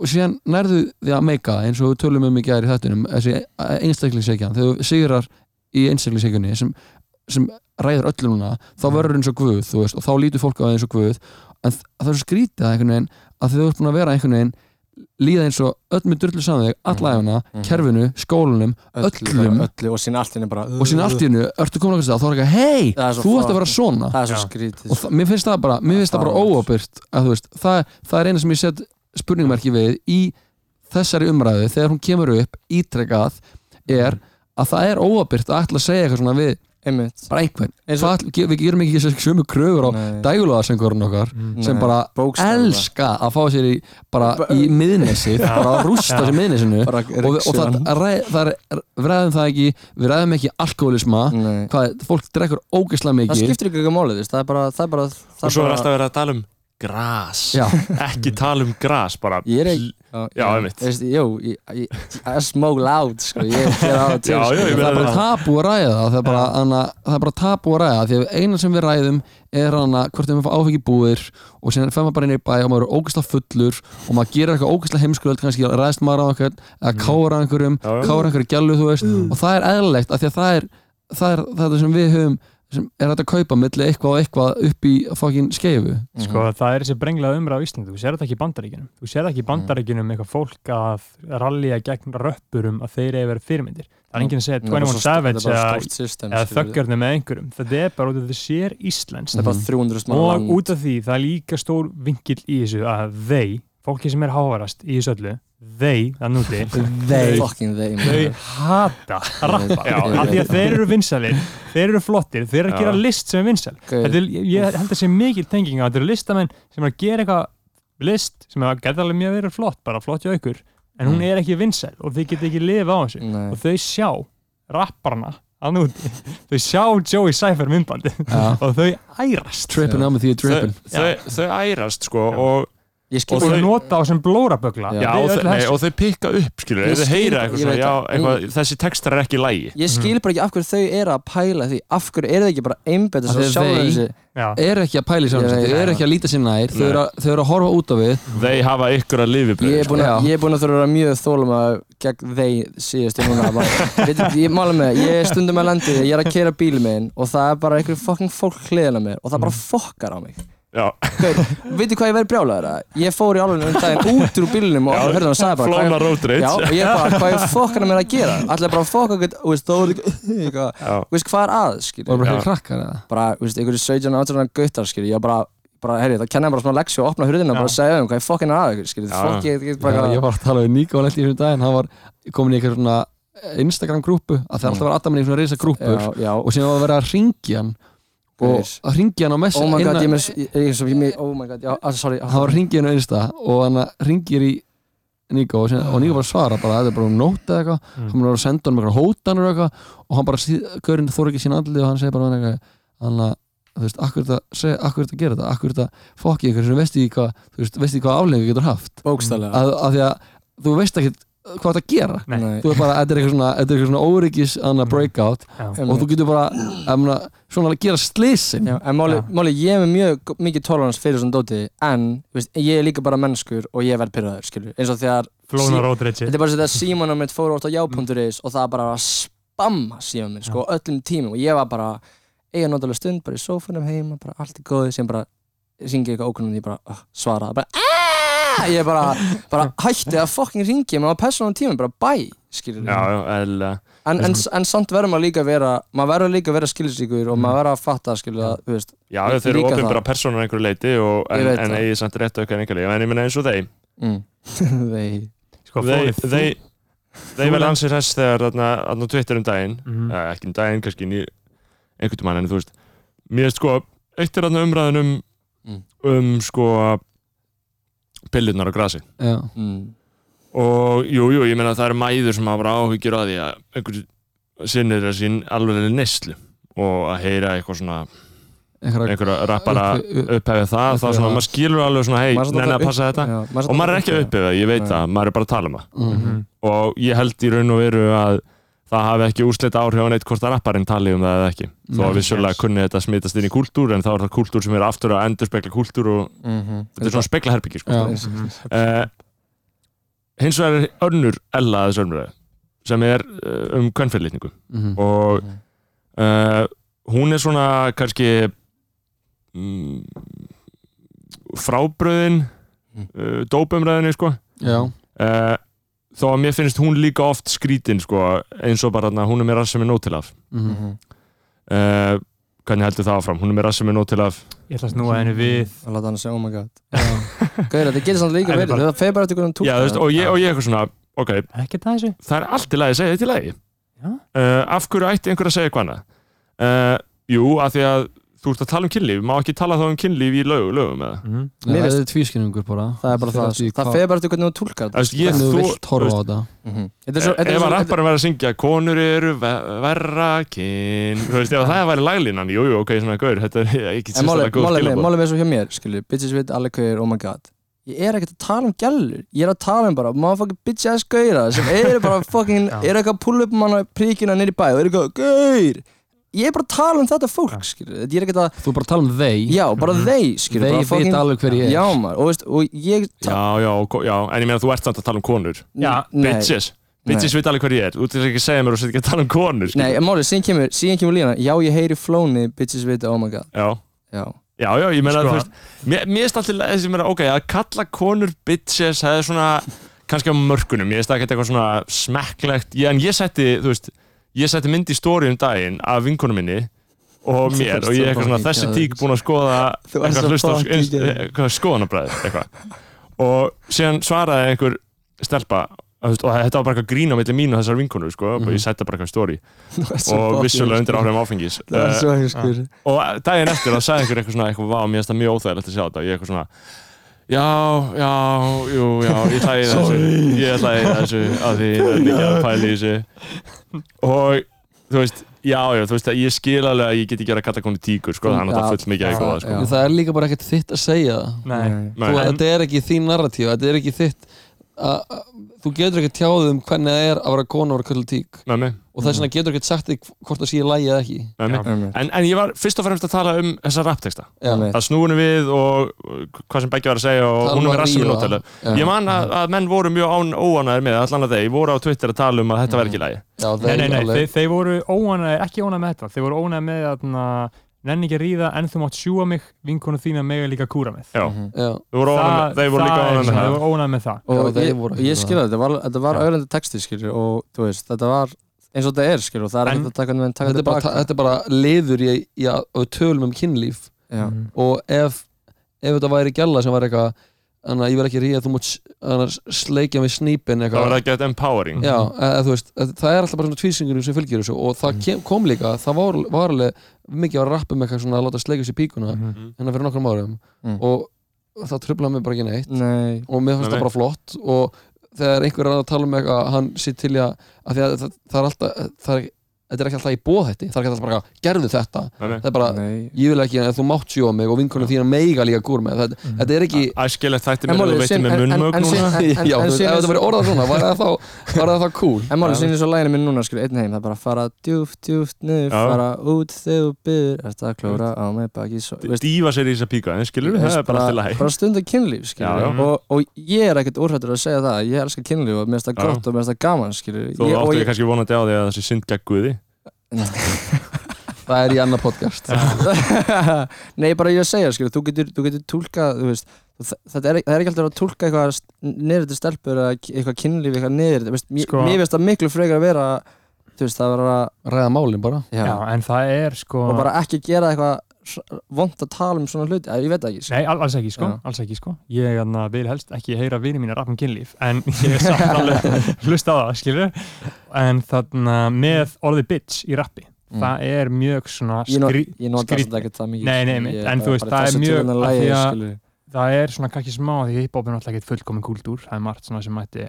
[SPEAKER 7] og síðan nærðu því að meika það, eins og við tölum um í gæri þettunum þessi einstaklingsegjan, þegar þú sigrar í einstaklingsegjanni sem, sem ræður öllu núna, þá
[SPEAKER 8] Mhm.
[SPEAKER 7] verður eins og guð þú veist, og þá lítur fólk á það eins og guð en þ- það er svo skrítið að einhvern veginn að þegar þú ert búin að vera einhvern veginn líða eins og öll með drullu saman þig, alla efna
[SPEAKER 8] Mhm.
[SPEAKER 7] kerfinu, skólanum, öllum.
[SPEAKER 8] bara öllu, og sína allt henni bara
[SPEAKER 7] og síðan allt í hennu, ertu komin okkur stað, þá er ekki, hei,
[SPEAKER 8] Það er svo
[SPEAKER 7] þú ert að vera
[SPEAKER 8] fáránlegt.
[SPEAKER 7] svona
[SPEAKER 8] uh, það er svo
[SPEAKER 2] Já.
[SPEAKER 8] skrítið
[SPEAKER 7] og það, mér finnst það bara, mér finnst það bara
[SPEAKER 8] Fáránlegt.
[SPEAKER 7] óopyrt að þú veist, það, það er eina sem ég set spurningmerki við í þessari umræðu þegar hún kemur upp ítrekað er að það er óopyrt að ætla að segja eitthvað svona við
[SPEAKER 8] einmitt
[SPEAKER 7] bara einhvern,
[SPEAKER 8] Eins
[SPEAKER 7] það,
[SPEAKER 8] og-
[SPEAKER 7] ætl- við gerum ekki þessi sömu kröfur á
[SPEAKER 8] Nei. Mm.
[SPEAKER 7] dæguloðasengurinn okkar sem
[SPEAKER 8] Nei,
[SPEAKER 7] bara
[SPEAKER 8] bókstaflega.
[SPEAKER 7] elska að fá sér í bara
[SPEAKER 8] Bara-
[SPEAKER 7] í miðnesi bara að rústa sér miðnesinu
[SPEAKER 8] Bara
[SPEAKER 7] og, við- og það,
[SPEAKER 8] ryksugan.
[SPEAKER 7] ræ, það er, við ræðum það ekki við ræðum ekki alkoholisma
[SPEAKER 8] Nei.
[SPEAKER 7] hvað, fólk drekkur ógeðslega
[SPEAKER 8] það
[SPEAKER 7] mikið
[SPEAKER 8] skiptir ekki ekki máli þú veist, það er bara það er bara það
[SPEAKER 1] og svo er
[SPEAKER 8] bara-
[SPEAKER 1] alltaf verið að tala um gras
[SPEAKER 7] Já.
[SPEAKER 1] ekki tala um gras bara
[SPEAKER 8] Ég er
[SPEAKER 1] pl-
[SPEAKER 8] ekki
[SPEAKER 1] Já, einmitt.
[SPEAKER 8] Þú veist, Jú, ég- ég- I smoke loud sko, ég er á það til
[SPEAKER 1] Já,
[SPEAKER 8] sko.
[SPEAKER 1] já, ég
[SPEAKER 7] það er bara
[SPEAKER 1] Já.
[SPEAKER 7] tabu að ræða það, það er bara, anna, það er bara tabu að ræða því að eina sem við ræðum er hana hvort við fá áfengi búðir og síðan fer maður bara inn í bæ og maður er ógeðslega fullur og maður gerir eitthvað ógeðslega heimskulöld kannski ræðst maður á einhvern eða kára
[SPEAKER 1] Mm.
[SPEAKER 7] einhverjum,
[SPEAKER 1] Já, já.
[SPEAKER 7] kára einhverju gælu þú veist
[SPEAKER 8] Mm.
[SPEAKER 7] og það er eðlilegt af því að það er það er það sem við höfum sem er hægt að kaupa milli eitthvað og eitthvað upp í fokkin skeifu
[SPEAKER 2] Sko,
[SPEAKER 8] Mhm.
[SPEAKER 2] það er þessi brenglega umræð á Íslandi, þú sér þetta ekki í bandaríkinum þú sér þetta ekki í bandaríkinum eitthvað fólk að rallja gegn röppurum að þeir eigi verið fyrirmyndir,
[SPEAKER 8] Mhm.
[SPEAKER 2] það er enginn að segja 21 Savage eða, eða þöggjörnum með einhverjum, þetta er bara út af því að þetta sér Íslands
[SPEAKER 8] það Mhm. er bara
[SPEAKER 7] Mm.
[SPEAKER 8] 300 manna
[SPEAKER 2] og
[SPEAKER 8] land.
[SPEAKER 2] út af því það er líka stór vingill í þessu að þeir, fólki sem er hávarast í þessu öllu, þeir, það núti
[SPEAKER 8] Þeir Fucking sko. þeir maður.
[SPEAKER 2] þau hata að rappa
[SPEAKER 8] Já.
[SPEAKER 2] af því að þeir eru vinsalir, þeir eru flottir þeir eru að
[SPEAKER 1] Já.
[SPEAKER 2] gera list sem er vinsal
[SPEAKER 8] Gauð.
[SPEAKER 2] Þetta er, ég- ég held að sé mikil tenging að þetta eru listamenn sem er að gera eitthvað list sem er að geta alveg mjög verið flott bara flott hjá ykkur, en hún
[SPEAKER 8] Mm.
[SPEAKER 2] er ekki vinsæl og þið geta ekki lifa á þessu
[SPEAKER 8] Nei.
[SPEAKER 2] og þau sjá rapparna að núti, þau sjá Joey Cypher myndbandi
[SPEAKER 7] ja.
[SPEAKER 2] og þau ærast
[SPEAKER 7] trippin á með því að
[SPEAKER 1] þau,
[SPEAKER 7] trippin
[SPEAKER 1] þau, þau ærast sko og,
[SPEAKER 2] og
[SPEAKER 8] Ég skil
[SPEAKER 2] þau
[SPEAKER 1] þau-
[SPEAKER 2] nota á sem blórabögla
[SPEAKER 1] já, og, þau, nei, og þau pikka upp skilur við,
[SPEAKER 8] Ég
[SPEAKER 1] þau
[SPEAKER 8] skil-
[SPEAKER 1] heyra eitthvað
[SPEAKER 8] ég
[SPEAKER 1] svona
[SPEAKER 8] veit
[SPEAKER 1] já,
[SPEAKER 8] það.
[SPEAKER 1] eitthvað, þessi textar er ekki í lægi
[SPEAKER 8] Ég skil bara ekki af hverju þau eru að pæla því Af hverju eru þau ekki bara einbetta
[SPEAKER 7] Af
[SPEAKER 8] sér
[SPEAKER 7] því að
[SPEAKER 8] sjálf
[SPEAKER 7] þeir-
[SPEAKER 8] þessi
[SPEAKER 2] Já.
[SPEAKER 7] er ekki að pæli
[SPEAKER 8] Ég
[SPEAKER 7] saman
[SPEAKER 8] veit
[SPEAKER 7] þau eru
[SPEAKER 8] það.
[SPEAKER 7] ekki að líta sér nær þau
[SPEAKER 1] Nei.
[SPEAKER 7] eru, að- þau eru að horfa út á við
[SPEAKER 1] þeir hafa ykkur að sko. lifi
[SPEAKER 8] Ég er búinn
[SPEAKER 7] Já.
[SPEAKER 8] að- ég er búinn að þurfa að vera mjög þólum að gegn þeir síðast ég núna bara, veit, ég mála með, það, ég er stundum að landi ég er að kera bíl minn og það er bara einhver fucking fólk hliðina á mér og það bara fokkar á mig
[SPEAKER 1] já,
[SPEAKER 8] Gaur, veitu hvað ég verið brjálæður að ég fór í alveg um daginn út úr bílunum og
[SPEAKER 1] Já,
[SPEAKER 8] hörðu hann að sagði bara
[SPEAKER 1] flóna
[SPEAKER 8] hvað-
[SPEAKER 1] road rage.
[SPEAKER 8] Já, og ég bara, hvað er fokkan að mér að gera allir bara að fokka eitthvað, þú veist, þá er eitthvað
[SPEAKER 1] já,
[SPEAKER 8] þú veist, hvað er að,
[SPEAKER 7] og
[SPEAKER 8] skilju
[SPEAKER 7] bara
[SPEAKER 1] Já.
[SPEAKER 7] hefur krakkar eða
[SPEAKER 8] bara, þú veist, einhverju 17, 18 ára gauttar, skilju ég bara, bara, herri, það kenna ég bara svona leksi og opna hurðina og bara
[SPEAKER 2] Já.
[SPEAKER 8] segja um hvað ég fokkan er að, ykkur, skilju
[SPEAKER 1] Já.
[SPEAKER 8] fokk ég, ég
[SPEAKER 7] Já,
[SPEAKER 8] bara,
[SPEAKER 7] ég var að tala við Níko Lendi í þessum daginn, hann var komin í eitthvað svona eh, Instagram grúpu, að það er alltaf var Adam í svona reysa grúpur
[SPEAKER 8] já, já
[SPEAKER 7] og síðan var að vera að ringja hann og
[SPEAKER 8] Gaur.
[SPEAKER 7] að ringja hann á messi
[SPEAKER 8] oh my god, ég er með, ég ég er svo, ég er með, oh my god, já, ah, sorry
[SPEAKER 7] hann var að ringja hann á Insta og hann ringir í Níko og, síðan, og Níko bara svara bara, þetta er bara um nót eða eitthvað
[SPEAKER 2] Mm.
[SPEAKER 7] hann var að senda hann með eitthvað hótanur og eitthvað og hann bara, síð- gaurinn þór ekki sín andlið og hann segir bara við hann eitthvað, hann að þú veist, akkur þetta, seg, akkur þetta gera þetta akkur þetta fokki ykkur sem veist ekki hvað þú veist, veist ekki hvað aflengu getur haft
[SPEAKER 8] bókstælega
[SPEAKER 7] að, að því að þú veist ekki hvað þetta gera
[SPEAKER 2] Nei.
[SPEAKER 7] þú er bara, þetta er eitthvað svona, þetta er eitthvað svona óryggis annað
[SPEAKER 8] Mm.
[SPEAKER 7] breakout
[SPEAKER 2] Já.
[SPEAKER 7] og þú getur bara, ég meina, svona að gera slisin
[SPEAKER 8] Já, en máli,
[SPEAKER 2] Já.
[SPEAKER 8] máli, ég er með mjög g- mikið tolerans fyrir svona dóti en þú veist, ég er líka bara mennskur og ég verð pyrraður skilur, eins og þegar
[SPEAKER 2] flóna
[SPEAKER 8] Sí-
[SPEAKER 2] rótreitsi
[SPEAKER 8] þetta er bara svo þegar símanum mitt fór út á já.is og það bara að spamma símanum minn sko, á öllum tímum og ég var bara eiga notalega stund, bara í sófanum heima bara allt er góðið, sem bara ringi eitthvað ókunnum, ég bara uh, svara bara, "Ah!" ég bara, bara hætti að fucking ringi, maður var persónum tímum bara bæ, skilur
[SPEAKER 1] já, já, eðlilega.
[SPEAKER 8] en, en, en samt verður maður líka að vera maður verður líka að vera skilsíkur og maður verður að fatta skilur að, þú veist
[SPEAKER 1] já,
[SPEAKER 8] Líka
[SPEAKER 1] þeir eru
[SPEAKER 8] það.
[SPEAKER 1] ofinbara persónur einhverju leiti og,
[SPEAKER 8] Ég
[SPEAKER 1] en,
[SPEAKER 8] veit
[SPEAKER 1] en
[SPEAKER 8] það.
[SPEAKER 1] eigi samt rétt á ykkur einhverju en ég meina eins og þeim
[SPEAKER 8] mm. Þeir-
[SPEAKER 2] sko,
[SPEAKER 1] þeir,
[SPEAKER 2] Flóni,
[SPEAKER 1] þeir, þeir
[SPEAKER 2] þú
[SPEAKER 1] verða
[SPEAKER 2] lend-
[SPEAKER 1] ansið þess þegar þarna, þarna Twitter um daginn
[SPEAKER 2] Mhm.
[SPEAKER 1] eh, ekki um daginn, kannski ný, einhvern mann en þú veist, mér veist sko eitt er þarna umræðin um
[SPEAKER 8] Mm.
[SPEAKER 1] um sko pillunar á grasi
[SPEAKER 7] já,
[SPEAKER 8] mm.
[SPEAKER 1] og jú, jú, ég meina það eru mæður sem hafa bara áhyggjur að því að einhverju sinnir að sín alveg neyslu og að heyra eitthvað svona
[SPEAKER 7] einhverja
[SPEAKER 1] einhverja rappara
[SPEAKER 7] Uppi- upp-
[SPEAKER 1] upphefið það, þá
[SPEAKER 7] upphefið
[SPEAKER 1] svona,
[SPEAKER 7] það.
[SPEAKER 1] maður skilur alveg svona, hei,
[SPEAKER 8] Maður er samt
[SPEAKER 1] neina
[SPEAKER 8] alltaf
[SPEAKER 1] að passa þetta
[SPEAKER 8] Já,
[SPEAKER 1] og maður er ekki að upphefið, ég veit
[SPEAKER 8] Nei.
[SPEAKER 1] það, maður er bara að tala um það
[SPEAKER 7] Mhm.
[SPEAKER 1] og ég held í raun og veru að það hafi ekki úrslita áhrif á neitt hvort að rapparinn tali um það eða ekki þó
[SPEAKER 7] Nei,
[SPEAKER 1] að vissulega kunni þetta smitast inn í kúltúr en þá er það kúltúr sem er aftur að endurspegla kúltúr og
[SPEAKER 8] Mhm.
[SPEAKER 1] þetta er svona speklaherbyggi sko.
[SPEAKER 7] Já.
[SPEAKER 1] uh, hins vegar er önnur ella þessu önnur sem er uh, um kvennfyrirlitningu
[SPEAKER 7] Mhm.
[SPEAKER 1] og
[SPEAKER 8] Mhm.
[SPEAKER 1] uh, hún er svona kannski mm, frábröðin
[SPEAKER 8] Mhm.
[SPEAKER 1] uh, dópumræðinni sko
[SPEAKER 7] Já,
[SPEAKER 1] uh, þó að mér finnst hún líka oft skrítin sko eins og bara hana, hún er með rass sem er nóg til af
[SPEAKER 7] mhm.
[SPEAKER 1] uh, hvernig heldur það áfram, hún er með rass sem er nóg til af
[SPEAKER 2] Ég ætla að snúa henni við
[SPEAKER 8] að láta hann segja, oh my god Gauðir, þetta getur samt líka
[SPEAKER 2] En
[SPEAKER 8] verið,
[SPEAKER 2] bara-
[SPEAKER 8] það feir bara eftir hvernig
[SPEAKER 1] já, þú veist, og, ég, og ég eitthvað svona ok,
[SPEAKER 2] Ekki það þessu
[SPEAKER 1] það er allt í lagi að segja þetta í lagi
[SPEAKER 2] Já.
[SPEAKER 1] uh, af hverju ætti einhver að segja eitthvað annað uh, jú, af því að þú ert að tala um kynlíf, má ekki tala þá um kynlíf í lög, lögum eða
[SPEAKER 2] mm.
[SPEAKER 7] Nei,
[SPEAKER 8] Mér
[SPEAKER 7] það
[SPEAKER 8] veist-
[SPEAKER 7] er tvískinningur bara
[SPEAKER 8] Það er bara það, sko. það feir bara eftir hvernig þú tólkar
[SPEAKER 1] Þú veist, ég-
[SPEAKER 7] Hvernig þú
[SPEAKER 1] þú-
[SPEAKER 7] vilt horfa á þetta
[SPEAKER 8] Mhm. Þetta er svo- þetta er
[SPEAKER 1] ef að
[SPEAKER 8] svo- þetta-
[SPEAKER 1] rapparinn verður að syngja konur eru ve- verra kyn þú veist, ef það væri laglínan, jú, jú, ok, svona gaur þetta er ekki
[SPEAKER 8] En
[SPEAKER 1] sérstaklega góð
[SPEAKER 8] málið
[SPEAKER 1] skilabóð
[SPEAKER 8] með svo hjá mér, skilju, bitches vit allir gauðir, oh my god Ég er ekkert að tala um gælur, ég er að tala um bara motherfucking bitch ass gauðra sem eru bara fucking,
[SPEAKER 2] Já.
[SPEAKER 8] eru eitthvað að pull up manna príkina nýri bæ og eru eitthvað, gauður Ég er bara að tala um þetta fólk, skilju, þetta ég er ekkert að,
[SPEAKER 7] Þú bara tala um þeir
[SPEAKER 8] já, bara þeir, skilju
[SPEAKER 7] Þeir
[SPEAKER 8] bara fucking-
[SPEAKER 7] veit alveg hver ég er
[SPEAKER 8] Já, maður, og veist, og ég
[SPEAKER 1] já, já, ko- já, en ég meina þú ert samt að tala um konur
[SPEAKER 2] Já,
[SPEAKER 8] Nei.
[SPEAKER 1] bitches, bitches veit alveg hver ég er þú ert ekki að segja mér og setja ekki að tala um konur skilur.
[SPEAKER 8] Nei, en málið, síðan kemur, síðan kemur lína Já, ég heyri flóni, bitches vita, oh my god
[SPEAKER 1] já,
[SPEAKER 8] Já,
[SPEAKER 1] já, já, ég meina þú
[SPEAKER 2] Sko.
[SPEAKER 1] veist, mér, mér er alltaf leið sem er ok, að kalla konur bitches það er svona, kannski á mörkunum ég veist ekki eitthvað svona smekklegt ég, en ég setti, þú veist, ég setti mynd í stóri um daginn af vinkunum minni og mér, og ég er eitthvað svona þessi tík búin að skoða
[SPEAKER 8] Þú ert
[SPEAKER 1] eitthvað
[SPEAKER 8] svo
[SPEAKER 1] hlusta á
[SPEAKER 8] fucking
[SPEAKER 1] inst-
[SPEAKER 8] geðveik.
[SPEAKER 1] eitthvað skoðanabræður, eitthvað og síðan svaraði einhver stelpa þú veist, og þetta var bara eitthvað grín á milli mín og þessar vinkunur, sko, og ég setti bara eitthvað stóri
[SPEAKER 8] þú ert Mhm. svo
[SPEAKER 1] og
[SPEAKER 8] fucking-
[SPEAKER 1] vissulega undir áhrifum áfengis
[SPEAKER 8] Það er
[SPEAKER 1] Eh,
[SPEAKER 8] svo heimskur
[SPEAKER 7] Ah,
[SPEAKER 1] og daginn eftir þá sagði einhver eitthvað svona eitthvað, vá, mér finnst það mjög óþægilegt að sjá þetta og ég eitthvað svona já, já, jú, já, ég ætla í þessu ég ætla í þessu að því það er mikið að pæla í þessu og þú veist, já, já, þú veist að ég skil alveg að ég get ekki verið að kalla konu tíkur sko, það er
[SPEAKER 8] Já,
[SPEAKER 1] náttúrulega full mikið að
[SPEAKER 8] já,
[SPEAKER 1] eitthvað sko.
[SPEAKER 8] já.
[SPEAKER 7] Það er líka bara ekkert þitt að segja það
[SPEAKER 2] Nei,
[SPEAKER 1] Nei.
[SPEAKER 7] Þú, Þetta er ekki þín narratíf, þetta er ekki þitt a- a- Þú getur ekki tjáð um hvernig það er að vera kona og vera köllu tík
[SPEAKER 1] með mig,
[SPEAKER 7] og þess vegna getur ekki sagt þig hvort það sé í lægi eða ekki
[SPEAKER 1] með mig.
[SPEAKER 8] Einmitt.
[SPEAKER 1] En, en ég var fyrst og fremst að tala um þessa rappteksta
[SPEAKER 7] Já,
[SPEAKER 8] Einmitt.
[SPEAKER 1] að snúinu við og uh, hvað sem Beggi var að segja og
[SPEAKER 7] Tala
[SPEAKER 1] hún
[SPEAKER 7] um
[SPEAKER 1] er
[SPEAKER 7] að
[SPEAKER 1] rassum í
[SPEAKER 7] ríða.
[SPEAKER 1] nótælu
[SPEAKER 7] Já.
[SPEAKER 1] ég man að, að menn voru mjög án, óanæður með allan að þeir voru á Twitter að tala um að
[SPEAKER 7] Mm.
[SPEAKER 1] þetta verð ekki í lagi
[SPEAKER 7] já
[SPEAKER 2] nei, nei, nei. Þeir, þeir voru óanæði, ekki óanæði með þetta Þeir voru óanæði með þarna Nenni ekki að ríða en þú mátt sjúa mig vinkonu þína mega líka kúra með
[SPEAKER 1] Já.
[SPEAKER 8] Mhm.
[SPEAKER 7] Já,
[SPEAKER 1] Þau voru
[SPEAKER 2] Það-
[SPEAKER 1] ánægð, þeir voru líka
[SPEAKER 2] það er
[SPEAKER 1] ánægð með
[SPEAKER 2] svona, Þeir
[SPEAKER 1] það.
[SPEAKER 2] voru óanæði með það
[SPEAKER 8] og
[SPEAKER 7] Já, þeir
[SPEAKER 8] ég,
[SPEAKER 7] voru
[SPEAKER 8] og
[SPEAKER 7] ekki
[SPEAKER 8] ég
[SPEAKER 7] það.
[SPEAKER 8] skilja þetta, var- þetta var
[SPEAKER 2] Já.
[SPEAKER 8] öðrandi texti skilju og þú veist, þetta var eins og þetta er skilju og það er
[SPEAKER 2] En-
[SPEAKER 8] ekkert að taka þetta taka
[SPEAKER 7] þetta, er bara,
[SPEAKER 8] tilbaka
[SPEAKER 7] þetta er bara liður í, í að að við tölum um kynlíf
[SPEAKER 8] Já.
[SPEAKER 2] Mhm.
[SPEAKER 7] og ef, ef þetta væri gælla sem var eitthvað þannig að ég verð ekki ríða þú mátt s- annars sleikja mig snípin
[SPEAKER 1] Það var
[SPEAKER 7] eitthvað
[SPEAKER 1] ekki þetta empowering.
[SPEAKER 7] Já, eða, þú veist, eða, það er alltaf bara svona tvísingunum sem fylgir þessu og það kem, kom líka, það var, var alveg mikið að rappa með eitthvað svona að láta sleika sér píkuna
[SPEAKER 2] Mhm.
[SPEAKER 7] hérna fyrir nokkrum árum
[SPEAKER 8] Mm.
[SPEAKER 7] og það tröflaði mig bara ekki neitt
[SPEAKER 8] Nei,
[SPEAKER 7] og mér finnst
[SPEAKER 1] Nei,
[SPEAKER 7] það
[SPEAKER 1] nei.
[SPEAKER 7] bara flott og þegar einhver er að tala um eitthvað að hann sitt til í að, að, því að það, það er alltaf það er, þetta er ekki alltaf í bóðhætti það er ekki alltaf bara eitthvað, gerðu þetta
[SPEAKER 1] Nei, nei.
[SPEAKER 7] það er bara,
[SPEAKER 8] nei
[SPEAKER 7] ég vil ekki en þú mátt sjóa mig og vinkunum þína meiga líka gúr með þetta,
[SPEAKER 1] Mhm.
[SPEAKER 7] þetta er ekki
[SPEAKER 1] Æskilegt þætti
[SPEAKER 8] En
[SPEAKER 1] mér að
[SPEAKER 8] málið
[SPEAKER 1] þú
[SPEAKER 8] er
[SPEAKER 1] veitir
[SPEAKER 8] sem-
[SPEAKER 1] með
[SPEAKER 8] en- en-
[SPEAKER 1] munnmögn
[SPEAKER 8] en
[SPEAKER 1] núna.
[SPEAKER 8] sem- en- en-
[SPEAKER 7] já,
[SPEAKER 8] en
[SPEAKER 7] þú veist, ef
[SPEAKER 8] síðan er
[SPEAKER 7] þetta
[SPEAKER 8] svo-
[SPEAKER 7] verið orðað svona, var það þá, var það þá cool
[SPEAKER 8] En málið
[SPEAKER 7] Já.
[SPEAKER 8] sýnir svo læginu minn núna skilju, einn heim, það er bara að fara djúft, djúft niður,
[SPEAKER 1] Já.
[SPEAKER 8] fara út þegar þú byrður, eftir að klóra á mig baki svo, veist,
[SPEAKER 1] Dífa sér í þessa píka, en skilur við,
[SPEAKER 8] Veist,
[SPEAKER 1] það er bara alltaf læg.
[SPEAKER 8] bara stunda kynlíf skilur,
[SPEAKER 1] Já,
[SPEAKER 2] já.
[SPEAKER 8] Og, og ég er ekkert úrhættur að segja það ég elskar kynlíf og mér finnst það
[SPEAKER 1] Já.
[SPEAKER 8] gott og mér finnst það gaman skilur,
[SPEAKER 1] Þú
[SPEAKER 8] ég,
[SPEAKER 1] áttu
[SPEAKER 8] og
[SPEAKER 1] ég kannski vonandi á því að þessi synd gegn Guði.
[SPEAKER 7] það er í annað podcast
[SPEAKER 8] Nei, bara ég að segja, skilur, þú getur, þú getur túlkað, þú veist, þ- þetta er, það er ekki alltaf að túlka eitthvað niður til stelpur eða k- eitthvað kynlíf, eitthvað niður, þú veist,
[SPEAKER 2] Sko-
[SPEAKER 8] sko, mér finnst það miklu frekar að vera, þú veist, það var að,
[SPEAKER 7] ræða málin bara
[SPEAKER 8] já,
[SPEAKER 2] Já, en það er sko
[SPEAKER 8] og bara ekki gera eitthvað vond að tala um svona hluti, að, ég veit það ekki, sko.
[SPEAKER 2] Nei, al- alls ekki sko,
[SPEAKER 8] Já.
[SPEAKER 2] alls ekki sko Ég anna, vil helst ekki heyra vini mín að rappa um kynlíf En ég er samt alveg hlusta á það, skilur En þarna með orðið bitch í rappi Það er mjög svona
[SPEAKER 8] Mm. Ég, no,
[SPEAKER 2] skrí...
[SPEAKER 8] ég nota
[SPEAKER 2] skrít-
[SPEAKER 8] þetta ekki það mikið
[SPEAKER 2] Nei, nei,
[SPEAKER 8] sko,
[SPEAKER 2] nei,
[SPEAKER 8] ég-
[SPEAKER 2] en þú
[SPEAKER 8] bara
[SPEAKER 2] veist, það er
[SPEAKER 8] þessi
[SPEAKER 2] mjög-
[SPEAKER 8] tölunar
[SPEAKER 2] af
[SPEAKER 8] lagi,
[SPEAKER 2] því að-
[SPEAKER 8] skilur.
[SPEAKER 2] Það er svona kannski smá Því hiphop er náttúrulega ekkert fullkomin kúltúr Það er margt svona sem mætti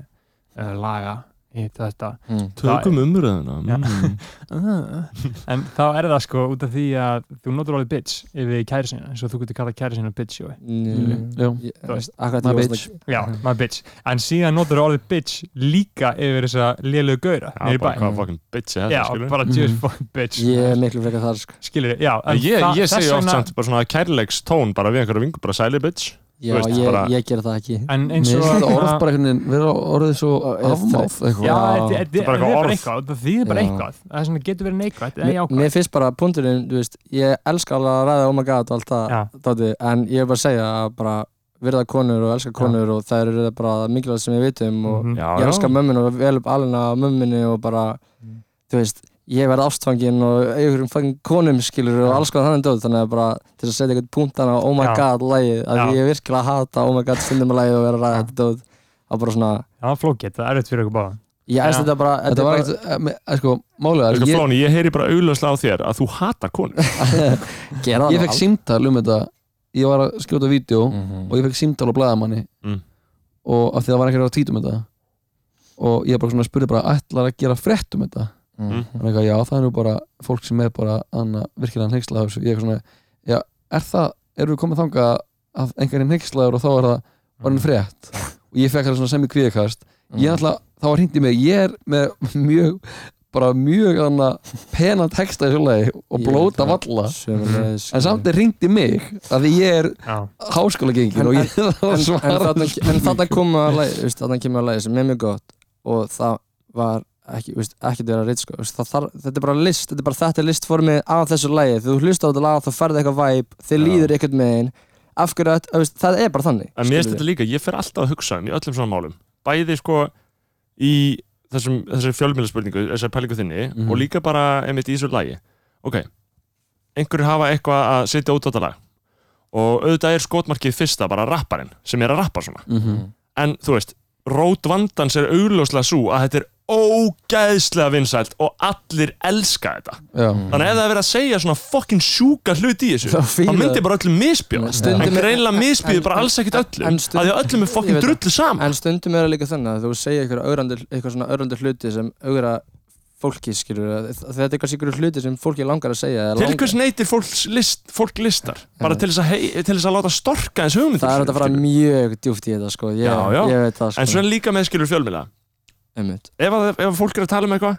[SPEAKER 2] uh, laga hitt og þetta
[SPEAKER 1] Tökum umröðuna
[SPEAKER 2] Já.
[SPEAKER 1] mm.
[SPEAKER 2] en þá er það sko út af því að þú notur alveg bitch yfir kæri sinna eins og þú getur kallað kæri sinna bitch Jói.
[SPEAKER 7] Mm, Já.
[SPEAKER 2] Þú veist.
[SPEAKER 8] Akkurat
[SPEAKER 7] My
[SPEAKER 8] Mm. ég var
[SPEAKER 7] bitch.
[SPEAKER 8] svona-
[SPEAKER 2] já,
[SPEAKER 1] Mhm.
[SPEAKER 2] maður bitch, en síðan notur alveg bitch líka yfir þessa lélögu gauðra
[SPEAKER 1] Já,
[SPEAKER 2] nýri bæ
[SPEAKER 1] bara hvað fucking bitch er
[SPEAKER 2] já,
[SPEAKER 1] þetta, skilur
[SPEAKER 2] bara just
[SPEAKER 7] Mhm.
[SPEAKER 2] fucking bitch
[SPEAKER 8] Ég er miklu frekar þar sko
[SPEAKER 2] skilur þið, já en
[SPEAKER 1] Ég,
[SPEAKER 2] það-
[SPEAKER 1] ég
[SPEAKER 2] þess
[SPEAKER 1] segi oft
[SPEAKER 2] vegna-
[SPEAKER 1] samt bara svona kærleiks tón bara við einhverja vingur, bara sæli bitch
[SPEAKER 8] Já,
[SPEAKER 1] veist,
[SPEAKER 8] ég,
[SPEAKER 1] bara-
[SPEAKER 8] ég ger það ekki
[SPEAKER 2] en
[SPEAKER 7] Mér
[SPEAKER 2] eins og
[SPEAKER 7] finnst
[SPEAKER 2] hérna-
[SPEAKER 7] þetta orð bara einhvern veginn vera orðið svo
[SPEAKER 8] Og-
[SPEAKER 7] afmáð
[SPEAKER 2] Já, þetta
[SPEAKER 7] eitthvað.
[SPEAKER 1] er
[SPEAKER 2] þetta-
[SPEAKER 1] bara
[SPEAKER 2] þetta
[SPEAKER 1] eitthvað
[SPEAKER 2] er bara
[SPEAKER 1] orð.
[SPEAKER 2] eitthvað, það þýðir bara
[SPEAKER 8] Já.
[SPEAKER 2] eitthvað það er svona getur verið neikvægt eða
[SPEAKER 8] Mér-
[SPEAKER 2] jákvægt
[SPEAKER 8] Mér finnst bara punkturinn, þú veist Ég elska alveg að ræða oh my god og allt það
[SPEAKER 2] Já.
[SPEAKER 8] dótið, En ég er bara að segja að bara virða konur og elska konur og það eru bara mikilvægt sem ég veit um og
[SPEAKER 2] Mhm.
[SPEAKER 1] Já,
[SPEAKER 8] ég elska mömminu og vel upp alina á mömminu og bara, þú veist ég verð ástfangin og einhverjum fangin konum skilur og
[SPEAKER 2] Já.
[SPEAKER 8] alls konar þannig dót þannig að bara til að setja eitthvað punktan á oh my
[SPEAKER 2] Já.
[SPEAKER 8] god lægið, að
[SPEAKER 2] Já.
[SPEAKER 8] ég virkilega hata oh my god stundum að lægið og vera að ræða
[SPEAKER 2] Já.
[SPEAKER 8] þetta dót að bara svona,
[SPEAKER 2] Já, það er flókitt, það er erfitt fyrir okkur báða
[SPEAKER 8] ég elst
[SPEAKER 2] Já.
[SPEAKER 8] þetta bara
[SPEAKER 7] Þetta var
[SPEAKER 8] bara-
[SPEAKER 7] ekkert, eh, me- eh, sko, málega
[SPEAKER 1] Sko,
[SPEAKER 7] ég,
[SPEAKER 1] Flóni, ég heyri bara auglöslega á þér að þú hata konu
[SPEAKER 8] gera það
[SPEAKER 7] ég fekk símtal um þetta ég var að skjóta vídeo og
[SPEAKER 8] sín
[SPEAKER 7] ég fekk símtal á blaðamanni
[SPEAKER 1] Mm.
[SPEAKER 7] og af því það var ekkert að títum þetta og ég bara svona spurði bara ætlar að gera frétt um þetta hann eitthvað já það er nú bara fólk sem er bara annað virkilega hneykslað á þessu ég er svona já er það erum við komið þangað að einhverjum hneykslaður og þá er það
[SPEAKER 2] Mm.
[SPEAKER 7] orðin frétt og ég fekk það svona sem í kvíðakast ég alltaf þá var hindi mig ég er með mjög bara mjög annað pena texta í sjálflegi og
[SPEAKER 8] Ég
[SPEAKER 7] blóta
[SPEAKER 8] veit
[SPEAKER 7] valla
[SPEAKER 8] Sömulegis,
[SPEAKER 7] en samt er hringdi mig að því ég er
[SPEAKER 2] Já,
[SPEAKER 7] háskóla
[SPEAKER 8] En-
[SPEAKER 7] gengin og ég þarf að
[SPEAKER 8] en, en,
[SPEAKER 7] svara
[SPEAKER 8] þarna, en þarna koma að lægi, veist, þarna kemur að lægi sem er mjög gott og það var ekki, veist, ekki vera reitt sko, veist, það þarf, þetta er bara list, þetta er bara þetta er listformið af þessu lægi, þegar þú hlustar á þetta lag þá færði eitthvað væp, þið
[SPEAKER 1] Já.
[SPEAKER 8] líður eitthvað megin af hverju að, að veist, það er bara þannig
[SPEAKER 1] En mér finnst
[SPEAKER 8] skilurðu.
[SPEAKER 1] þetta líka, ég fer alltaf að hugsa um í öllum svona málum Bæði sko í þessum, þessari fjölmjölaspurningu, þessari pælingu þinni
[SPEAKER 7] Mhm.
[SPEAKER 1] Og líka bara einmitt í þessu lagi Ok, einhverju hafa eitthvað að setja út á þetta lag Og auðvitað er skotmarkið fyrsta bara rapparinn sem er að rappa svona
[SPEAKER 7] Mhm.
[SPEAKER 1] En þú veist, rót vandans er augljóslega svo að þetta er ógæðslega vinsælt og allir elska þetta
[SPEAKER 7] já,
[SPEAKER 1] Þannig að ef það er verið að segja svona fucking sjúka hlut í þessu
[SPEAKER 8] Það fíla-
[SPEAKER 1] þá myndi bara öllum misbjóðast
[SPEAKER 8] Stundum
[SPEAKER 1] en
[SPEAKER 8] er-
[SPEAKER 1] greinlega misbjóði
[SPEAKER 8] en-
[SPEAKER 1] bara alls ekkert
[SPEAKER 8] en-
[SPEAKER 1] öllum
[SPEAKER 8] en
[SPEAKER 1] en,
[SPEAKER 8] stund-
[SPEAKER 1] að því að öllum er
[SPEAKER 8] Ég
[SPEAKER 1] fucking
[SPEAKER 8] veit það.
[SPEAKER 1] drullu saman
[SPEAKER 8] en stundum er það líka þannig að þú segir eitthvað ögrandi, eitthvað svona ögrandi hluti sem augra fólki skilur þetta er kannski einhverju hluti sem fólki langar að segja eða
[SPEAKER 1] til
[SPEAKER 8] langar-
[SPEAKER 1] hvers neytir fólk, list, fólk listar bara til þess, að hei, til þess að láta storka eins hugmyndir
[SPEAKER 8] það er hægt að fara
[SPEAKER 1] skilur.
[SPEAKER 8] mjög djúpt í þetta sko, ég,
[SPEAKER 1] Já, já.
[SPEAKER 8] ég veit það sko.
[SPEAKER 1] en svona líka með skilur fjölmila
[SPEAKER 8] Einmitt.
[SPEAKER 1] ef, að, ef að fólk er að tala um eitthvað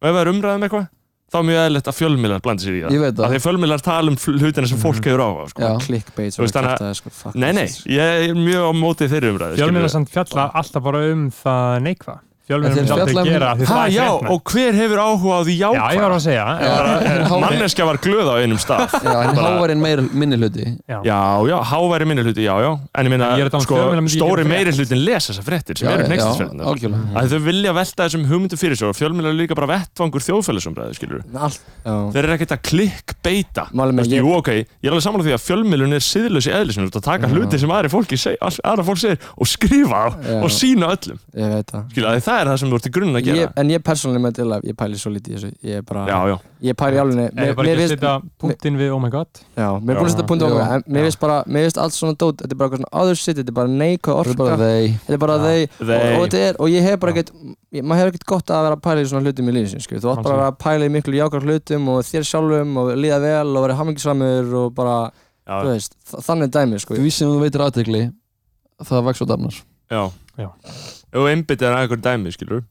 [SPEAKER 1] og ef það er umræðum eitthvað þá er mjög eðlilegt að fjölmilar blandi sér í það
[SPEAKER 7] ég veit
[SPEAKER 1] að
[SPEAKER 7] það
[SPEAKER 1] því fjölmilar tala um fl- hlutina sem
[SPEAKER 8] Mhm.
[SPEAKER 1] fólk hefur áhuga á, sko.
[SPEAKER 7] já,
[SPEAKER 8] clickbait
[SPEAKER 1] Þú veist,
[SPEAKER 8] svona
[SPEAKER 1] þannig að-
[SPEAKER 8] kjaftaði, sko, fuck
[SPEAKER 1] nei, nei,
[SPEAKER 8] this.
[SPEAKER 1] ég er mjög á móti þeirri umræðu skilur.
[SPEAKER 2] fjölmiðlar samt fjalla alltaf bara um það neikva
[SPEAKER 7] En
[SPEAKER 2] Fjölmiðlar
[SPEAKER 7] þeir
[SPEAKER 2] myndi aldrei
[SPEAKER 7] fjalla um-
[SPEAKER 2] gera af því
[SPEAKER 1] ha,
[SPEAKER 2] það er
[SPEAKER 1] já,
[SPEAKER 2] fréttnæmt.
[SPEAKER 1] og hver hefur áhuga á því
[SPEAKER 2] hérna. Já, ég
[SPEAKER 1] jákvæð
[SPEAKER 2] var að segja
[SPEAKER 7] Já.
[SPEAKER 2] já.
[SPEAKER 1] manneskja var glöð á einum stað
[SPEAKER 7] já, en hávarinn meir minni hluti
[SPEAKER 1] Já, já, háværi minni hluti, já, já En ég
[SPEAKER 2] En ég er að
[SPEAKER 1] meina,
[SPEAKER 2] tala um
[SPEAKER 1] sko,
[SPEAKER 2] fjölmiðla myndi ég
[SPEAKER 1] stóri
[SPEAKER 2] gera
[SPEAKER 1] meiri hlutin lesa þessar fréttir sem
[SPEAKER 7] Já,
[SPEAKER 1] eru
[SPEAKER 7] já,
[SPEAKER 1] nextisfréttina
[SPEAKER 7] algjörlega.
[SPEAKER 1] að þau vilja velta þessum hugmyndum fyrir sig og fjölmiðlar eru líka bara vettvangur þjóðfélagsumræðu, skilur
[SPEAKER 8] allt já.
[SPEAKER 1] Þeir eru ekkert að klikkbeita
[SPEAKER 8] Málið
[SPEAKER 1] Veistu,
[SPEAKER 8] með ég-
[SPEAKER 1] Jú, ok, ég er alveg sammála því að fjölmiðlun er siðlaus í eðli sinni, þú ert að taka
[SPEAKER 8] Já.
[SPEAKER 1] hluti sem aðri fólki seg, aðra fólk segir og skrifa á
[SPEAKER 8] Já.
[SPEAKER 1] og sína öllum
[SPEAKER 8] ég veit það
[SPEAKER 1] Skilur, að það er það sem þú ert í grunn að gera
[SPEAKER 8] ég, en ég persónulega með til að ég pæli svo lítið í þessu ég er bara,
[SPEAKER 1] Já, já,
[SPEAKER 8] ég pæli álunni
[SPEAKER 2] Ég er bara ekki að setja punktinn við oh my god
[SPEAKER 8] já, mér er búin að setja punkt
[SPEAKER 7] Já.
[SPEAKER 8] okkur en mér
[SPEAKER 2] Já.
[SPEAKER 8] veist bara, mér veist allt svona dót þetta er bara eitthvað svona other shit, þetta er bara neikvæð
[SPEAKER 7] það er bara
[SPEAKER 8] orka
[SPEAKER 7] þeir
[SPEAKER 8] þetta er bara
[SPEAKER 2] Já.
[SPEAKER 8] þeir og,
[SPEAKER 1] They.
[SPEAKER 8] og, þetta er, og ég hef bara ekkert ég- maður hefur ekkert gott að vera að pæla í svona hlutum í lífsins skilur. þú átt bara að pæla í miklu jákar hlutum og þér sjálfum og líða vel og vera hamingisamur og bara,
[SPEAKER 1] já,
[SPEAKER 8] þú veist, þa- þannig dæmi sko.
[SPEAKER 7] því sem þú veitir aðtegli það vex og dafnar
[SPEAKER 1] já.
[SPEAKER 2] Já.
[SPEAKER 1] Ef þú einbyttir að einhver dæmi, skilur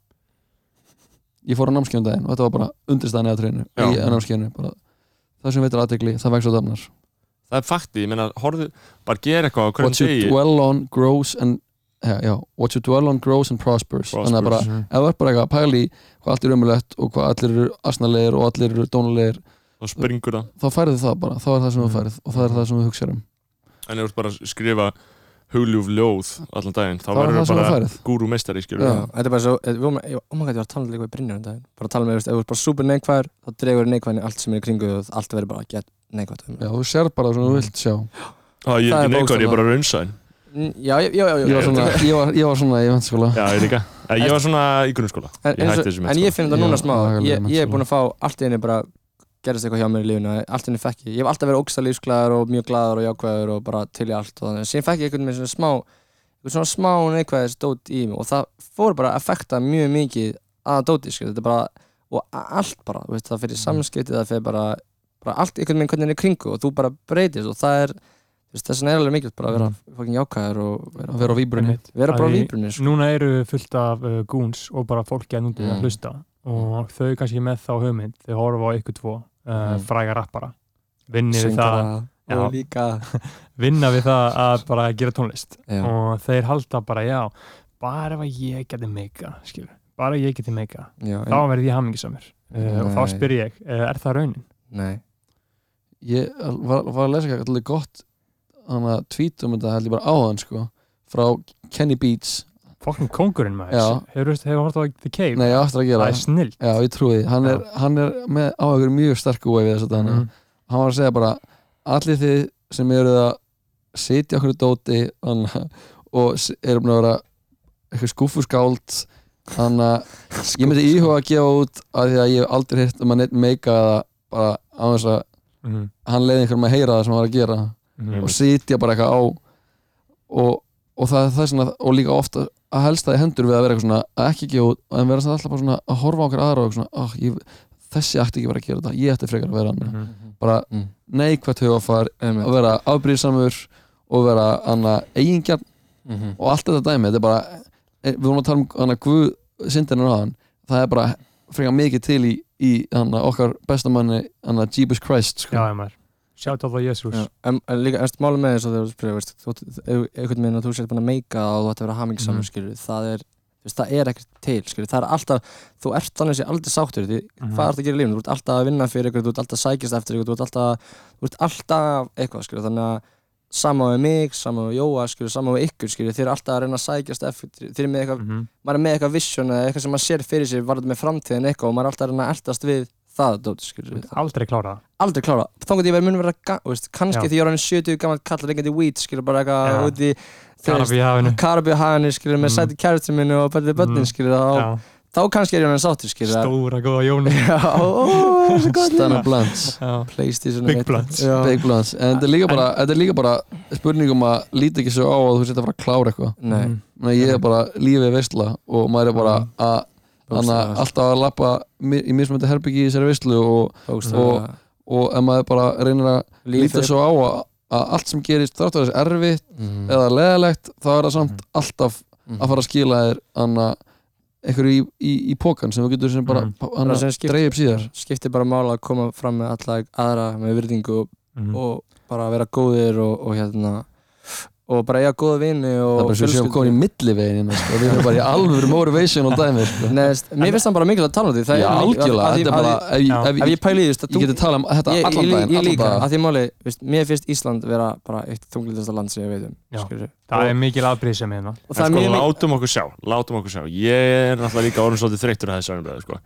[SPEAKER 7] ég fór á námskeið um daginn og þetta var bara undirstæðan eða treinu
[SPEAKER 1] Já.
[SPEAKER 7] í námskeiðinu bara það sem veitir aðtegli það vex og dafnar
[SPEAKER 1] Það er fakti, ég meina, horfðu, bara gera eitthvað á hverjum
[SPEAKER 7] what you
[SPEAKER 1] degi
[SPEAKER 7] dwell on grows and já, já, what you dwell on grows and prospers þannig að bara ef þú ert bara eitthvað að pæla í hvað allt er umulett og hvað allir eru asnalegir og allir eru dónulegir
[SPEAKER 1] og springur það
[SPEAKER 7] þá færðu það bara þá er það sem þú færð og það er það sem þú hugsar um
[SPEAKER 1] en ef þú ert bara að skrifa hugljúf ljóð allan daginn þá
[SPEAKER 7] það er
[SPEAKER 1] verður
[SPEAKER 7] það sem þú
[SPEAKER 1] bara
[SPEAKER 7] færð
[SPEAKER 1] gúru meistari skilur
[SPEAKER 8] Já, þetta er bara svo, við vorum, ég, oh my god, ég var að tala um þetta líka við Brynjar um daginn, bara að tala um, ef þú ert bara super neikvæður, þá dregur neikvæðin allt sem er í kringu og allt verður bara að geta neikvætt um.
[SPEAKER 7] já, þú sér bara það sem þú
[SPEAKER 1] Mm.
[SPEAKER 7] vilt sjá
[SPEAKER 1] það ég er
[SPEAKER 8] Það er
[SPEAKER 1] ekki neikvæður, ég er
[SPEAKER 8] bókstaflega.
[SPEAKER 1] bara raunsæn
[SPEAKER 8] Mm, Já, já, já, já,
[SPEAKER 7] ég var svona, ég var, ég var svona í vantskóla
[SPEAKER 1] já, ég líka en ég var svona í grunnskóla
[SPEAKER 8] En,
[SPEAKER 1] ég
[SPEAKER 8] eins
[SPEAKER 1] hætti
[SPEAKER 8] og-
[SPEAKER 1] þessu
[SPEAKER 8] en ég finn þetta
[SPEAKER 7] Já,
[SPEAKER 8] núna smá,
[SPEAKER 7] agalega
[SPEAKER 8] ég, ég er
[SPEAKER 7] mennskóla.
[SPEAKER 8] búin að fá allt í henni bara, gerðist eitthvað hjá mér í lífinu, allt í henni fekk ég, ég hef alltaf verið ógsta lífsglæður og mjög glæður og jákvæður og bara til í allt og þannig, síðan fekk ég einhvern veginn svona smá eitthvað svona smá neikvæðis dót í mig og það fór bara að affekta mjög mikið að dóti skilur, þetta er bara, og a- allt bara þú veist, það fyrir samskipti, það fyrir bara, bara allt einhvern veginn hvernig er í kringu og þú bara breytist og það er, þú veist, þessan er alveg mikið bara að vera fucking jákæður og Mm. vera,
[SPEAKER 7] að vera á víbrunni
[SPEAKER 2] Einmitt.
[SPEAKER 8] vera bara
[SPEAKER 2] Að í-
[SPEAKER 8] víbrunni sko.
[SPEAKER 2] Núna eru fullt af uh, goons og bara fólki að núndið
[SPEAKER 8] Mm.
[SPEAKER 2] að hlusta og þau kannski með þá hugmynd þau horfa á ykkur tvo uh,
[SPEAKER 8] Mm.
[SPEAKER 2] fræga rappara vinni við, það,
[SPEAKER 8] Söngvara
[SPEAKER 2] Já.
[SPEAKER 8] og líka
[SPEAKER 2] vinna við það að bara gera tónlist
[SPEAKER 8] Já.
[SPEAKER 2] og þeir halda bara já bara ef að ég geti meika skilur, bara ég geti meika
[SPEAKER 8] já,
[SPEAKER 2] þá verði ég hamingisamur uh, og þá
[SPEAKER 8] Nei.
[SPEAKER 2] spyr ég, uh, er það raunin?
[SPEAKER 8] nei,
[SPEAKER 7] ég var, var að lesa eitthvað alltaf gott hann að tweet um þetta held ég bara áðan sko frá Kenny Beats
[SPEAKER 2] Fokkin kóngurinn maður,
[SPEAKER 7] Já.
[SPEAKER 2] hefur þú hort á The Cave?
[SPEAKER 7] nei ég á eftir að
[SPEAKER 2] það
[SPEAKER 7] gera
[SPEAKER 2] er snill
[SPEAKER 7] já ég trúi því hann,
[SPEAKER 2] Já.
[SPEAKER 7] er, hann er með á einhverju mjög sterku wave þess að hann
[SPEAKER 1] Mm.
[SPEAKER 7] hann var að segja bara allir þið sem eru að sitja okkur í dóti hana, og s- eru búin að vera eitthvað skúfuskáld þannig að ég myndi íhuga að gefa út af því að ég hef aldrei hitt um að neitt meika það bara á þess að
[SPEAKER 2] mm.
[SPEAKER 7] hann leiði einhverjum að heyra það sem hann var að gera
[SPEAKER 2] mm.
[SPEAKER 7] og sitja bara eitthvað á og, og það er það svona og líka ofta að helst það í hendur við að vera eitthvað svona að ekki gefa út en vera samt alltaf bara svona að horfa á okkur aðra og eitthvað svona oh, ég, þessi ætti ekki bara að gera þetta, ég ætti frekar að vera hann
[SPEAKER 2] mm.
[SPEAKER 7] bara
[SPEAKER 8] Mm.
[SPEAKER 7] neikvætt hugafar
[SPEAKER 8] einmitt
[SPEAKER 7] að vera afbrýðsamur og vera anna, eigingjarn
[SPEAKER 8] Mhm.
[SPEAKER 7] og allt þetta dæmi þetta er bara, eh, við vorum að tala um hana, guð syndinu á hann það er bara frekar mikið til í, í hana, okkar bestamanni hana, Jesus Christ sko.
[SPEAKER 2] Já, ég maður, sjátt á það Jésús
[SPEAKER 8] Já, en, en líka, en máli með þess að þegar þú spyrir, veist, þú, átt- ef- einhvern veginn að þú sér búin að meika það og þú ætti að vera hamingisamur,
[SPEAKER 2] Mhm.
[SPEAKER 8] mm. skilur, það er, þú veist, það er ekkert til, skilur, það er alltaf, þú ert þannig sem aldrei sáttur, því,
[SPEAKER 2] Mhm.
[SPEAKER 8] hvað ert að gera í lífum, þú ert alltaf að vinna fyrir ykkur, þú ert alltaf að sækjast eftir ykkur, þú ert alltaf, þú ert alltaf eitthvað, skilur, þannig að sama með mig, sama með Jóa, skilur, sama með ykkur, skilur, þeir eru alltaf að reyna að sækjast eftir, þeir eru með eitthvað,
[SPEAKER 2] Mhm.
[SPEAKER 8] maður er með eitthvað vision eða eitthvað sem maður sér fyrir sér, varður með framtíðin eitthvað og maður er alltaf að reyna að eldast við það, dóti, skilur,
[SPEAKER 2] Aldrei klára það
[SPEAKER 8] aldrei klára þannig að ég verði mun vera ga- þú veist, kannski
[SPEAKER 2] Já.
[SPEAKER 8] því ég er hann 70 gammal kallar reyngandi weed skilur bara
[SPEAKER 2] Já.
[SPEAKER 8] eitthvað út í
[SPEAKER 2] Karabíu hafinu
[SPEAKER 8] Karabíhafinu skilur með
[SPEAKER 2] Mm.
[SPEAKER 8] sæti kærastur minni og bætið börnin
[SPEAKER 2] Mm.
[SPEAKER 8] skilur þá,
[SPEAKER 2] Já.
[SPEAKER 8] þá kannski er ég hann sáttur skilur
[SPEAKER 2] Stóra góða Jóni
[SPEAKER 7] Stanna Blunts,
[SPEAKER 2] Já.
[SPEAKER 8] Playstation
[SPEAKER 2] Big Blunts.
[SPEAKER 7] Big Blunts en þetta er líka bara, þetta er líka bara spurningum að líta ekki svo á að þú setja að fara að klára eitthvað
[SPEAKER 8] Nei,
[SPEAKER 2] Mm.
[SPEAKER 7] Nei, ég
[SPEAKER 8] Mhm.
[SPEAKER 7] er bara lífið veistla og maður er bara að, að,
[SPEAKER 8] Bókstaflega.
[SPEAKER 7] alltaf að lappa í mismöndi herbyggi í þessari veistlu og
[SPEAKER 2] Mhm.
[SPEAKER 8] bókstaflega
[SPEAKER 7] og ef maður bara reynir að
[SPEAKER 8] Lífið
[SPEAKER 7] líta
[SPEAKER 8] er-
[SPEAKER 7] svo á að, að allt sem gerist þrátt að þessi erfitt eða leðalegt þá er það samt alltaf
[SPEAKER 8] Mhm.
[SPEAKER 7] að fara að skila þér anna, einhverju í, í, í pókan sem þú getur sem bara
[SPEAKER 2] Mhm.
[SPEAKER 7] hann
[SPEAKER 8] Bara sem
[SPEAKER 7] að
[SPEAKER 8] skiptir.
[SPEAKER 7] dreif upp síðar
[SPEAKER 8] skiptir bara mála að koma fram með alla aðra með virðingu og,
[SPEAKER 2] Mhm.
[SPEAKER 8] og bara vera góðir og, og hérna og bara eiga góða vini
[SPEAKER 7] það er
[SPEAKER 8] og
[SPEAKER 7] bara sem séum
[SPEAKER 8] fjölskyldu.
[SPEAKER 7] komin í millivegin hérna, sko. við erum bara í alvöru motivation og dæmi sko.
[SPEAKER 8] Nei, veist, mér finnst það bara mikilvægt að tala um því það
[SPEAKER 7] já,
[SPEAKER 8] er mikið- að-
[SPEAKER 7] algjörlega,
[SPEAKER 8] að því-
[SPEAKER 7] þetta er
[SPEAKER 8] að
[SPEAKER 7] bara
[SPEAKER 8] því-
[SPEAKER 2] Já.
[SPEAKER 7] ef, ég- ef,
[SPEAKER 8] ef
[SPEAKER 7] ég,
[SPEAKER 8] ég pæli í því, þú veist,
[SPEAKER 7] ég geti talað um þetta
[SPEAKER 8] ég,
[SPEAKER 7] allan
[SPEAKER 8] ég,
[SPEAKER 7] daginn
[SPEAKER 8] ég
[SPEAKER 7] allan
[SPEAKER 8] líka,
[SPEAKER 7] daginn.
[SPEAKER 8] að því máli, veist, mér finnst Ísland vera bara eitt þunglindasta land sem ég veit um
[SPEAKER 2] Já.
[SPEAKER 8] skilurðu.
[SPEAKER 2] Það
[SPEAKER 8] Og-
[SPEAKER 2] er mikil afbríð sem hérna
[SPEAKER 8] og
[SPEAKER 1] En
[SPEAKER 8] það er
[SPEAKER 1] sko,
[SPEAKER 8] mjög mikið
[SPEAKER 1] látum okkur sjá, látum okkur sjá. Ég er náttúrulega líka orðin svolítið þreyttur að þessu annaðbræðu, sko.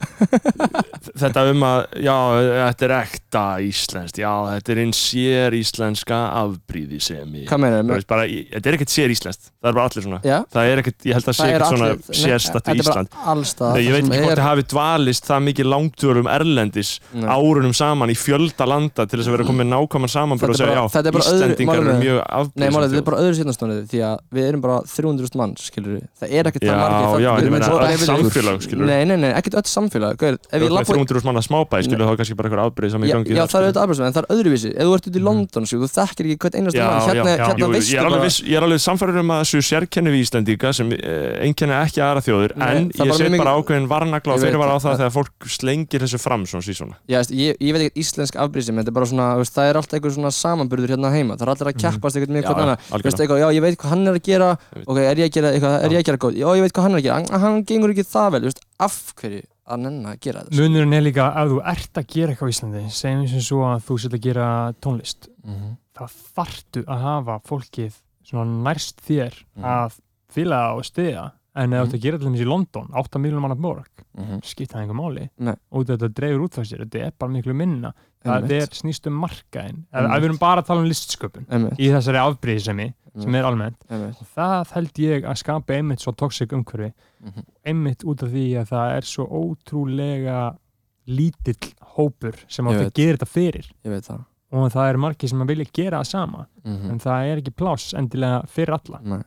[SPEAKER 1] þetta um að, já, þetta er ekta íslenskt, já, þetta er einn sér íslenska afbríði sem ég...
[SPEAKER 8] hvað meina,
[SPEAKER 1] Þú veist, bara, ég- þetta er ekkert sér íslenskt, það er bara allir svona.
[SPEAKER 8] já,
[SPEAKER 1] Það er ekkert, ég held að sé
[SPEAKER 8] það er
[SPEAKER 1] ekkert svona
[SPEAKER 8] allir
[SPEAKER 1] sérstætt í Ísland.
[SPEAKER 8] þetta er bara allstað
[SPEAKER 1] Nei, ég veit
[SPEAKER 7] sem
[SPEAKER 1] ekki hvort
[SPEAKER 7] er-
[SPEAKER 1] það hafi dvalist það mikið langtúrum erlendis árunum saman í fjölda landa til þess að vera komið nákvæman samanbyrð og
[SPEAKER 8] Þetta
[SPEAKER 1] segja,
[SPEAKER 8] er bara- þetta er
[SPEAKER 1] já,
[SPEAKER 8] bara öðru-
[SPEAKER 1] Íslendingar
[SPEAKER 8] málið
[SPEAKER 1] eru
[SPEAKER 8] með-
[SPEAKER 1] mjög
[SPEAKER 8] Nei, málið, þetta er
[SPEAKER 1] afbríðsum
[SPEAKER 8] bara öðru sýtnastónið því að við erum bara 300.000 manns, skilur við Það er ekkert
[SPEAKER 1] Já,
[SPEAKER 8] það
[SPEAKER 1] já,
[SPEAKER 8] margir þarna.
[SPEAKER 1] ég
[SPEAKER 8] Við erum
[SPEAKER 1] meina,
[SPEAKER 8] svo-
[SPEAKER 1] öll
[SPEAKER 8] við-
[SPEAKER 1] samfélög, skilur
[SPEAKER 8] Nei, nei, nei, ekkert öll samfélag Gaur, ef ég
[SPEAKER 1] Ef
[SPEAKER 8] labba-
[SPEAKER 1] 300 manna smábæði, skilur þá kannski bara eitthvað afbreið sem í
[SPEAKER 8] Já,
[SPEAKER 1] gangi
[SPEAKER 8] já,
[SPEAKER 1] þar,
[SPEAKER 8] það er
[SPEAKER 1] skilur.
[SPEAKER 8] auðvitað afbröðsmenn, en það er öðruvísi Ef þú ert út í London, skilur, þú þekkir ekki hvert einasta
[SPEAKER 1] Já,
[SPEAKER 8] mann Hérna,
[SPEAKER 1] já, já.
[SPEAKER 8] hérna
[SPEAKER 1] Jú,
[SPEAKER 8] veistu
[SPEAKER 1] ég er alveg,
[SPEAKER 8] bara-
[SPEAKER 1] viss, ég er alveg samfæður um að þessu sérkenni við Íslendinga sem einkenni ekki aðra þjóðir
[SPEAKER 8] Nei,
[SPEAKER 1] en
[SPEAKER 8] það er
[SPEAKER 1] ég
[SPEAKER 8] bara
[SPEAKER 1] set
[SPEAKER 8] mjög
[SPEAKER 1] bara
[SPEAKER 8] mikið-
[SPEAKER 1] ákveðin varnagla og
[SPEAKER 8] Ég veit
[SPEAKER 1] fyrir var á það
[SPEAKER 8] það.
[SPEAKER 1] þegar fólk slengir þessu fram svona sísona
[SPEAKER 8] Já, veist, ég, ég veit ekki íslensk afbrýðsemi, þetta er bara svona, veist, það er alltaf einhver svona samanburður hérna heima, það er allir að keppast einhvern með
[SPEAKER 1] Mhm. Já,
[SPEAKER 8] hvern
[SPEAKER 1] já,
[SPEAKER 8] annan,
[SPEAKER 1] algjörlega.
[SPEAKER 8] veist, eitthvað, já, ég veit hvað hann er að gera,
[SPEAKER 1] veit.
[SPEAKER 8] ok, er ég að gera eitthvað, er ég að gera góð, já, ég veit hvað hann er að gera, hann, hann gengur ekki það vel, veist, af hverju að nenn að gera þetta, sko?
[SPEAKER 2] Munurinn er líka að þú ert að gera eitthvað í Íslandi segjum sem svo að þú set að gera tónlist
[SPEAKER 8] Mhm.
[SPEAKER 2] Það þartu að hafa fólkið svona nærst þér
[SPEAKER 1] Mhm.
[SPEAKER 8] Mm.
[SPEAKER 2] að fýla og stiða en ef þú ert að gera til þess í London 8 miljónum manna borg
[SPEAKER 8] Mhm.
[SPEAKER 2] skipta það einhver máli
[SPEAKER 8] Nei.
[SPEAKER 2] og þetta dreifur út frá sér þetta er bara miklu minna það
[SPEAKER 8] Einmitt.
[SPEAKER 2] er snýst um markaðin ef,
[SPEAKER 8] Einmitt.
[SPEAKER 2] ef við erum bara að tala um listsköpun
[SPEAKER 8] emmi,
[SPEAKER 2] í þessari afbrýðisemi
[SPEAKER 8] Mm.
[SPEAKER 2] sem er almennt
[SPEAKER 8] emmi,
[SPEAKER 2] það held ég að skapa einmitt svo toxic umhverfi
[SPEAKER 8] Mhm.
[SPEAKER 2] einmitt út af því að það er svo ótrúlega lítill hópur sem
[SPEAKER 8] Ég
[SPEAKER 2] átt að
[SPEAKER 8] veit.
[SPEAKER 2] gera þetta fyrir
[SPEAKER 8] ég veit það,
[SPEAKER 2] og það er margir sem að vilja gera það sama
[SPEAKER 8] Mhm.
[SPEAKER 2] en það er ekki pláss endilega fyrir alla
[SPEAKER 8] Nei.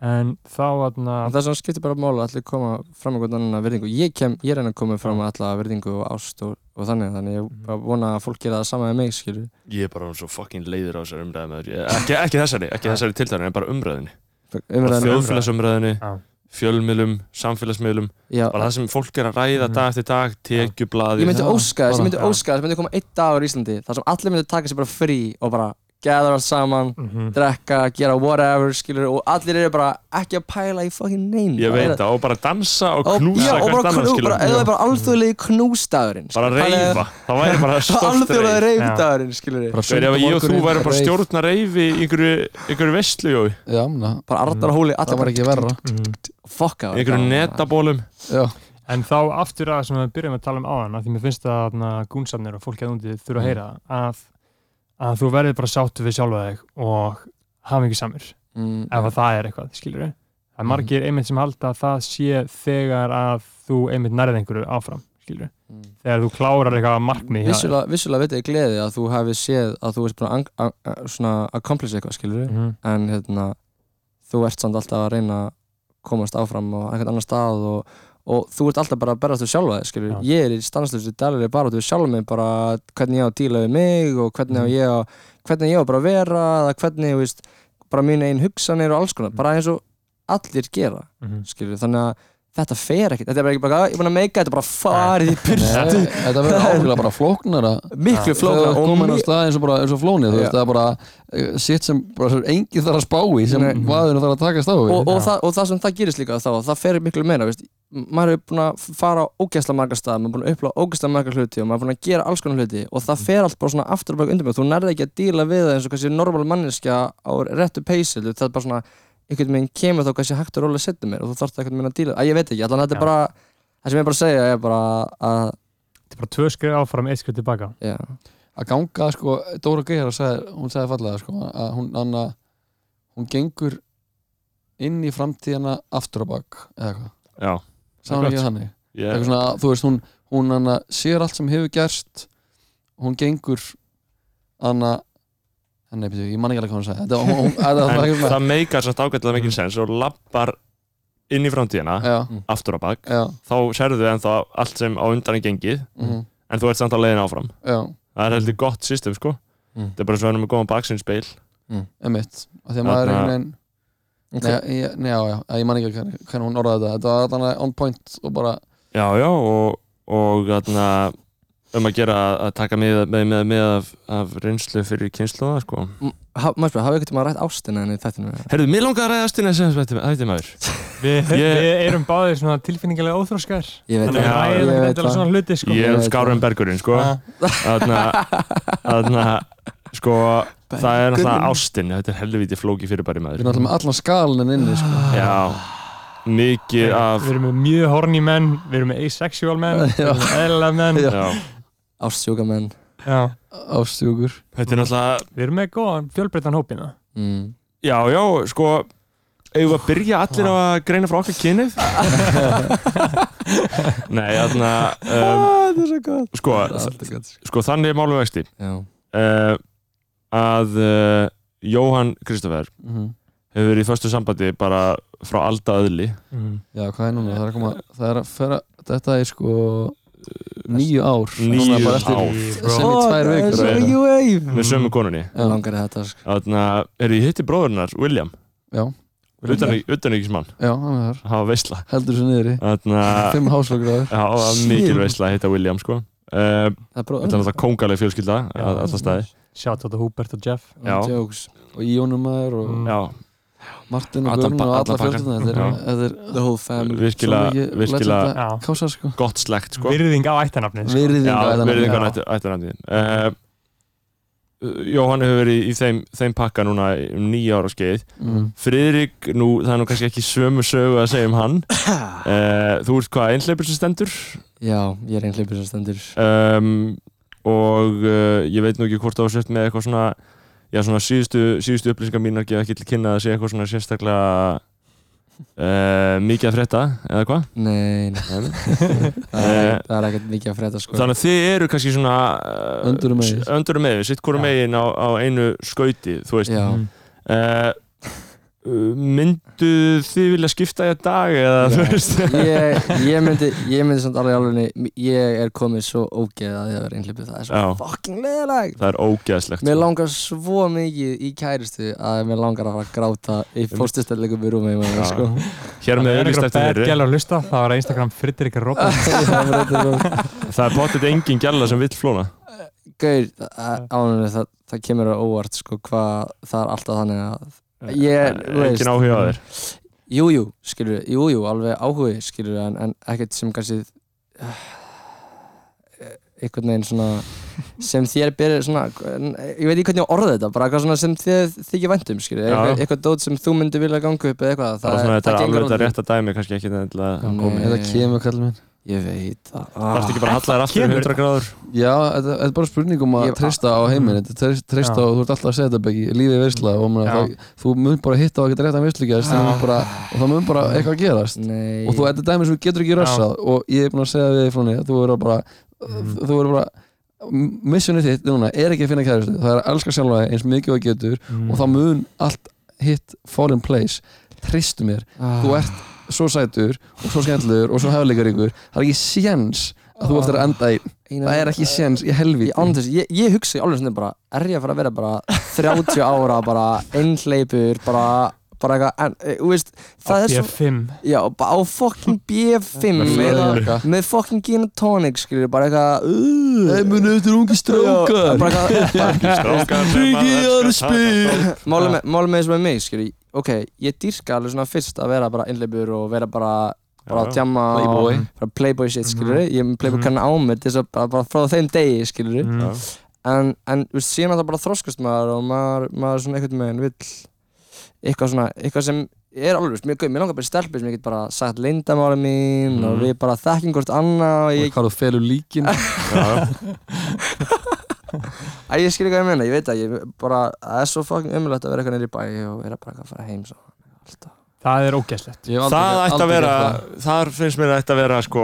[SPEAKER 2] en þá aðna
[SPEAKER 8] En það sem skiptir bara mála allir koma fram einhvern annan að virðingu ég, kem, ég er enn að koma fram að alla virðingu og ást og, og þannig þannig ég
[SPEAKER 2] Mhm.
[SPEAKER 8] bara vona að fólk gera það sama með mig skilju
[SPEAKER 1] Ég er bara orðinn svo fucking leiður á þessari umræði með þér ekki, ekki þessari, ekki þessari tiltæðan en bara umræðinni bara
[SPEAKER 8] umræðan
[SPEAKER 1] þjóðfélagsumræðinni,
[SPEAKER 2] Já.
[SPEAKER 1] fjölmiðlum samfélagsmiðlum,
[SPEAKER 8] já,
[SPEAKER 1] bara það sem fólk er að ræða
[SPEAKER 2] Mhm.
[SPEAKER 1] dag eftir dag, tekjublaði
[SPEAKER 8] ég myndi
[SPEAKER 7] Já,
[SPEAKER 8] óska þess, ég myndi
[SPEAKER 2] bara-
[SPEAKER 8] óska þess myndi koma einn dagur í Íslandi þar sem allir myndi taka sér bara frí og bara gæðara saman
[SPEAKER 2] mhm,
[SPEAKER 8] drekka, gera whatever skilur og allir eru bara ekki að pæla í fucking neinu
[SPEAKER 1] ég veit það, og bara dansa og
[SPEAKER 8] og
[SPEAKER 1] knúsa
[SPEAKER 8] já, og
[SPEAKER 1] hvert
[SPEAKER 8] bara
[SPEAKER 1] annað,
[SPEAKER 8] knú,
[SPEAKER 1] skilur.
[SPEAKER 8] bara, eða bara alþjóðlegi knúsdagurinn
[SPEAKER 1] bara
[SPEAKER 8] skilurðu. Þannig að-
[SPEAKER 1] reyfa, það væri bara stórt
[SPEAKER 8] alþjóðlegi
[SPEAKER 1] reyf
[SPEAKER 8] reyfdagurinn skilur
[SPEAKER 7] Bara
[SPEAKER 1] Sveir, ef ég og þú
[SPEAKER 7] sundamorgunin,
[SPEAKER 1] væri bara
[SPEAKER 7] reif.
[SPEAKER 1] stjórna reyfi í einhverju, einhverju vestlu, jói,
[SPEAKER 7] Já, na,
[SPEAKER 8] bara Arnar Hóli, allir
[SPEAKER 7] það var
[SPEAKER 8] bara
[SPEAKER 7] ekki verra
[SPEAKER 2] mhm.
[SPEAKER 8] fuck á
[SPEAKER 1] í einhverju netabólum
[SPEAKER 7] Já,
[SPEAKER 2] en þá aftur að það sem við byrjum að tala um áðan að því mér finnst það aðna gúnsafnir og fólk að úti þurfa að heyra það, að, að þú verður bara sáttu við sjálfa þig og hafa ekki samir
[SPEAKER 8] Mm.
[SPEAKER 2] ef að það er eitthvað, skilur við það er margir einmitt sem halda að það sé þegar að þú einmitt nærið einhverju áfram skilur við, þegar þú klárar eitthvað markmið hjá þér.
[SPEAKER 8] vissulega, vissulega veit ég gleði að þú hefði séð að þú ert búin að ang- að- að svona accomplish eitthvað skilur
[SPEAKER 2] Mhm,
[SPEAKER 8] en hérna þú ert samt alltaf að reyna að komast áfram á einhvern annan stað og, og þú ert alltaf bara að berast við sjálfa þig skilur,
[SPEAKER 2] Já.
[SPEAKER 8] ég er í stanslöfstu dælir bara við sjálf mig, bara hvernig ég á að díla við mig og hvernig
[SPEAKER 2] Mhm.
[SPEAKER 8] mm. ég á hvernig ég á bara að vera, eða hvernig þú veist, bara mín einn hugsanir og alls konar bara eins og allir gera
[SPEAKER 2] mhm.
[SPEAKER 8] skilur, þannig að þetta fer ekkert þetta er bara ekki bara, "Ah, ég er búin að meika þetta bara farið í
[SPEAKER 7] Nei,
[SPEAKER 8] byrstu,
[SPEAKER 7] þetta verður ákveðlega bara flóknara
[SPEAKER 8] miklu
[SPEAKER 7] Þegar
[SPEAKER 8] flóknar
[SPEAKER 7] þú
[SPEAKER 8] og
[SPEAKER 7] komin á
[SPEAKER 8] mi-
[SPEAKER 7] stað eins og, bara, eins og flónið þú
[SPEAKER 8] Já.
[SPEAKER 7] veist, það er bara eh, shit sem, bara, sem enginn þarf að spá í sem
[SPEAKER 8] Nei.
[SPEAKER 7] maðurinn þarf að takast á við
[SPEAKER 8] og, og,
[SPEAKER 2] Já.
[SPEAKER 8] það, og það sem það gerist líka þá, það fer miklu meira veist, M- maður er búin að fara á ógæsla marga staði, maður er búin að uppláða ógæsla marga hluti og maður er búin að gera alls konar hluti og
[SPEAKER 2] Mm.
[SPEAKER 8] það fer allt bara svona aftur og baka undir mig þú nærði ekki að díla við það eins og kannski normal manneskja á réttu peysi þú veist, það er bara svona, einhvern veginn kemur þá kannski hægt og rólega setja mér og þú þarfst einhvern veginn að díla að ég veit ekki, allan
[SPEAKER 2] Já.
[SPEAKER 8] þetta er bara það sem ég er bara að segja er bara að
[SPEAKER 2] þetta er bara tvö skrif áfram, eitt skrif tilbaka
[SPEAKER 8] já,
[SPEAKER 7] að ganga sko, Dóra Geira sagði, hún sagði fallega sko, að hún, anna, hún gengur inn í framtíðina aftur á bak eða hvað,
[SPEAKER 1] Já,
[SPEAKER 7] sagði hún ekki þannig
[SPEAKER 1] ég,
[SPEAKER 7] eitthvað svona, að, þú veist, hún, hún anna, sér allt sem hefur gerst hún gengur anna, nei, betur, ég man ekki alveg hvað hún sagði þetta, hún, hún, þetta, var
[SPEAKER 1] en
[SPEAKER 7] ekki svona-
[SPEAKER 1] það meikar samt ágætlega mikið sens og lappar inn í framtíðina
[SPEAKER 7] já,
[SPEAKER 1] aftur á bak,
[SPEAKER 7] já,
[SPEAKER 1] þá sérðu ennþá allt sem á undan er gengið
[SPEAKER 7] mhm,
[SPEAKER 1] en þú ert samt á leiðin áfram
[SPEAKER 7] já
[SPEAKER 1] það er heldur gott system sko
[SPEAKER 7] Mhm.
[SPEAKER 8] Mm.
[SPEAKER 1] það er bara svo erum við góðan baksinnspeil
[SPEAKER 7] emitt, af því að maður er
[SPEAKER 1] Þarna-
[SPEAKER 7] einhvern veginn
[SPEAKER 8] okay.
[SPEAKER 7] Nei, ég- nei, já, já, ég man ekki hvernig, hvernig hún orðaði þetta Þetta var alltaf on point og bara
[SPEAKER 1] já já og, og þarna, um að gera að taka með, með, með, með af, af reynslu fyrir kynsluða sko
[SPEAKER 8] ha, maður spyrir, hafið ekkert maður rætt ástina henni í þættinu
[SPEAKER 1] Herðu, mér langar að ræðast inn að segja þetta maður
[SPEAKER 2] við,
[SPEAKER 1] Ég-
[SPEAKER 2] við erum báðir svona tilfinningilega óþróskar
[SPEAKER 8] ég veit
[SPEAKER 2] þannig
[SPEAKER 1] Já,
[SPEAKER 2] að
[SPEAKER 8] það,
[SPEAKER 2] ræða
[SPEAKER 8] ég
[SPEAKER 2] ekki
[SPEAKER 8] veit
[SPEAKER 2] endilega
[SPEAKER 8] það
[SPEAKER 2] svona hluti sko.
[SPEAKER 1] Ég er
[SPEAKER 8] veit
[SPEAKER 1] skárum bergurinn sko
[SPEAKER 2] Ha.
[SPEAKER 1] Þarna, þarna sko, það er náttúrulega ástin þetta er helviti flóki fyrirbæri
[SPEAKER 7] Við
[SPEAKER 1] maður
[SPEAKER 7] erum Ah. alltaf með allan skalinn inni sko.
[SPEAKER 1] Ah. Já, mikið af
[SPEAKER 2] við erum með mjög horny menn við erum með asexual menn við erum með eðlilega menn
[SPEAKER 7] Já.
[SPEAKER 1] já.
[SPEAKER 8] ástsjúka menn
[SPEAKER 2] já.
[SPEAKER 7] Ástjúkur
[SPEAKER 1] Þetta er náttúrulega
[SPEAKER 2] við erum með góðan fjölbreytan hópina
[SPEAKER 8] mm.
[SPEAKER 1] Já, já, sko eigum við að byrja allir á að greina frá okkar kynið Nei, þarna um,
[SPEAKER 8] það er svo gott
[SPEAKER 1] sko, sko, þannig er málum vexti uh, að uh, Jóhann Kristoffer
[SPEAKER 7] mm
[SPEAKER 1] hefur verið í föstu sambandi bara frá alda öðli
[SPEAKER 2] mm.
[SPEAKER 7] Já, hvað er núna? Það er að koma Það er að fara Þetta er sko Níu ár
[SPEAKER 1] Níu
[SPEAKER 7] Núna bara eftir
[SPEAKER 1] ár.
[SPEAKER 7] Sem í tvær vikur
[SPEAKER 1] svo
[SPEAKER 7] eða eitthvað.
[SPEAKER 1] með
[SPEAKER 2] Mm.
[SPEAKER 1] sömu konunni
[SPEAKER 8] Ég langar í þetta sko.
[SPEAKER 1] Þarna, er ég hitti bróðurnar, William
[SPEAKER 7] Já.
[SPEAKER 1] Utanríkismann,
[SPEAKER 7] Já, hann er þar
[SPEAKER 1] hafa veisla
[SPEAKER 7] Heldur sér niðri
[SPEAKER 1] Þarna,
[SPEAKER 7] Fimm háslokur
[SPEAKER 1] já, það var mikil veisla að hitta William, sko uh,
[SPEAKER 8] Það er
[SPEAKER 1] Þetta er
[SPEAKER 8] bróð
[SPEAKER 1] náttúrulega kongaleg fjölskylda að alltaf staði
[SPEAKER 2] Shout out to Hubert og Jeff
[SPEAKER 1] Já.
[SPEAKER 8] Jokes
[SPEAKER 7] Og Íónum maður og
[SPEAKER 2] Mm.
[SPEAKER 1] Já,
[SPEAKER 7] Martin og
[SPEAKER 1] Allan
[SPEAKER 7] Guðrún
[SPEAKER 1] pa-
[SPEAKER 7] og alla
[SPEAKER 1] allan pakkan.
[SPEAKER 7] fjöldutina Þetta
[SPEAKER 2] Já.
[SPEAKER 7] er- þetta er
[SPEAKER 8] The whole family
[SPEAKER 1] virkilega,
[SPEAKER 7] svo mikið
[SPEAKER 1] virkilega
[SPEAKER 7] legenda.
[SPEAKER 2] Já.
[SPEAKER 7] Kásar sko
[SPEAKER 1] gott slegt, sko
[SPEAKER 2] virðing á ættanafnið sko.
[SPEAKER 7] Virðing
[SPEAKER 1] Já,
[SPEAKER 7] að
[SPEAKER 1] verið
[SPEAKER 7] þetta
[SPEAKER 1] einhvern ættur ættur andið uh, Jóhann hefur verið í þeim, þeim pakka núna um nýja ára skeið
[SPEAKER 7] Mm.
[SPEAKER 1] Friðrik, nú, það er nú kannski ekki sömu sögu að segja um hann uh, Þú ert hvað, einhleipur sem stendur
[SPEAKER 8] Já, ég er einn hlipur sem stendur
[SPEAKER 1] um, og uh, ég veit nú ekki hvort það var sért með eitthvað svona já svona síðustu, síðustu upplýsingar mínar gefa ekki til kynna að sé eitthvað svona sérstaklega uh, mikið að frétta eða hvað Eh,
[SPEAKER 8] Nei, nei.
[SPEAKER 1] Nei, nei.
[SPEAKER 8] Það er ekkert- það er ekkert mikið að frétta sko
[SPEAKER 1] þannig að þið eru kannski svona uh,
[SPEAKER 7] Öndrum megin.
[SPEAKER 1] s- öndrum megin, sitt hverju
[SPEAKER 2] Já.
[SPEAKER 1] megin á, á einu skauti þú veist
[SPEAKER 8] Já,
[SPEAKER 2] Mm.
[SPEAKER 1] uh, uh, myndu þið vilja skipta í að dag eða þú
[SPEAKER 8] Nei.
[SPEAKER 1] veist
[SPEAKER 8] ég, ég myndi, ég myndi samt alveg alveg ég er komið svo ógeð að ég verið einhleipið það er svo
[SPEAKER 1] Já.
[SPEAKER 8] fucking leðilegt
[SPEAKER 1] það er ógeðslegt
[SPEAKER 8] Mér
[SPEAKER 1] sko.
[SPEAKER 8] langar svo mikið í kæristu að mér langar að fara að gráta í fórstustellegum í rúmi
[SPEAKER 1] Já.
[SPEAKER 8] sko.
[SPEAKER 1] hér
[SPEAKER 2] Það
[SPEAKER 1] með
[SPEAKER 2] er
[SPEAKER 1] auðvist
[SPEAKER 2] eitthvað
[SPEAKER 1] eftir
[SPEAKER 2] bad
[SPEAKER 1] þeirri
[SPEAKER 2] gæl að hlusta, það var Instagram Fridrik Robin
[SPEAKER 8] Ah. Það var þetta svo-
[SPEAKER 1] það er potið engin gæla sem vill flóna
[SPEAKER 8] Gaur, ánum það, það kemur á óvart sko, hvað það er alltaf þannig að ég, þú veist
[SPEAKER 1] engin áhuga á þér
[SPEAKER 8] Jújú, jú, skilur, jújú, jú, alveg áhugi skilur, en, en ekkert sem kannski eh, einhvern veginn svona sem þér berir svona ég veit ekki hvernig ég orða þetta, bara eitthvað svona sem þér þykir væntum, skilur,
[SPEAKER 1] Já.
[SPEAKER 8] eitthvað, eitthvað dót sem þú myndi vilja ganga upp eða eitthvað,
[SPEAKER 1] það er svona þetta er
[SPEAKER 8] gengur
[SPEAKER 1] alveg þetta
[SPEAKER 8] aldrei.
[SPEAKER 1] rétta dæmi kannski ekki endilega
[SPEAKER 8] Nei.
[SPEAKER 1] komið
[SPEAKER 7] Þetta kemur kallið minn
[SPEAKER 8] Ég veit það
[SPEAKER 1] Það er
[SPEAKER 8] ah,
[SPEAKER 1] ekki bara að halla þér aftur
[SPEAKER 2] Kemur.
[SPEAKER 1] 100 gráður
[SPEAKER 7] Já, þetta þetta er bara spurning um að
[SPEAKER 8] Ég-
[SPEAKER 7] treysta á heiminn Þetta er treyst- treysta
[SPEAKER 2] Já.
[SPEAKER 7] og þú ert alltaf að segja þetta Beggi, lífið er veisla og
[SPEAKER 2] Já.
[SPEAKER 7] maður, það, þú mun bara hitta á ekkert réttan veislugjast
[SPEAKER 8] Já.
[SPEAKER 7] og það mun bara eitthvað að gerast
[SPEAKER 8] Nei
[SPEAKER 7] og þú, þetta er dæmi sem þú getur ekki rössað og ég er búin að segja við þig frá henni þú verður bara,
[SPEAKER 8] Mm.
[SPEAKER 2] Mhm.
[SPEAKER 7] þú verður bara missionið þitt núna er ekki að finna kæristu það er að elska sjálfa þig eins mikið og þú getur
[SPEAKER 2] Mm.
[SPEAKER 7] og
[SPEAKER 8] Mm.
[SPEAKER 7] það mun allt hitt fall in place tristu mér,
[SPEAKER 8] ah,
[SPEAKER 7] þú ert svo sætur og svo skemmtilegur og svo hefðleikar ykkur það er ekki séns að þú eftir að enda í
[SPEAKER 8] eina-
[SPEAKER 7] það er
[SPEAKER 1] Ah.
[SPEAKER 7] ekki séns í helvíti
[SPEAKER 8] Ég, án þess, ég, ég hugsa í alveg svona bara er ég að fara að vera bara 30 ára bara einhleipur bara, bara eitthvað en, e, þú veist, það er svo
[SPEAKER 2] B5
[SPEAKER 8] já, bara á fucking B5
[SPEAKER 7] Með
[SPEAKER 8] með,
[SPEAKER 7] fleðurjakka.
[SPEAKER 8] með fucking gin and tonic skilur, bara eitthvað
[SPEAKER 7] Nei,
[SPEAKER 8] uh,
[SPEAKER 7] muni, þetta er ungi
[SPEAKER 8] Já,
[SPEAKER 7] strákar
[SPEAKER 8] bara eitthvað
[SPEAKER 1] Strákar sem
[SPEAKER 7] Biggie
[SPEAKER 1] maður
[SPEAKER 7] are
[SPEAKER 1] elskar,
[SPEAKER 7] speed.
[SPEAKER 1] það er
[SPEAKER 8] Málið með- málið með þessu með mig skilur, ok, ég dýrka alveg svona fyrst að vera bara einhleipur og vera bara bara
[SPEAKER 1] Já,
[SPEAKER 8] að
[SPEAKER 1] já.
[SPEAKER 8] djamma og-
[SPEAKER 7] Playboy.
[SPEAKER 8] bara playboy shit skilur, ég er með playboy
[SPEAKER 2] Mhm.
[SPEAKER 8] kannan á mig til þess að bara, bara frá þeim degi skilur
[SPEAKER 2] Mm.
[SPEAKER 8] en, en þú veist, síðan að það bara þroskast maður og maður, maður svona einhvern veginn vill eitthvað svona, eitthvað sem er alveg, mér, mér langar bara í stelpu sem ég get bara sagt lindamáli mín og
[SPEAKER 1] Mhm.
[SPEAKER 8] við bara þekkjum hvort annað og ég,
[SPEAKER 7] hvað þú felur líkin
[SPEAKER 1] Já,
[SPEAKER 8] að ég skilja hvað ég menna, ég veit að ég bara, það er svo fucking umlögt að vera eitthvað niður í bæ og vera bara eitthvað að fara heim svo alltaf.
[SPEAKER 2] Það er ógæslegt
[SPEAKER 1] Það ætti að vera Þar finnst mér að ætti að vera sko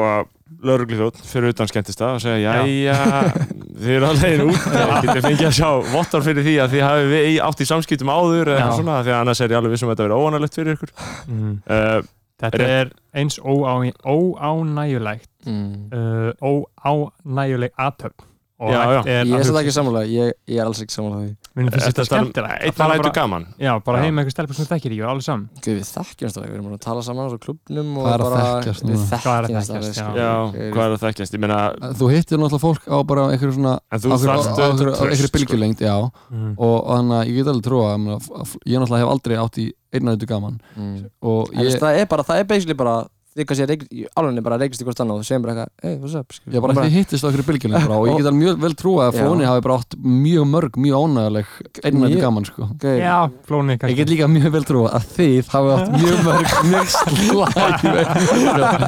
[SPEAKER 1] lauruglifjótt fyrir utan skemmtista og segja
[SPEAKER 2] Já.
[SPEAKER 1] jæja, þið eru að leiðin út getið fengið að sjá vottar fyrir því að þið hafi við- átt í samskiptum áður eða
[SPEAKER 2] Já.
[SPEAKER 1] eitthvað svona, því að annars er ég alveg vissum að þetta verið óanalegt fyrir ykkur
[SPEAKER 2] mm.
[SPEAKER 1] uh,
[SPEAKER 2] Þetta er eins óá- óánægjulegt
[SPEAKER 8] Mm.
[SPEAKER 2] uh, óánægjuleg aðtöp og
[SPEAKER 1] Já,
[SPEAKER 2] hægt er
[SPEAKER 8] Ég
[SPEAKER 2] að
[SPEAKER 8] er svolítið
[SPEAKER 2] hugsa
[SPEAKER 8] ekki sammála, ég, ég er alls ekki sammála því.
[SPEAKER 2] Mér finnst
[SPEAKER 1] Þetta
[SPEAKER 2] þetta
[SPEAKER 1] er
[SPEAKER 2] skemmtilegt
[SPEAKER 1] einn Eh, að
[SPEAKER 2] Það er
[SPEAKER 1] lætu
[SPEAKER 2] bara-
[SPEAKER 1] gaman
[SPEAKER 2] Já, bara
[SPEAKER 1] Já.
[SPEAKER 2] heim með eitthvað stelpur sem þú þekkir ekki og alveg saman
[SPEAKER 8] Guð, við þekkjumst alveg, við erum búin að tala saman á svo klubnum og
[SPEAKER 7] Hvað er að
[SPEAKER 8] bara,
[SPEAKER 7] þekkjast
[SPEAKER 8] við
[SPEAKER 7] núna?
[SPEAKER 2] Hvað er að
[SPEAKER 8] þekkjumst alveg, sko.
[SPEAKER 2] þekkjast, já.
[SPEAKER 8] skilur.
[SPEAKER 1] Já,
[SPEAKER 8] Við-
[SPEAKER 1] hvað er að þekkjast? Ég meina,
[SPEAKER 7] þú hittir náttúrulega fólk á bara einhverju svona
[SPEAKER 1] en
[SPEAKER 7] á
[SPEAKER 1] þú
[SPEAKER 7] einhverju-
[SPEAKER 1] þarft sko.
[SPEAKER 7] á einhverju- á einhverju bylgjulengd, já
[SPEAKER 2] mm.
[SPEAKER 7] og og þannig að ég get alveg trúa ég meina, f- f- ég náttúrulega hef aldrei átt í einnættu gaman
[SPEAKER 8] Mm.
[SPEAKER 7] og
[SPEAKER 8] En þú
[SPEAKER 7] ég,
[SPEAKER 8] veist, það er bara, það er basically bara því kannski að reik- í alveg bara reykist í hvort annað og segjum bara eitthvað, hey, what's up skilur.
[SPEAKER 7] ég bara ekki hittist á okkur bylgjunni bara og ég get alveg mjög vel trúa að
[SPEAKER 8] Já.
[SPEAKER 7] flóni hafi bara átt mjög mörg, mjög ánæguleg einnættu
[SPEAKER 8] Mjög-
[SPEAKER 7] gaman sko
[SPEAKER 8] okay.
[SPEAKER 2] Já, flóni
[SPEAKER 7] Ég get
[SPEAKER 2] kannski
[SPEAKER 7] líka mjög vel trúa að þið hafi átt mjög mörg, mjög slæg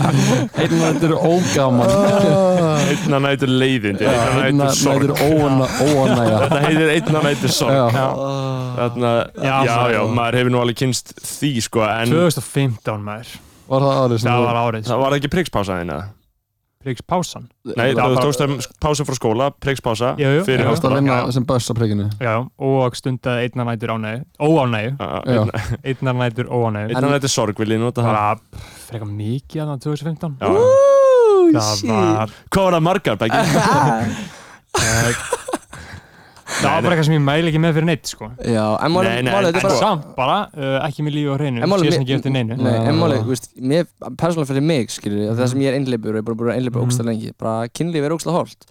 [SPEAKER 7] einnættur ógaman
[SPEAKER 1] einna nætur leiðindi, einna nætur sorg
[SPEAKER 7] einnættur óanæga
[SPEAKER 1] Þetta heitir einna nætur sorg
[SPEAKER 7] Já,
[SPEAKER 1] Þarna, já,
[SPEAKER 2] Já,
[SPEAKER 1] já,
[SPEAKER 2] maður.
[SPEAKER 1] maður hefur nú alveg kynst því sko En
[SPEAKER 2] 2015 maður
[SPEAKER 7] var það aðrið sem
[SPEAKER 2] Það
[SPEAKER 7] þú
[SPEAKER 2] var árið
[SPEAKER 1] það var ekki prigspása þín eða?
[SPEAKER 2] Pryggs Pásan
[SPEAKER 1] Nei,
[SPEAKER 2] var
[SPEAKER 1] þú
[SPEAKER 2] bara-
[SPEAKER 1] tókst þeim pása frá skóla, prigspása
[SPEAKER 2] Jú, jú.
[SPEAKER 1] Fyrir
[SPEAKER 2] Já.
[SPEAKER 7] varst að
[SPEAKER 1] háskóla
[SPEAKER 7] vinna
[SPEAKER 2] Já.
[SPEAKER 7] sem börs á prekinu
[SPEAKER 2] Já, og stundaði einnar nætur ánægju Óánægju,
[SPEAKER 1] Já,
[SPEAKER 7] Já.
[SPEAKER 1] einna-
[SPEAKER 2] einnar nætur óánægju
[SPEAKER 1] Einna nætur sorg vil ég nota
[SPEAKER 2] Það
[SPEAKER 1] það
[SPEAKER 2] var pff, frekar mikið að 2015
[SPEAKER 1] Já.
[SPEAKER 2] Það var
[SPEAKER 1] Hvað var það margar, Beggi?
[SPEAKER 2] eh, Það var bara eitthvað sem ég mæli ekki með fyrir neitt sko
[SPEAKER 8] Já, en máli,
[SPEAKER 1] Nei, nei,
[SPEAKER 8] máli,
[SPEAKER 1] en
[SPEAKER 2] En
[SPEAKER 8] þetta er bara
[SPEAKER 2] samt bara, uh, ekki með lífi á hreinu
[SPEAKER 8] En málið-
[SPEAKER 2] Sér sem ekki eftir neinu
[SPEAKER 8] Nei, en
[SPEAKER 7] Já.
[SPEAKER 8] máli, þú veist, mér, persónulega fyrir mig skilur, mm. það sem ég er einleipur og ég er bara búin að einleipa
[SPEAKER 2] Mhm.
[SPEAKER 8] mm. ógsta lengi, bara kynlíf er ógsta holt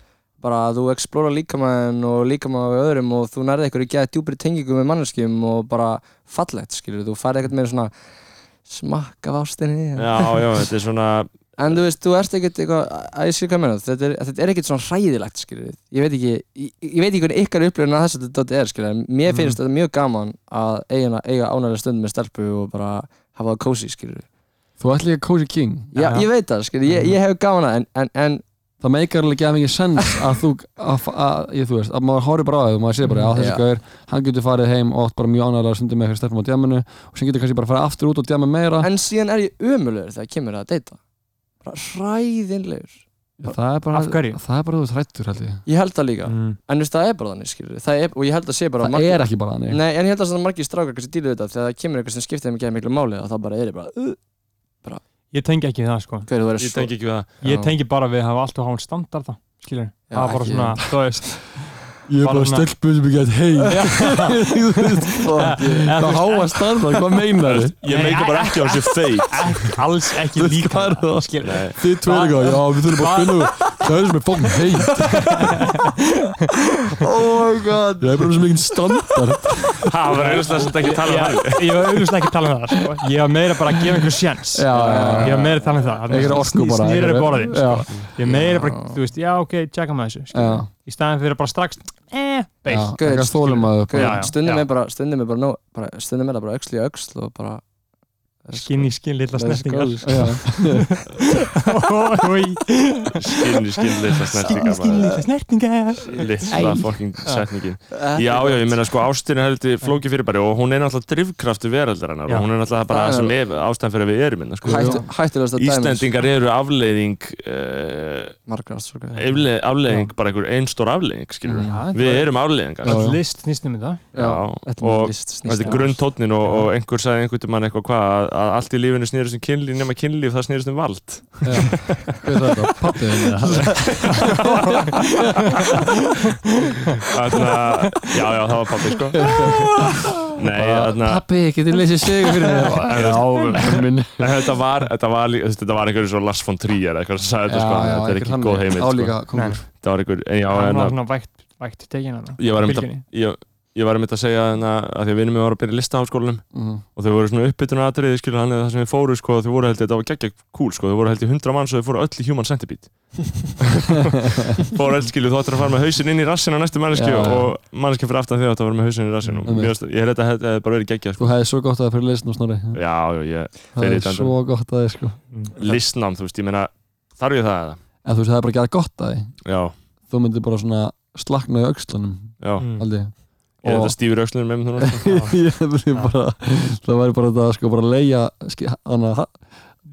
[SPEAKER 8] bara þú explora líkamann og líkamann við öðrum og þú nærði eitthvað í geða djúpri tengingu með manneskjum og bara fallegt, skilur, þú færði eitthvað meira svona smakk af ástinni
[SPEAKER 1] Já, já, þetta er svona
[SPEAKER 8] En þú veist, þú ert ekkert eitthvað, að ég skilja hvað ég meina, þetta er, þetta er ekkert svona hræðilegt, skiljið. Ég veit ekki, ég, ég veit ekki hvernig ykkar upplifun að þessu þetta er, skiljið, en
[SPEAKER 7] Mhm.
[SPEAKER 8] mér finnst þetta mjög gaman að eiga, eiga ánægilega stund með stelpu og bara hafa það kósi, skiljið.
[SPEAKER 7] Þú ætti líka Cozy King
[SPEAKER 8] Já,
[SPEAKER 2] Já, já.
[SPEAKER 8] ég veit það,
[SPEAKER 7] Mhm.
[SPEAKER 8] skiljið, ég, ég hef gaman að, en, en, en,
[SPEAKER 7] Það meikar alveg ekki að mikið sens að þú, að, að, ég, þú veist, að maður horfir bara á þau og maður sé bara að þessi
[SPEAKER 8] Já.
[SPEAKER 7] gauður, hann getur farið heim og átt bara mjög ánægilega stundum með eitthvað stefnum á djaminu og sem getur kannski bara að fara aftur út og djama meira
[SPEAKER 8] en síðan er ég ömulegur þegar kemur að deyta. Bara hræðinlegur.
[SPEAKER 7] það er bara,
[SPEAKER 2] Af hverju?
[SPEAKER 7] það er bara þú þrættur held ég
[SPEAKER 8] Ég held það líka,
[SPEAKER 2] mm.
[SPEAKER 8] en þú veist það er bara þannig skilur það er, og ég held að sé bara
[SPEAKER 7] það
[SPEAKER 8] margir-
[SPEAKER 7] er ekki bara þannig
[SPEAKER 8] Nei, en ég held að það er margir strákar kannski dýlu þetta þegar það kemur eitthvað sem skiptir þeim ekki miklu máli og það bara er bara, uh,
[SPEAKER 2] Ég tengi ekki við það sko
[SPEAKER 8] hver þú verður
[SPEAKER 1] Ég
[SPEAKER 8] svo
[SPEAKER 1] tengi ekki við það
[SPEAKER 2] Ég
[SPEAKER 8] Já.
[SPEAKER 2] tengi bara við að hafa allt og háan standarda skilur,
[SPEAKER 8] Já,
[SPEAKER 2] það er bara
[SPEAKER 8] ekki-
[SPEAKER 2] svona þú veist,
[SPEAKER 7] ég
[SPEAKER 2] er bara Bara svona-
[SPEAKER 7] sem ég get hei
[SPEAKER 2] eða,
[SPEAKER 7] það háa standard, hvað meinar þið?
[SPEAKER 1] Ég meika bara ekki á þessu feit
[SPEAKER 2] ekki, alls ekki líka
[SPEAKER 7] það?
[SPEAKER 2] skilur,
[SPEAKER 1] Nei,
[SPEAKER 7] Þið tveir
[SPEAKER 2] Hva-
[SPEAKER 7] eitthvað, já við þurfum bara að finna úr- það er sem er fokkin heit
[SPEAKER 8] Oh my god
[SPEAKER 7] ég er bara sem ekkert standard
[SPEAKER 1] það var einhvers veginn ekki að tala um það
[SPEAKER 2] ég, ég var auðvitað ekki að tala um það sko. ég var meira bara að gefa einhver sjens
[SPEAKER 7] Já, já, já.
[SPEAKER 2] ég var meira að tala um það
[SPEAKER 7] Einhver orku bara,
[SPEAKER 2] snýrið
[SPEAKER 7] einhver-
[SPEAKER 2] borðin
[SPEAKER 7] Já.
[SPEAKER 2] sko. ég var meira bara, þú veist, já ok, tjekka með þessu
[SPEAKER 7] já,
[SPEAKER 2] skilur. í staðin fyrir bara strax eh, beil
[SPEAKER 7] já, eitthvað stólum að
[SPEAKER 2] Já,
[SPEAKER 8] Hver,
[SPEAKER 2] já,
[SPEAKER 8] Sko, stundum
[SPEAKER 2] já.
[SPEAKER 8] er bara, stundum er bara, no, bara stundum er það bara öxl í öxl og bara
[SPEAKER 2] skinn í skinn lilla
[SPEAKER 8] Let's go,
[SPEAKER 2] snertingar
[SPEAKER 8] sko.
[SPEAKER 7] já,
[SPEAKER 2] Oi,
[SPEAKER 1] Skinni, skinni, litla
[SPEAKER 2] skinn í
[SPEAKER 1] snertingar
[SPEAKER 2] skinn
[SPEAKER 1] maður.
[SPEAKER 2] lilla snertingar
[SPEAKER 1] Litla
[SPEAKER 2] Æ.
[SPEAKER 1] fucking setningin
[SPEAKER 8] Þetta
[SPEAKER 1] Já,
[SPEAKER 8] er
[SPEAKER 1] já, ég meina sko ástin er heldur flóki fyrirbæri og hún er náttúrulega drifkraftu veraldarinnar
[SPEAKER 2] Já.
[SPEAKER 1] og hún er náttúrulega bara
[SPEAKER 8] Það
[SPEAKER 1] það
[SPEAKER 8] er-
[SPEAKER 1] sem er ástæðan fyrir að við erum innan, sko.
[SPEAKER 8] hættu- Hættulegasta dæmis
[SPEAKER 1] Íslendingar eru afleiðing uh,
[SPEAKER 8] Margra sko. ástfólk
[SPEAKER 1] afleiðing, afleiðing bara einhver einstór afleiðing skilur
[SPEAKER 2] Mm.
[SPEAKER 1] við. Við erum afleiðingar
[SPEAKER 7] Já.
[SPEAKER 2] all list um snýstum við það
[SPEAKER 8] Já,
[SPEAKER 1] Já, og
[SPEAKER 8] um
[SPEAKER 1] þetta er grunntótnin og, og einhver sagði einhvern tímann eitthvað hvað að, að allt í lífinu snýrist um kynlíf nema kynlíf það snýrist um vald
[SPEAKER 7] já. Hver er þetta? Pabbi þinn, eða?
[SPEAKER 1] Þannig að, já já það var pabbi sko Nei, þannig að
[SPEAKER 7] Pappi, getur lesið sögur fyrir mig Já, minn
[SPEAKER 1] Nei, þetta var, þetta var, lí- þetta var einhverju svo Lars von Trier eða eitthvað sem sagði þetta sko, þetta er ekki góð heimild sko.
[SPEAKER 7] Álíka, kongur
[SPEAKER 1] þetta var einhver, en já,
[SPEAKER 2] hann
[SPEAKER 1] en
[SPEAKER 2] var
[SPEAKER 1] að,
[SPEAKER 2] svona vægt, vægt tekin hann
[SPEAKER 1] ég var einmitt að,
[SPEAKER 2] bylginni
[SPEAKER 1] ég, ég var einmitt að segja en að, að því að vinnum við varum að byrja í listaháskólanum
[SPEAKER 7] Mhm.
[SPEAKER 1] og þau voru svona uppbytuna atriði skilur hann eða það sem við fóru sko, þau voru held ég, þetta var geggja cool sko, þau voru held ég 100 manns og þau fóru öll í human centipede fóru öll skilur, þú ættir að fara með hausinn inn í rassin á næstu manneski
[SPEAKER 7] Já, já.
[SPEAKER 1] og manneskin fyrir aftan því að það var með hausinn í rassin og
[SPEAKER 7] Einmitt.
[SPEAKER 1] mér varst- ég held að þetta hefði- hefði bara verið geggja
[SPEAKER 7] Þú
[SPEAKER 1] sko.
[SPEAKER 7] hefði svo gott að það fyrir lesið nú snorri
[SPEAKER 1] já, já, ég,
[SPEAKER 7] Það
[SPEAKER 1] Fyrir
[SPEAKER 7] er
[SPEAKER 1] þetta.
[SPEAKER 7] svo gott að það, sko
[SPEAKER 1] listnám, þú veist, ég meina þarf ég það eða?
[SPEAKER 7] En þú veist, það er bara að gera gott að því
[SPEAKER 1] Já,
[SPEAKER 7] Þú myndir bara svona slakna í öxlunum
[SPEAKER 1] já,
[SPEAKER 2] Mm.
[SPEAKER 7] aldrei
[SPEAKER 1] ég held
[SPEAKER 7] Og-
[SPEAKER 1] að stífur öxlunum með mér núna sko.
[SPEAKER 7] Ég myndi bara Það væri bara þetta, sko, bara leia Þannig að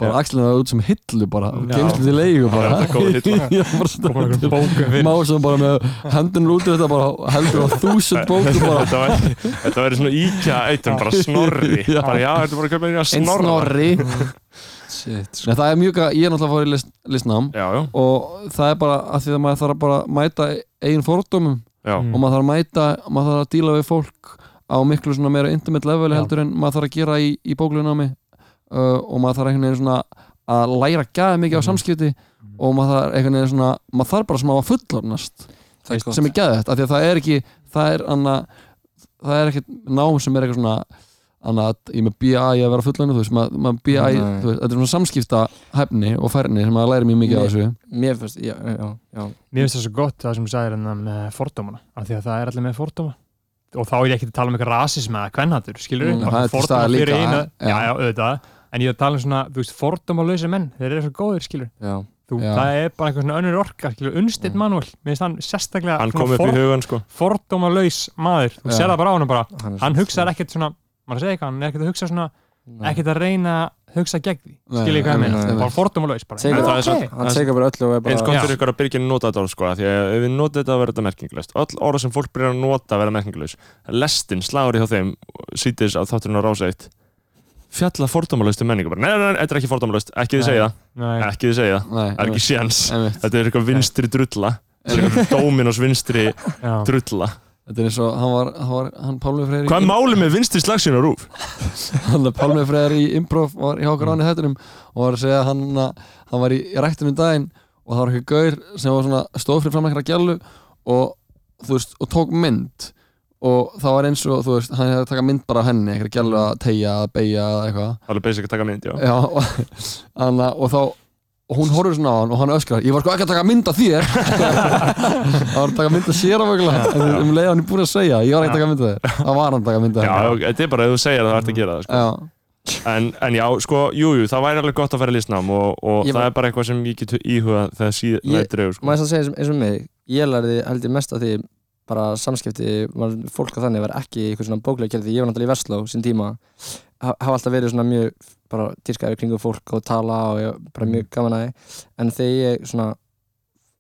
[SPEAKER 7] bara axlina út sem hillu bara og
[SPEAKER 2] Já.
[SPEAKER 7] geimslu til leigu bara
[SPEAKER 1] Já, þetta er góð hilla.
[SPEAKER 7] Já, bara svona-
[SPEAKER 2] Koma einhverjum bókum fyrir.
[SPEAKER 7] Má sem bara með hendunum út í þetta bara heldur á þúsund bókum bara
[SPEAKER 1] þetta var, þetta var svona íkja eitum, bara snorri
[SPEAKER 7] Já.
[SPEAKER 1] bara já, þetta bara að köpa einhverja
[SPEAKER 7] Einn
[SPEAKER 1] snorra
[SPEAKER 8] Shit, sko
[SPEAKER 7] Nei, það er mjög að ég er náttúrulega fór í list, listnám
[SPEAKER 1] já, já,
[SPEAKER 7] og það er bara að því að maður þarf að bara mæta eigin fordómum
[SPEAKER 1] já,
[SPEAKER 2] Mm.
[SPEAKER 7] og maður þarf að mæta, maður þarf að díla við fólk á miklu svona meira intimate level
[SPEAKER 2] Já.
[SPEAKER 7] heldur en maður þarf að gera í, í bóklunámi uh, og maður þarf einhvern veginn svona að læra gæði mikið á
[SPEAKER 2] Mhm.
[SPEAKER 7] samskipti og maður þarf einhvern veginn svona maður þarf bara smá að fullornast
[SPEAKER 8] Það er gott
[SPEAKER 7] sem er gæðið þetta, af því að það er ekki það er anna, það er ekkert nám sem er eitthvað svona anna, ég er með BI að vera fullorðin, þú veist, maður, maður BI,
[SPEAKER 8] Nei.
[SPEAKER 7] þú veist, þetta er svona samskipta hefni og færni sem maður læri mjög mikið á
[SPEAKER 8] Nei.
[SPEAKER 7] þessu
[SPEAKER 8] Mér finnst, já, já, já
[SPEAKER 2] Mér finnst það svo gott það sem þú sagðir hérna með fordómana af því að það er allir með fordóma og þá er ég ekki að tala um eitthvað rasism eða kvennhatur skilur
[SPEAKER 7] Mm, það er til staðar líka, ja.
[SPEAKER 2] já, já, auðvitað en ég er að tala um svona, þú veist, fordómalösa menn þeir eru svo góðir, skilur
[SPEAKER 8] Já,
[SPEAKER 2] þú,
[SPEAKER 7] Já.
[SPEAKER 2] það er bara einhver svona önnur orka, skilur, unnstitt
[SPEAKER 8] Mm.
[SPEAKER 2] manuál mér finnst hann sérstaklega
[SPEAKER 1] hann kom
[SPEAKER 2] svona
[SPEAKER 1] upp í hugan sko
[SPEAKER 2] fordómalaus maður þú
[SPEAKER 7] Já.
[SPEAKER 2] sér það bara á hann bara,
[SPEAKER 8] hann
[SPEAKER 2] hann hugsaði ekkert svona maður segir eitthvað, hann er ekkert að hugsa svona
[SPEAKER 8] Nei.
[SPEAKER 2] ekkert að reyna að hugsa gegn því
[SPEAKER 7] Nei,
[SPEAKER 2] skilur ég hvað
[SPEAKER 8] nei,
[SPEAKER 2] ég meina,
[SPEAKER 8] nei, nei.
[SPEAKER 2] bara fordómalaus bara,
[SPEAKER 8] Segir
[SPEAKER 1] En það er
[SPEAKER 2] ok.
[SPEAKER 1] samt-
[SPEAKER 8] Hann segir bara öllu og er bara
[SPEAKER 1] eins gott fyrir
[SPEAKER 2] Já.
[SPEAKER 1] ykkur að byrja að nota þetta orð sko, af því að ef við notum þetta að vera þetta merkinglöst öll orð sem fólk byrjar að nota að vera merkinglöst lestin, slagur hjá þeim sítiðis á þátturinn á rása eitt fjalla fordómalaustu menningu bara, nei, nei, nei, þetta er ekki fordómalaust, ekki þið
[SPEAKER 2] Nei.
[SPEAKER 1] segja það
[SPEAKER 2] Nei.
[SPEAKER 1] ekki þið segja það,
[SPEAKER 7] Nei,
[SPEAKER 1] það er ekki séns
[SPEAKER 7] einmitt.
[SPEAKER 1] þetta er eitthvað vinstri drulla þetta er eitthvað Dominos vinstri
[SPEAKER 2] Já.
[SPEAKER 1] drulla
[SPEAKER 7] Þetta er eins og hann var, hann, var, hann Pálmi Freyr í-
[SPEAKER 1] hvað er málið með vinstri slagsinn á rúf?
[SPEAKER 7] hann Pálmi Freyr í improv var hjá
[SPEAKER 8] Mm.
[SPEAKER 7] okkur áni þettunum og var að segja að hann, hann var í rættunum daginn og það var eitthvað gaur sem var svona stóð fyrir fram einhverja gælu og þú veist, og tók mynd og það var eins og, þú veist, hann hefði að taka mynd bara af henni, einhverja gælu að tegja, að beigja eða eitthvað,
[SPEAKER 1] alveg basic að taka mynd, já
[SPEAKER 7] já og, anna, og þá, og hún horfður svona á hann og hann öskrar, ég var sko ekki að taka mynd af þér hann var að taka mynd af sér af en um leið og hann er búin að segja ég var ekki að taka mynd af þér, það var hann að taka mynd af
[SPEAKER 1] Já,
[SPEAKER 7] þér
[SPEAKER 1] þetta er bara ef þú segir það, það ert að gera það sko.
[SPEAKER 7] já,
[SPEAKER 1] en, en já, sko, jújú, jú, það væri alveg gott að fara í listnám og, og
[SPEAKER 8] Ég
[SPEAKER 1] það
[SPEAKER 8] var-
[SPEAKER 1] er bara eitthvað sem ég get íhugað þegar síðan
[SPEAKER 8] Ég-
[SPEAKER 1] ég... dregur sko.
[SPEAKER 8] Maður þess að segja eins- eins og mig Ég lærði held ég mest af því bara samskipti var, fólk á þannig var ekki eitthvað svona bóklega gerði ég var náttúrulega í Vestló sín tíma Ha- hafa alltaf verið svona mjög bara dýrkaður kringum fólk og tala og ég, bara mjög gaman að því en þegar ég svona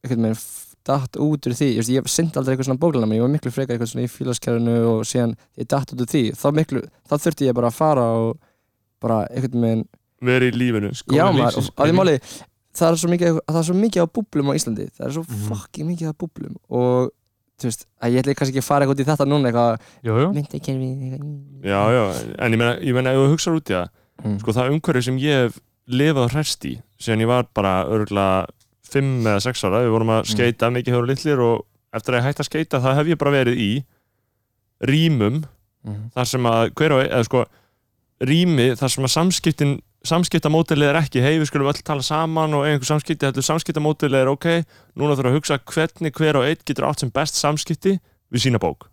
[SPEAKER 8] einhvern veginn f- datt út úr því, ég, veist, ég syndi aldrei eitthvað svona bóklæðnami, ég var miklu frekar eitthvað svona í félagskerfinu og síðan ég datt út úr því, þá miklu, þá þurfti ég bara að fara og bara einhvern veginn
[SPEAKER 1] verið í lífinu
[SPEAKER 2] Skóli
[SPEAKER 8] Já maður,
[SPEAKER 2] lífsins,
[SPEAKER 8] og- að því
[SPEAKER 2] baby.
[SPEAKER 8] máli það er svo mikið, það er svo mikið á búblum á Íslandi það er svo
[SPEAKER 2] Mhm.
[SPEAKER 8] fucking mikið á búblum og þú veist, að ég ætli kannski ekki að fara eitthvað út í þetta núna eitthvað,
[SPEAKER 2] Jú, jú,
[SPEAKER 8] myndakerfi eitthvað.
[SPEAKER 1] já, já, en ég meina, ég meina ef þú hugsar út í það
[SPEAKER 8] Mm.
[SPEAKER 1] sko það umhverju sem ég hef lifað og hrest í síðan ég var bara örgulega 5 eða 6 ára, við vorum að
[SPEAKER 8] Mm.
[SPEAKER 1] skeita mikið hefur litlir og eftir að ég hætti að skeita það hef ég bara verið í rýmum
[SPEAKER 8] Mhm.
[SPEAKER 1] þar sem að hver og ein- eða sko rými þar sem að samskiptin samskiptamódelið er ekki, hei við skulum öll tala saman og eiga einhver samskipti, heldur samskiptamódelið er ok, núna þurfum við að hugsa hvernig hver og einn getur átt sem best samskipti við sína bók,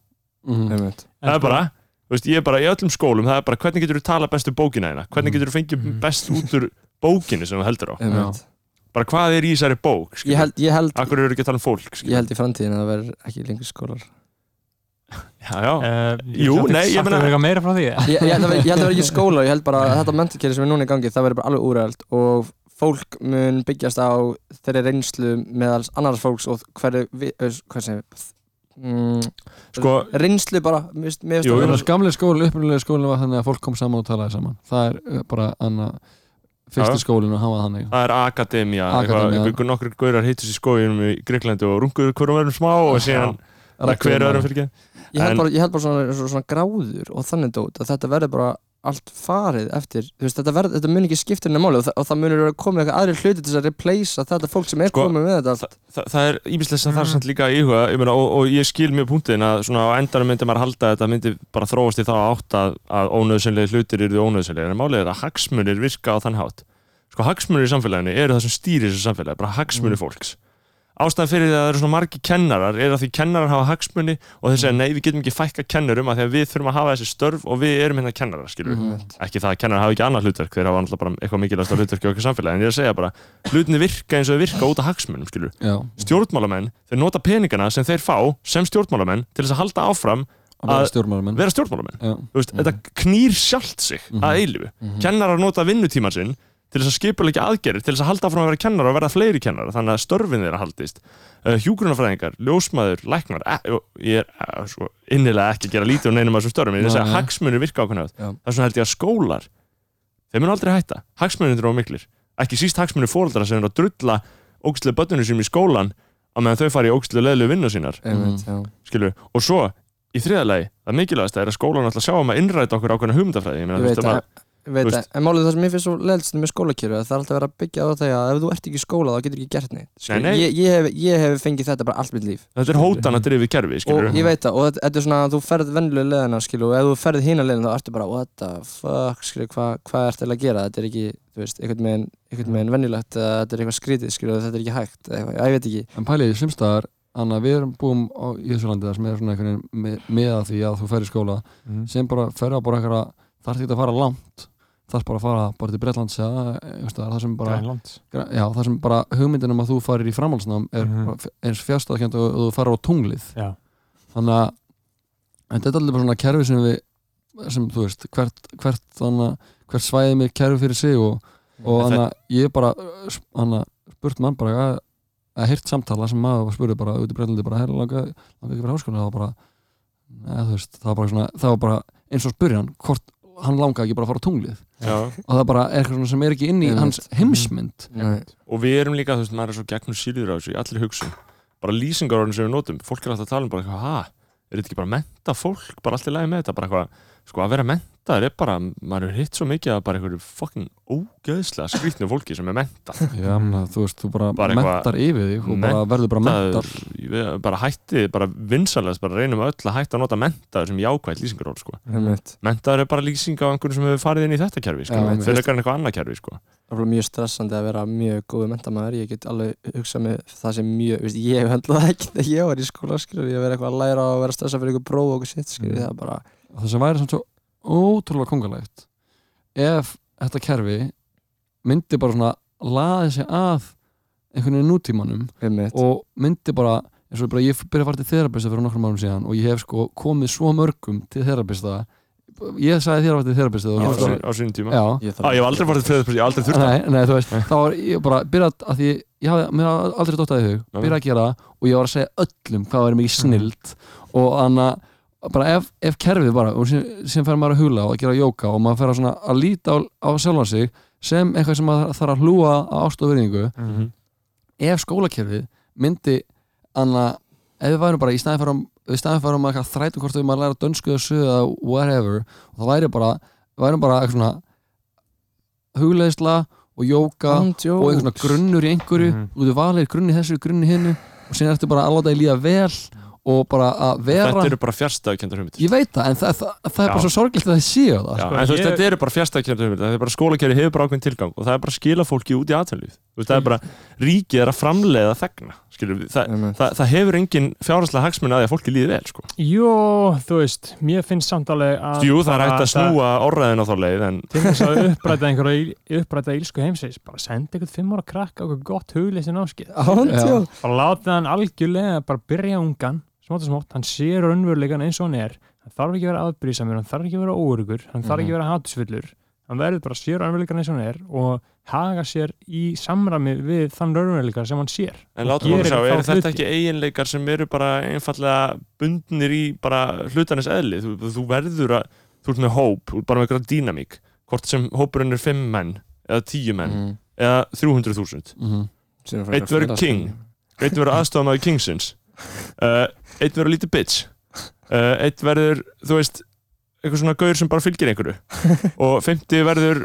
[SPEAKER 1] Mm.
[SPEAKER 7] Mhm.
[SPEAKER 8] Einmitt.
[SPEAKER 1] það er bara þú veist, ég er bara í öllum skólum, það er bara hvernig getur þú tala best um bókina þína, hvernig getur þú fengið
[SPEAKER 2] Mhm.
[SPEAKER 1] best út úr bókinni sem þú heldur á
[SPEAKER 8] Einmitt.
[SPEAKER 1] bara hvað er í þessari bók,
[SPEAKER 8] ég
[SPEAKER 1] skilur,
[SPEAKER 8] held, ég held
[SPEAKER 1] akkur eru ekki að tala um fólk skilur?
[SPEAKER 8] ég held í framtíðin að það verður ekki lengur skólar
[SPEAKER 1] já, já,
[SPEAKER 2] Uh,
[SPEAKER 1] Jú, nei, ég meina-
[SPEAKER 2] Það verður eitthvað meira frá því
[SPEAKER 8] ég, ég held að ver- ég held að verður ekki skólar, ég held bara að þetta mentakerfi sem er núna í gangi, það verður bara alveg úrælt og fólk mun byggjast á þeirri reynslu meðal annars fólks og hverju, vi- ö, hvað sem mm,
[SPEAKER 1] sko,
[SPEAKER 8] reynslu bara, mér finnst- mér finnst
[SPEAKER 1] Jú, ég
[SPEAKER 8] að vera-
[SPEAKER 1] meina-
[SPEAKER 7] Þannig að gamlega skólinn, upprunalega skólinn var þannig að fólk kom saman og talaði saman Það er uh, bara
[SPEAKER 1] Já.
[SPEAKER 7] annað fyrsti skólinn og hann var þannig
[SPEAKER 1] það er akademia,
[SPEAKER 7] Akademía.
[SPEAKER 1] akademia. Eitthvað, nokkur gaurar hittust í skóinum í Greiklandi og runguðu hverjum verðum smá og síðan það
[SPEAKER 7] Ræddu
[SPEAKER 1] hver
[SPEAKER 7] um
[SPEAKER 1] öðrum
[SPEAKER 7] það.
[SPEAKER 1] fyrir ekki
[SPEAKER 8] ég held,
[SPEAKER 1] En-
[SPEAKER 8] bara, ég held bara svona, svona, svona gráður og þannig dót að þetta verður bara allt farið eftir þú veist, þetta, verð, þetta mun ekki skipta henni máli og, það- og það munur að koma eitthvað aðri hluti til þess að replacea þetta fólk sem er
[SPEAKER 1] Sko,
[SPEAKER 8] komið með þetta allt
[SPEAKER 1] Þa, það, það er ímislega sem það er samt líka að íhuga ég meina, og, og ég skil mjög punktin að svona á endanum myndi maður halda að þetta myndi bara þróast í þá átt að, að ónöðsynlega hlutir eru ónöðsynlega en málið er að hagsmunir virka á þann hátt sko hagsmunir í samfélaginu eru það sem stýrir þessu samfélagi bara hagsmunir fólks ástæðan fyrir því að það eru svona margi kennarar er að því kennarar hafa hagsmuni og þeir segja nei við getum ekki fækka kennurum að því að við þurfum að hafa þessi störf og við erum hérna kennarar skilur ekki það að kennarar hafa ekki annað hlutverk þeir hafa alltaf bara eitthvað mikilvægast hlutverk í okkar samfélagi en ég er að segja bara hlutinni virka eins og þau virka út af hagsmunum skilur
[SPEAKER 7] Já,
[SPEAKER 1] stjórnmálamenn þeir nota peningana sem þeir fá sem stjórnmálamenn til þess að halda áfram
[SPEAKER 7] að vera
[SPEAKER 1] Að-
[SPEAKER 7] stjórnmálamenn
[SPEAKER 1] vera stjórnmálamenn
[SPEAKER 7] Já,
[SPEAKER 1] Þú veist, þetta knýr sjálft sig að eilifu
[SPEAKER 7] Mhm.
[SPEAKER 1] Mm. kennarar nota vinnutíman sinn til þess að skipulegja aðgerðir til þess að halda áfram að vera kennarar og verða fleiri kennarar þannig að störfin þeirra haldist uh, hjúgrunafræðingar, ljósmaður, læknar e og ég er eh, sko, innilega ekki að gera lítið og neinum af þessum störfum en ég er að segja að
[SPEAKER 7] Nei.
[SPEAKER 1] hagsmunir virka ákveðna
[SPEAKER 8] Já.
[SPEAKER 1] það er svona held ég að skólar þeir mun aldrei hætta, hagsmunir eru ómiklir ekki síst hagsmunir fóreldra sem eru að drulla ógstlega börnunum sínum í skólan á meðan þau fari í ógstlega leðlu vinnu sínar
[SPEAKER 8] Einmitt, já.
[SPEAKER 1] skilur, og svo í þriðalegi, það mikilvægast er að skólan alltaf sjá um að innræta okkur ákveðna hugmyndafræði ég meina,
[SPEAKER 8] ég veit
[SPEAKER 1] þetta
[SPEAKER 8] að
[SPEAKER 1] bara,
[SPEAKER 8] ég veit
[SPEAKER 1] þú
[SPEAKER 8] að, en málið það sem ég finnst svo leðst með skólakjöru, það er alltaf verið að byggja á það að ef þú ert ekki í skóla þá getur ekki gert neitt Skilur,
[SPEAKER 1] Nei, nei.
[SPEAKER 8] Ég, ég, hef, ég hef fengið þetta bara allt mitt líf
[SPEAKER 1] þetta er hótana drifið kerfi skilur,
[SPEAKER 8] og ég veit það, og þetta- þetta er svona að þú ferð venlulega leðina, skilu, og ef þú ferð hína leðina þá ertu bara, what the fuck, skilu, hvað hva ertu eiginlega að gera, þetta er ekki, þú veist, einhvern meginn, einhvern meginn venjulegt, eða þetta er eitthvað skrítið, skilu, þetta er ekki hægt, eða eitthvað, Já, ég veit ekki,
[SPEAKER 7] En pæliði, sumstaðar, Anna, við erum búum á, í þessu landi það sem er svona einhvern veginn með, með að því að þú fer í skóla
[SPEAKER 2] Mhm.
[SPEAKER 7] sem bara fer á bara einhverja, þarf ekki að fara langt þarf bara að fara bara til Bretlands eða eh, einhvers staðar, það sem bara,
[SPEAKER 2] Grænland
[SPEAKER 7] já, það sem bara hugmyndin um að þú farir í framhaldsnám er
[SPEAKER 2] Mhm.
[SPEAKER 7] bara eins fjárstæðkjönd og og þú farir á tunglið
[SPEAKER 2] Já.
[SPEAKER 7] þannig að en þetta er allir bara svona kerfi sem við sem þú veist, hvert, hvert, þannig, hvert svæði með kerfi fyrir sig og, og
[SPEAKER 1] En
[SPEAKER 7] þannig að ég bara þannig að spurt mann bara að, að heyrt samtala sem maður spurði bara út í breytlandi bara herra langa, langa ekki fyrir háskóla það var bara, neða þú veist það var bara, svona, það var bara eins og spurði hann hvort hann langaði ekki bara að fara á tunglið
[SPEAKER 1] já,
[SPEAKER 7] og það bara er eitthvað svona sem er ekki inn í
[SPEAKER 8] Einmitt.
[SPEAKER 7] hans heimsmynd
[SPEAKER 8] Nei.
[SPEAKER 1] og við erum líka, þú veist, maður er svo gegnum síður á þessu, í allir hugsun bara lýsingarorðin sem við notum, fólk er alltaf að tala um bara, eitthvað, ha, er þetta ekki bara menta fólk bara allir lagi með þetta, bara eitthvað sko að vera mentaður er bara, maður er hitt svo mikið að bara einhverju fucking ógeðslega skrýtnu fólki sem er menta
[SPEAKER 7] Mhm. já, menna, þú veist, þú bara,
[SPEAKER 1] Bara
[SPEAKER 7] bara
[SPEAKER 1] eitthvað-
[SPEAKER 7] mentar yfir þig og bara verður bara mentar
[SPEAKER 1] bara hætti, bara vinsalast bara reynum öll að hætta að nota mentaður sem jákvætt lýsingarorð sko.
[SPEAKER 8] einmitt,
[SPEAKER 1] mentaður er bara lýsing á einhverjum sem hefur farið inn í þetta kerfi sko.
[SPEAKER 7] Já,
[SPEAKER 1] ja,
[SPEAKER 7] einmitt.
[SPEAKER 1] fyrir eitthvað eitthvað annað kerfi sko.
[SPEAKER 8] það er bara mjög stressandi að vera mjög góðu mentamæður, ég get alveg hugsað með það sem mjög, veist, ég hef höndlað það ekki þegar ég var í skóla, skilu, ég hef verið eitthvað að læra og vera stressað fyrir eitthvað próf og eitthvað sitt, skilu,
[SPEAKER 7] Mm.
[SPEAKER 8] það er bara,
[SPEAKER 7] það sem væri samt svo ótrúlega kongalegt ef þetta kerfi myndi bara svona laði sig að einhvern veginn nútímanum
[SPEAKER 8] einmitt,
[SPEAKER 7] og myndi bara, eins og bara ég byrja að fara til þerabista fyrir nokkrum árum síðan og ég hef sko komið svo mörgum til þerabista ég sagði þér að fara til þerabista
[SPEAKER 1] á,
[SPEAKER 7] og þú
[SPEAKER 1] á,
[SPEAKER 7] bara-
[SPEAKER 1] á sínum tíma
[SPEAKER 7] já,
[SPEAKER 8] ég þarf
[SPEAKER 1] Á, ég hef aldrei farið til þriðaðspurs, ég hef aldrei þurft
[SPEAKER 7] nei, nei, þú veist þá var ég bara byrjað að því ég hafði, mér hafði aldrei dottaði í hug,
[SPEAKER 1] Nei,
[SPEAKER 7] byrja að gera það og ég var að segja öllum hvað væri mikið snild og þannig að bara ef, ef kerfið bara, og sem, sem fer maður að hula og að gera jóka og maður fer að, svona, að líta á, á sjálfan sig sem eitthvað sem maður þarf að hlúa á ást og verðingu
[SPEAKER 2] Mhm.
[SPEAKER 7] ef skólakerfið myndi annað, ef við værum bara í staðin fyrir við staðin fyrir um að þrætum hvort við maður læra dönsku eða sögðu eða whatever og það væri bara, værum bara eitthvað svona hugleðisla og jóka og
[SPEAKER 8] og
[SPEAKER 7] eitthvað svona grunnur í einhverju
[SPEAKER 2] Mhm.
[SPEAKER 7] og þú valir grunni þessu, grunni hinnu og síðan ertu bara að láta þig líða vel og bara að vera
[SPEAKER 1] Þetta eru bara fjárstafkjöndar hugmyndir
[SPEAKER 7] ég veit það, en það, það, það er bara
[SPEAKER 1] Já.
[SPEAKER 7] svo sorgilt að það séu það
[SPEAKER 1] Já,
[SPEAKER 7] sko.
[SPEAKER 1] en þú veist,
[SPEAKER 2] ég-
[SPEAKER 1] þetta eru bara fjárstækjandi hugmyndir þetta er bara skólakerfi hefur bara ákveðin tilgang og það er bara að skila fólki út í atvinnlíf Þú veist, það er bara, ríkið er að framleiða þegna skilur við,
[SPEAKER 2] Mm.
[SPEAKER 1] það,
[SPEAKER 8] Einmitt.
[SPEAKER 1] það, það hefur engin fjárhanslega hagsmun að því að fólki líði vel sko.
[SPEAKER 2] Jó, þú veist, mér finnst samt alveg að
[SPEAKER 1] jú, það er
[SPEAKER 2] bara
[SPEAKER 1] hægt að snúa orðaðin á þá leið en
[SPEAKER 2] til þess að uppræta einhverja uppræta ílsku heimsins, bara senda einhvern fimm ára krakka okkur gott hugleysi námskið
[SPEAKER 8] ándjó
[SPEAKER 2] bara láta hann algjörlega bara byrja ungan, smátt og smátt, hann sé raunveruleikan eins og hann er, hann þarf ekki að vera aðbrísamur, hann þarf ekki að vera óurugur, hann þarf ekki að vera hatusfullur, hann verður bara að sé raunveruleikan eins og hann er og haga sér í samræmi við þann raunveruleika sem hann sér.
[SPEAKER 1] En
[SPEAKER 2] Og
[SPEAKER 1] látum okkur
[SPEAKER 2] gerir
[SPEAKER 1] sjá,
[SPEAKER 2] þá
[SPEAKER 1] eru þetta
[SPEAKER 2] hluti.
[SPEAKER 1] ekki eiginleikar sem eru bara einfallega bundnir í bara hlutarnis eðli? Þú, þú verður að, þú ert með hóp, þú ert bara með eitthvað dýnamík, hvort sem hópurinn er 5 menn eða 10 menn
[SPEAKER 8] Mm.
[SPEAKER 1] eða 300.000.
[SPEAKER 7] Mhm.
[SPEAKER 1] Einn verður king, einn verður aðstofamæður kingsins, uh, einn verður lítið bitch, uh, einn verður, þú veist, eitthvað svona gaur sem bara fylgir einhverju og 50 verður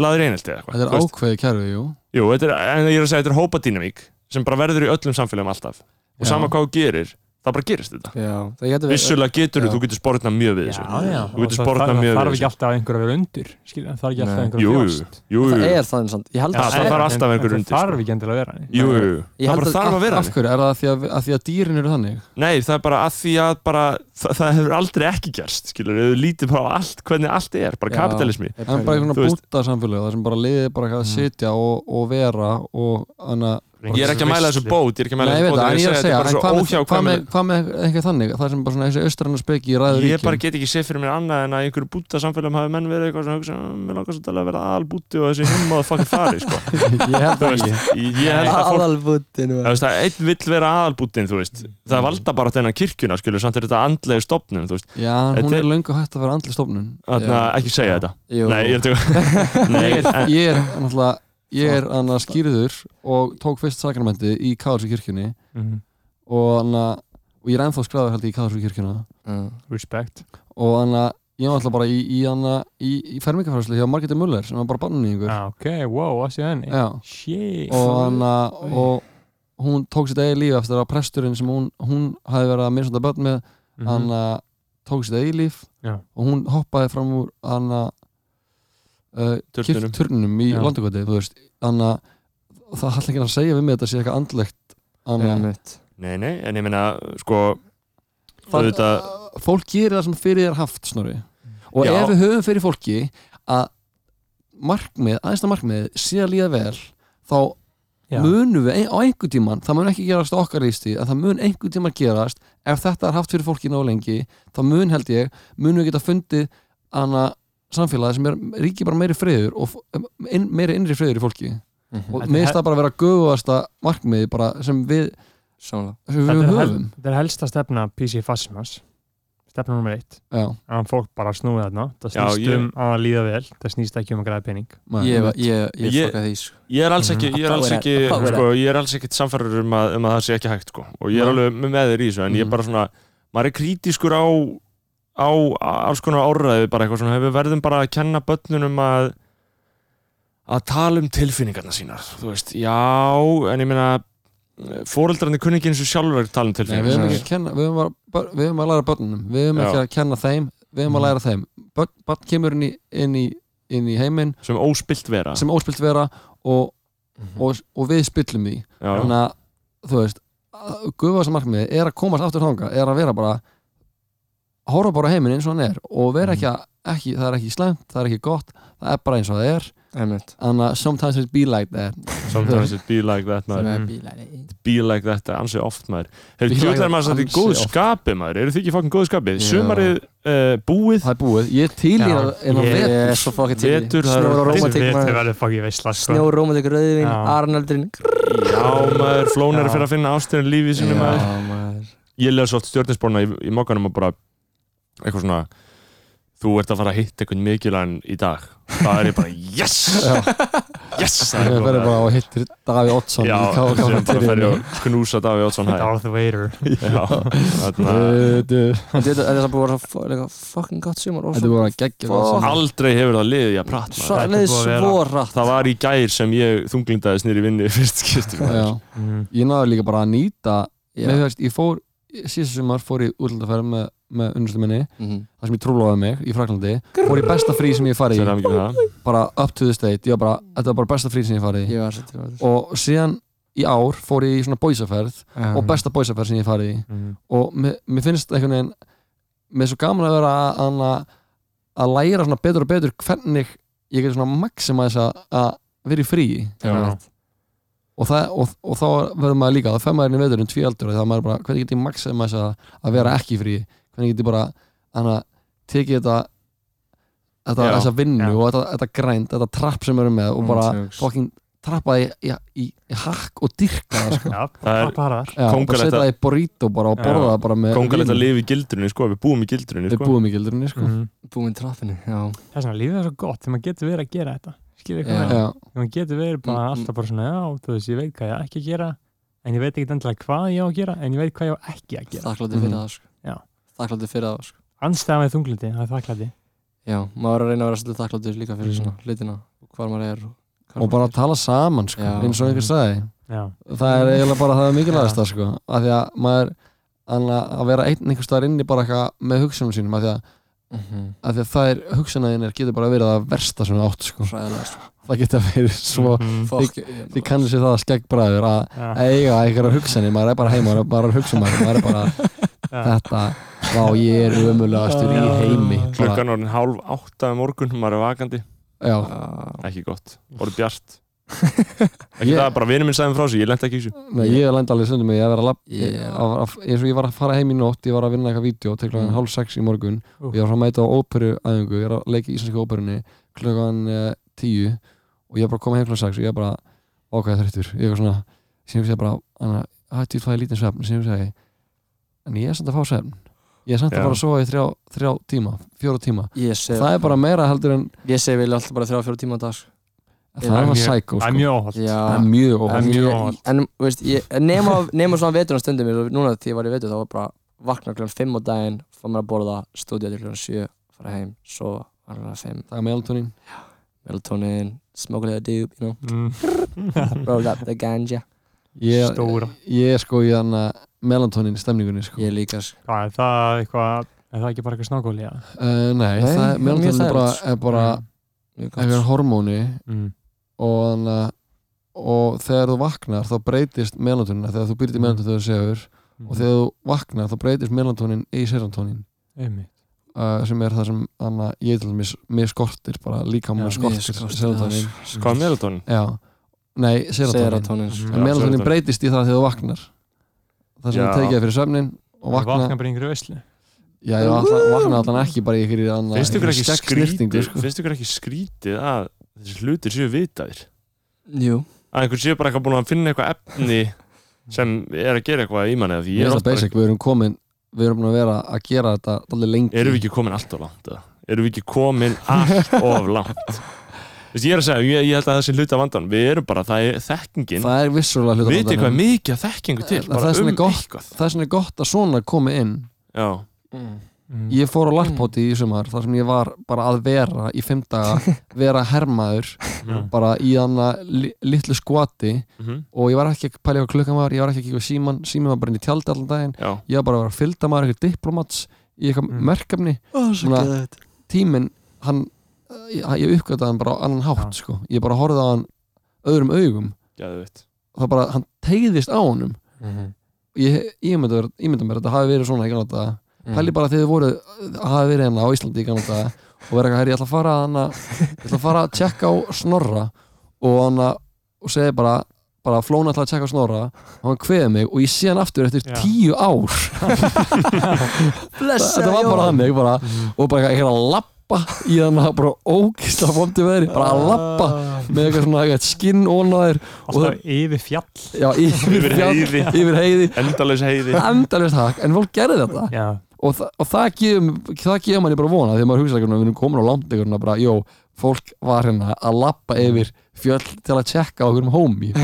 [SPEAKER 1] laður einhelti eða eitthvað.
[SPEAKER 7] þetta
[SPEAKER 1] Þú
[SPEAKER 7] er
[SPEAKER 1] veist,
[SPEAKER 7] ákveðið kerfi, jú
[SPEAKER 1] Jú, þetta er, en ég er að segja, þetta er hópadýnamík sem bara verður í öllum samfélagum alltaf og
[SPEAKER 7] Já.
[SPEAKER 1] sama hvað þú gerir, það bara gerist þetta
[SPEAKER 8] já, það getur verið
[SPEAKER 1] Vissulega getur
[SPEAKER 8] Já.
[SPEAKER 1] þú, þú getur sportnað mjög við þessu Þú
[SPEAKER 2] og
[SPEAKER 1] getur
[SPEAKER 2] það
[SPEAKER 1] sportnað
[SPEAKER 2] það
[SPEAKER 1] mjög
[SPEAKER 2] þarf
[SPEAKER 1] við
[SPEAKER 2] ekki
[SPEAKER 1] þessu
[SPEAKER 2] alltaf einhver að vera undir, skilja, það þarf ekki alltaf
[SPEAKER 8] Nei.
[SPEAKER 2] einhver
[SPEAKER 1] Jú,
[SPEAKER 2] að
[SPEAKER 1] jú,
[SPEAKER 2] þjást.
[SPEAKER 1] jú,
[SPEAKER 8] það
[SPEAKER 1] jú,
[SPEAKER 8] er það eins og ég
[SPEAKER 1] Já,
[SPEAKER 8] held að
[SPEAKER 1] það
[SPEAKER 8] sé-
[SPEAKER 1] þarf alltaf
[SPEAKER 2] En- en
[SPEAKER 1] einhver
[SPEAKER 2] það
[SPEAKER 1] undir,
[SPEAKER 2] þarf
[SPEAKER 1] sko.
[SPEAKER 2] ekki endilega að vera þannig.
[SPEAKER 1] jú, jú.
[SPEAKER 8] Ég
[SPEAKER 1] Það
[SPEAKER 8] held
[SPEAKER 1] bara
[SPEAKER 8] að-
[SPEAKER 1] þarf að vera
[SPEAKER 7] af
[SPEAKER 1] þannig.
[SPEAKER 7] hverju, er það að því að, að, því að dýrin eru þannig
[SPEAKER 1] Nei, það er bara að því að bara, það, það hefur aldrei ekki gerst skilur, þau lítið bara á allt, hvernig allt er bara
[SPEAKER 8] Já.
[SPEAKER 1] kapitalismi
[SPEAKER 7] það er bara
[SPEAKER 1] Þú
[SPEAKER 7] einhvern
[SPEAKER 8] Ég
[SPEAKER 7] veginn
[SPEAKER 1] veist- Mm.
[SPEAKER 7] búta samfélög það sem bara liðið bara að sitja og, og vera og annað
[SPEAKER 1] Ég er ekki að mæla þessu bót, ég er ekki að mæla þessu
[SPEAKER 7] Nei, ég veit
[SPEAKER 1] bót
[SPEAKER 7] það, en ég er að segja,
[SPEAKER 1] þetta er bara
[SPEAKER 7] en hvað með,
[SPEAKER 1] svo
[SPEAKER 7] hvað með,
[SPEAKER 1] óhjákvæmilegt
[SPEAKER 7] hvað með eitthvað þannig, það sem bara svona þessi austrann speki í ræður
[SPEAKER 1] Ég
[SPEAKER 7] ríkjum
[SPEAKER 1] bara get ekki séð fyrir mér annað en að einhverju búta samfélagum hafi menn verið eitthvað sem hugsa "Mm, mér langar svo að vera aðal og þessi himma að fucking fari sko.
[SPEAKER 7] Ég held
[SPEAKER 1] Þú
[SPEAKER 7] það
[SPEAKER 1] veist,
[SPEAKER 7] ekki
[SPEAKER 1] ég ég held að fólk
[SPEAKER 8] aðalbutin
[SPEAKER 1] þú veist, að einn vill vera aðalbútin þú veist, það valda bara þennan kirkjuna skilur, samt er þetta andlegu stopnum þú veist,
[SPEAKER 7] Já, hún
[SPEAKER 1] Þetta
[SPEAKER 7] er
[SPEAKER 1] er-
[SPEAKER 7] löngu hægt að vera andli stofnun
[SPEAKER 1] þannig að ekki segja þetta Nei, ég er tjók Nei,
[SPEAKER 7] Ég er-
[SPEAKER 1] en-
[SPEAKER 7] ég er náttúrulega, ég er annað skýrður og tók fyrst sakramendi í Káðsvík kirkjunni
[SPEAKER 2] Mhm.
[SPEAKER 7] og annað, og ég er ennþá skráður held ég í Káðsvík kirkjuna
[SPEAKER 2] Respect.
[SPEAKER 7] og annað, ég var alltaf bara í, í annað, í, í fermingafræðslu hjá Margeti Muller sem var bara banninningur
[SPEAKER 2] Ah, ok, wow, að sé henni.
[SPEAKER 7] Já,
[SPEAKER 2] Shit.
[SPEAKER 7] og hann að- og hún tók sitt eigið líf eftir að presturinn sem hún, hún hafi verið að misnota börn með
[SPEAKER 2] Mhm.
[SPEAKER 7] hann að tók sitt eigið líf
[SPEAKER 2] Já.
[SPEAKER 7] og hún hoppaði fram úr hann að uh,
[SPEAKER 1] Turninum.
[SPEAKER 7] turnum í
[SPEAKER 2] Já.
[SPEAKER 7] landugöti þú veist, hann að það hætti ekki að segja við mig að þetta sé eitthvað andlegt hann að
[SPEAKER 1] nei, nei, en ég meina sko,
[SPEAKER 7] Það-
[SPEAKER 1] auðvitað
[SPEAKER 7] fólk gerir það sem fyrir þér haft snorri og
[SPEAKER 1] Já.
[SPEAKER 7] ef við höfum fyrir fólki að markmið, aðeins það markmið sé að líða vel þá
[SPEAKER 2] Já.
[SPEAKER 7] munum við ein, á einhver tíman, það mun ekki gerast á okkar lífstíð, en það mun einhver tíman gerast ef þetta er haft fyrir fólki nóg lengi þá mun held ég, munum við geta fundið hana samfélagi sem er ríki bara meiri friður og f- inn, meiri innri friður í fólki og
[SPEAKER 2] Þetta
[SPEAKER 7] mér
[SPEAKER 2] he-
[SPEAKER 7] finnst það bara að vera göfugasta markmiði bara sem við,
[SPEAKER 8] samla
[SPEAKER 7] sem
[SPEAKER 2] Þetta
[SPEAKER 7] við
[SPEAKER 2] er hel-
[SPEAKER 7] höfum
[SPEAKER 2] Þetta er helsta stefna PC Fasmas. Stefna nummer eitt.
[SPEAKER 7] Já,
[SPEAKER 2] Að fólk bara snúið þarna. Það
[SPEAKER 1] Já,
[SPEAKER 2] snýst
[SPEAKER 1] ég-
[SPEAKER 2] um að líða vel. Það snýst ekki um að græða pening.
[SPEAKER 7] maður-
[SPEAKER 8] ég ég- ég
[SPEAKER 1] Ég-
[SPEAKER 8] fokka því sko.
[SPEAKER 1] Ég er alls
[SPEAKER 7] Mhm.
[SPEAKER 1] ekki, ég er alls
[SPEAKER 8] Power
[SPEAKER 1] ekki,
[SPEAKER 8] up, power
[SPEAKER 1] sko, ég er alls ekki samfærður um, að- um að það sé ekki hægt sko. og ég er
[SPEAKER 7] Nei.
[SPEAKER 1] alveg með- með þér í þessu en ég er
[SPEAKER 7] Mhm.
[SPEAKER 1] bara svona, maður er krítiskur á á á- alls konar orðræði bara eitthvað svona, við verðum bara að kenna börnunum að að tala um tilfinningarna sínar þú veist, já, en ég meina fóreldrarnir kunni ekki eins og sjálfur tala um
[SPEAKER 7] Nei, við
[SPEAKER 1] tilfinningar
[SPEAKER 7] höfum ekki að kenna, við höfum bara- bara, við höfum að læra börnunum, við höfum ekki
[SPEAKER 1] Já.
[SPEAKER 7] að kenna þeim, við höfum að
[SPEAKER 2] Mhm.
[SPEAKER 7] læra þeim. Börn, börn kemur inn í, inn í, inn í heiminn
[SPEAKER 1] sem óspilt vera
[SPEAKER 7] sem óspilt vera og, og, og við spillum því.
[SPEAKER 1] Mhm. já,
[SPEAKER 7] Þannig að, þú veist, guðvasa markmiði er að komast aftur þangað, er að vera bara,
[SPEAKER 1] Mhm.
[SPEAKER 7] horfa bara á heiminn eins og hann er og vera ekki að, ekki, það er ekki slæmt, það er ekki gott, það er bara eins og það er
[SPEAKER 8] einmitt
[SPEAKER 7] Þannig að sometimes it be like that
[SPEAKER 1] Sometimes it be like that maður
[SPEAKER 2] Mm.
[SPEAKER 1] Be like that, ansi oft maður Hefur
[SPEAKER 7] Be like
[SPEAKER 1] djúðlega
[SPEAKER 7] that,
[SPEAKER 1] maður satt í
[SPEAKER 7] ansi
[SPEAKER 1] góðu
[SPEAKER 7] oft.
[SPEAKER 1] skapi maður Eru þið ekki fokkin góðu skapi?
[SPEAKER 7] Já.
[SPEAKER 1] Sumarið uh, búið
[SPEAKER 7] Það er búið, ég er til í
[SPEAKER 2] Já.
[SPEAKER 7] það en að
[SPEAKER 2] Ég-
[SPEAKER 7] vetur
[SPEAKER 8] Ég er svo fokkið til í.
[SPEAKER 1] Vetur, það er-
[SPEAKER 8] Snjór og
[SPEAKER 1] Þetta er
[SPEAKER 8] rómatík
[SPEAKER 2] Þetta er
[SPEAKER 8] maður
[SPEAKER 2] verið fokkið veisla sko.
[SPEAKER 8] Snjór, rómatík, rauðvin,
[SPEAKER 2] Já.
[SPEAKER 8] Arnaldurinn
[SPEAKER 1] Já maður, flónar
[SPEAKER 2] Já.
[SPEAKER 1] fyrir að finna ástirinn lífið sinni maður
[SPEAKER 8] maður
[SPEAKER 1] ég leða svolítið stjórninsporna í, í mokkanum og bara eitthvað svona þú ert að fara að hitta einhvern mikilvæðan í dag það er ég bara yes yes það
[SPEAKER 7] Ég
[SPEAKER 1] er
[SPEAKER 7] verður bara
[SPEAKER 1] bara
[SPEAKER 7] og hittir Daví Oddsson
[SPEAKER 1] já,
[SPEAKER 7] í
[SPEAKER 1] sem
[SPEAKER 7] KK
[SPEAKER 1] bara fyrir að knúsa Daví Oddsson hæ
[SPEAKER 2] Darth Vader
[SPEAKER 1] já, þarna
[SPEAKER 7] Þetta
[SPEAKER 8] Þetta þetta er það búið að vera svo- líka fucking gott sumar og
[SPEAKER 7] er bara geggjum
[SPEAKER 8] Fuck.
[SPEAKER 1] aldrei hefur það liðið að prata
[SPEAKER 8] svo
[SPEAKER 2] þetta er
[SPEAKER 8] leið
[SPEAKER 2] búið að vera-
[SPEAKER 8] svo rætt
[SPEAKER 1] það var í gær sem ég þunglindaðis nýri vinni í fyrst skipti
[SPEAKER 7] Já,
[SPEAKER 1] maður.
[SPEAKER 2] mm.
[SPEAKER 7] ég náði líka bara að nýta
[SPEAKER 8] Já.
[SPEAKER 7] með, veist, ég fór, síðast sumar fór ég útlandaferð með, með unnustu minni
[SPEAKER 8] Mhm.
[SPEAKER 7] þar sem ég trúlóði mig í Fraklandi fór í besta frí sem ég hef farið
[SPEAKER 1] Þeir
[SPEAKER 7] í
[SPEAKER 1] hafa ekki með það.
[SPEAKER 7] bara up to the state, ég var bara, þetta var bara besta frí sem ég hef farið í
[SPEAKER 8] Ég var svo til að
[SPEAKER 7] og síðan í ár fór ég í svona bóisaferð og besta bóisaferð sem ég hef farið í
[SPEAKER 2] mm.
[SPEAKER 7] og mér, mér finnst einhvern veginn mér er svo gaman að vera að, að, að læra svona betur og betur hvernig ég get svona maximæsa að vera í fríi
[SPEAKER 2] Já.
[SPEAKER 7] og, það, og, og þá verður maður líka það fer maður inn í veturinn tví aldur það maður bara, hvernig get ég maximæsa að
[SPEAKER 1] Mm.
[SPEAKER 7] vera ekki í fríi hvernig get ég bara þannig að tekið þetta þetta,
[SPEAKER 1] Já. Mm.
[SPEAKER 7] þessa vinnu
[SPEAKER 2] Já.
[SPEAKER 7] og þetta, þetta grænt, þetta trapp sem við erum með og bara
[SPEAKER 8] Ándjóks.
[SPEAKER 7] fokkin trappa í, í, í, í hakk og dyrka það sko.
[SPEAKER 2] Já,
[SPEAKER 1] Það er-
[SPEAKER 2] það bara þar
[SPEAKER 7] Já,
[SPEAKER 1] Kóngalegt
[SPEAKER 7] bara setja
[SPEAKER 1] að-
[SPEAKER 7] það í burrito bara og
[SPEAKER 2] Já.
[SPEAKER 7] borða það bara með
[SPEAKER 1] kóngalegt að
[SPEAKER 7] vín.
[SPEAKER 1] lifa í gildrunni sko, við búum í gildrunni
[SPEAKER 7] Eh, Við
[SPEAKER 1] sko.
[SPEAKER 7] búum í gildurinn sko.
[SPEAKER 2] mm.
[SPEAKER 8] Búinn trappinu, já
[SPEAKER 2] Það er svona lífið er svo gott þegar maður getur verið að gera þetta Skilur
[SPEAKER 8] Já.
[SPEAKER 2] ykkur
[SPEAKER 7] Já,
[SPEAKER 2] Þegar maður getur verið bara alltaf bara svona Já, þú veist, ég veit hvað ég á ekki að gera En ég veit ekkert endilega hvað ég á að gera En ég veit hvað ég á ekki að gera
[SPEAKER 8] Þakklátið fyrir
[SPEAKER 7] Mhm.
[SPEAKER 8] það sko.
[SPEAKER 2] Já.
[SPEAKER 8] Þakklátið fyrir það sko.
[SPEAKER 2] Anstæða með þunglindi, það er þakklæti
[SPEAKER 8] Já, maður er að reyna að vera svolítið þakklátið líka fyrir
[SPEAKER 2] Mhm.
[SPEAKER 8] svona hlutina og hvar maður er og, hvar
[SPEAKER 7] og bara að tala saman sko,
[SPEAKER 8] Já.
[SPEAKER 7] eins og einhver
[SPEAKER 1] Mm.
[SPEAKER 7] sagði
[SPEAKER 2] Já,
[SPEAKER 7] það er eiginlega bara það mikilvægast það sko. af því að maður annað að vera einn einhver staðar inni bara eitthvað með hugsunum sínum af því að,
[SPEAKER 8] mm -hmm.
[SPEAKER 7] af því að það er hugsunaðinir getur bara verið að versta sem þú átt sko.
[SPEAKER 8] Ræðilega sko.
[SPEAKER 7] það getur að vera svo
[SPEAKER 2] Mhm.
[SPEAKER 8] Fokk,
[SPEAKER 7] því kannir sér það að skeggbræður að
[SPEAKER 2] Já.
[SPEAKER 7] eiga einhverjar hugsanir, maður er bara heima maður er bara að hugsa um maður, maður er bara
[SPEAKER 2] Já.
[SPEAKER 7] þetta, vá ég er umulagastur í heimi bara,
[SPEAKER 1] klukkan orðin hálf átta um morgun maður er vakandi
[SPEAKER 7] já,
[SPEAKER 1] ekki gott, orðið bjart ekki það að bara vinur minn sagði mér frá sig, ég lent ekki í þessu
[SPEAKER 7] Nei, ég lendi alveg stundum í að vera að labba
[SPEAKER 8] Ég-
[SPEAKER 7] yeah. eins og ég var að fara heim í nótt ég var að vinna eitthvað vídeo til klokkan
[SPEAKER 8] Mm.
[SPEAKER 7] hálf sex í morgun
[SPEAKER 2] Úff.
[SPEAKER 7] og ég var svo að mæta á óperu aðingu ég er að leika í íslensku óperunni klokkan uh, tíu og ég er bara að koma heim klokkan sex og ég er bara ákvæðið þreyttur ég er svona, sem ég segi bara hana, hætti ég fæði lítinn svefn, sem ég segi en ég er samt að fá svefn ég er samt
[SPEAKER 1] Já.
[SPEAKER 7] að fara að sofa í þrjá, þrjá tíma fjóra tíma,
[SPEAKER 8] Ég segi
[SPEAKER 7] það er bara meira heldur en
[SPEAKER 8] Ég segi vel alltaf bara þrjá fjóra tíma á dag sko.
[SPEAKER 7] það er
[SPEAKER 2] mjög-
[SPEAKER 7] maður sækó
[SPEAKER 2] Það er
[SPEAKER 7] sko.
[SPEAKER 2] mjög óholt
[SPEAKER 7] það
[SPEAKER 8] Já
[SPEAKER 7] er mjög
[SPEAKER 2] Það er
[SPEAKER 7] óhald
[SPEAKER 2] mjög
[SPEAKER 8] Ég-
[SPEAKER 2] óvart.
[SPEAKER 8] En veist, ég, nema, nema svona veturna stundum ég, núna því ég var í vetur þá var bara vakna kljóðan 5 á daginn, fá mér að borða stúdíu til kljóðan 7, fara heim svo var hann að 5,
[SPEAKER 7] það er meðaltónin
[SPEAKER 8] melatonin smoke a little doob, you know,
[SPEAKER 2] Mm.
[SPEAKER 8] roll up the ganja
[SPEAKER 7] ég,
[SPEAKER 2] Stóra
[SPEAKER 7] ég er sko í þann melantónin stemningunni sko.
[SPEAKER 8] Ég líka sko
[SPEAKER 2] Hvað, er það eitthvað Er það ekki bara eitthvað snákóli? Ja?
[SPEAKER 7] Uh, nei,
[SPEAKER 8] Nei,
[SPEAKER 7] það
[SPEAKER 8] það er
[SPEAKER 7] er meðaltalinn
[SPEAKER 8] mjög
[SPEAKER 7] er bara,
[SPEAKER 8] þægilegt.
[SPEAKER 7] er bara
[SPEAKER 8] Mjög gott.
[SPEAKER 7] eitthvað hormóni
[SPEAKER 2] Mm.
[SPEAKER 7] og þannig að og þegar þú vaknar þá breytist melantónin þegar þú byrjir
[SPEAKER 2] Mm.
[SPEAKER 7] melantónin þegar þú sefur og þegar þú vaknar þá breytist melantónin í serantónin
[SPEAKER 2] Einmitt.
[SPEAKER 7] uh, sem er það sem anna, ég til dæmis mér skortir bara líka
[SPEAKER 2] Já,
[SPEAKER 7] mér
[SPEAKER 2] mér
[SPEAKER 7] skortir
[SPEAKER 8] skortir
[SPEAKER 2] sko,
[SPEAKER 7] serantónin
[SPEAKER 1] hvað er melatonin?
[SPEAKER 7] já, nei, serantónin
[SPEAKER 8] Serotonin sko.
[SPEAKER 1] Já,
[SPEAKER 2] Mhm.
[SPEAKER 1] serotonin.
[SPEAKER 7] melantónin breytist í það þegar þú vaknar það sem
[SPEAKER 1] Já.
[SPEAKER 7] þú tekið fyrir söfnin og
[SPEAKER 2] Vakna,
[SPEAKER 7] vakna,
[SPEAKER 2] vakna bara í einhverju veislu
[SPEAKER 7] já, ég alltaf, vakna allan ekki bara í ykkur í annað
[SPEAKER 1] finnst ykkur ekki skrítið
[SPEAKER 7] sko.
[SPEAKER 1] finnst ykkur ekki skrítið að þessi hlutir séu vitaðir
[SPEAKER 2] Mm-hmm.
[SPEAKER 8] Jú
[SPEAKER 1] að einhvern séu bara eitthvað búin að finna eitthvað efni sem er að gera eitthvað í manni af því
[SPEAKER 7] Mér
[SPEAKER 1] ég er
[SPEAKER 7] finnst
[SPEAKER 1] oft
[SPEAKER 7] það basic,
[SPEAKER 1] bara,
[SPEAKER 7] við erum komin við erum búin að vera að gera þetta allir lengi
[SPEAKER 1] erum við ekki komin allt of langt eða? erum við ekki komin allt of langt Þess, ég er að segja, ég, ég held að það sé hluti af vandan við erum bara, það er þekkingin
[SPEAKER 7] það er vissulega hluta
[SPEAKER 1] vitið hvað er mikið af þekkingu til
[SPEAKER 7] Það- það
[SPEAKER 1] bara
[SPEAKER 7] er svona
[SPEAKER 1] um
[SPEAKER 7] gott.
[SPEAKER 1] eitthvað
[SPEAKER 7] það er svona gott að svona komi inn
[SPEAKER 1] já,
[SPEAKER 2] mm.
[SPEAKER 7] ég fór á larpóti í sumar þar sem ég var bara að vera í fimm daga vera hermaður
[SPEAKER 1] Mhm.
[SPEAKER 7] bara í hana li, litlu skvati
[SPEAKER 1] Mhm.
[SPEAKER 7] og ég var ekki að pæla hvað klukkan var ég var ekki að kíka á síman, síman var bara inn í tjaldi allan daginn
[SPEAKER 1] já,
[SPEAKER 7] ég var bara að vera að fylgda maður eitthvað diplomats í eitthvað
[SPEAKER 2] Mm.
[SPEAKER 7] mm. merkefni Svona- tíminn, hann eh, ég, ég uppgötaði hann bara á annan hátt sko. ég bara horfði á hann öðrum augum
[SPEAKER 1] geðvitt
[SPEAKER 7] það bara, hann tegðist á honum ég ég ímynda Mm. Mhm. mér- ímynda mér að þetta hafi verið svona í Kanada pæli bara þegar þið voru hafi verið hérna á Íslandi í Kanada og vera eitthvað, herri, ég ætla að fara hana, ég ætla að fara að tjekka á snorra og hana, og segi bara bara flóna ætla að tjekka á snorra og hann kveði mig og ég sé hann aftur eftir
[SPEAKER 2] Já.
[SPEAKER 7] tíu ár
[SPEAKER 8] Blessa
[SPEAKER 7] þetta var bara þannig bara, og bara eitthvað- eitthvað að lappa í þannig að bara ógist að vondi veðri bara að lappa með eitthvað svona eitthvað skinn ónaðir
[SPEAKER 2] Ah, Alltaf yfir fjall
[SPEAKER 7] já, yfir,
[SPEAKER 1] Yfir
[SPEAKER 7] fjall-
[SPEAKER 1] heiði.
[SPEAKER 7] yfir heiði
[SPEAKER 1] endalaus heiði
[SPEAKER 7] endalist hakk, en fólk gerði þetta
[SPEAKER 2] Já,
[SPEAKER 7] og, þa og það gefur það gefur manni bara vona þegar maður hugsa ekki við erum komin á langt ykkurna bara, jó, fólk var hérna að lappa
[SPEAKER 8] Mm.
[SPEAKER 7] yfir fjöll til að tjekka á okkur um hómi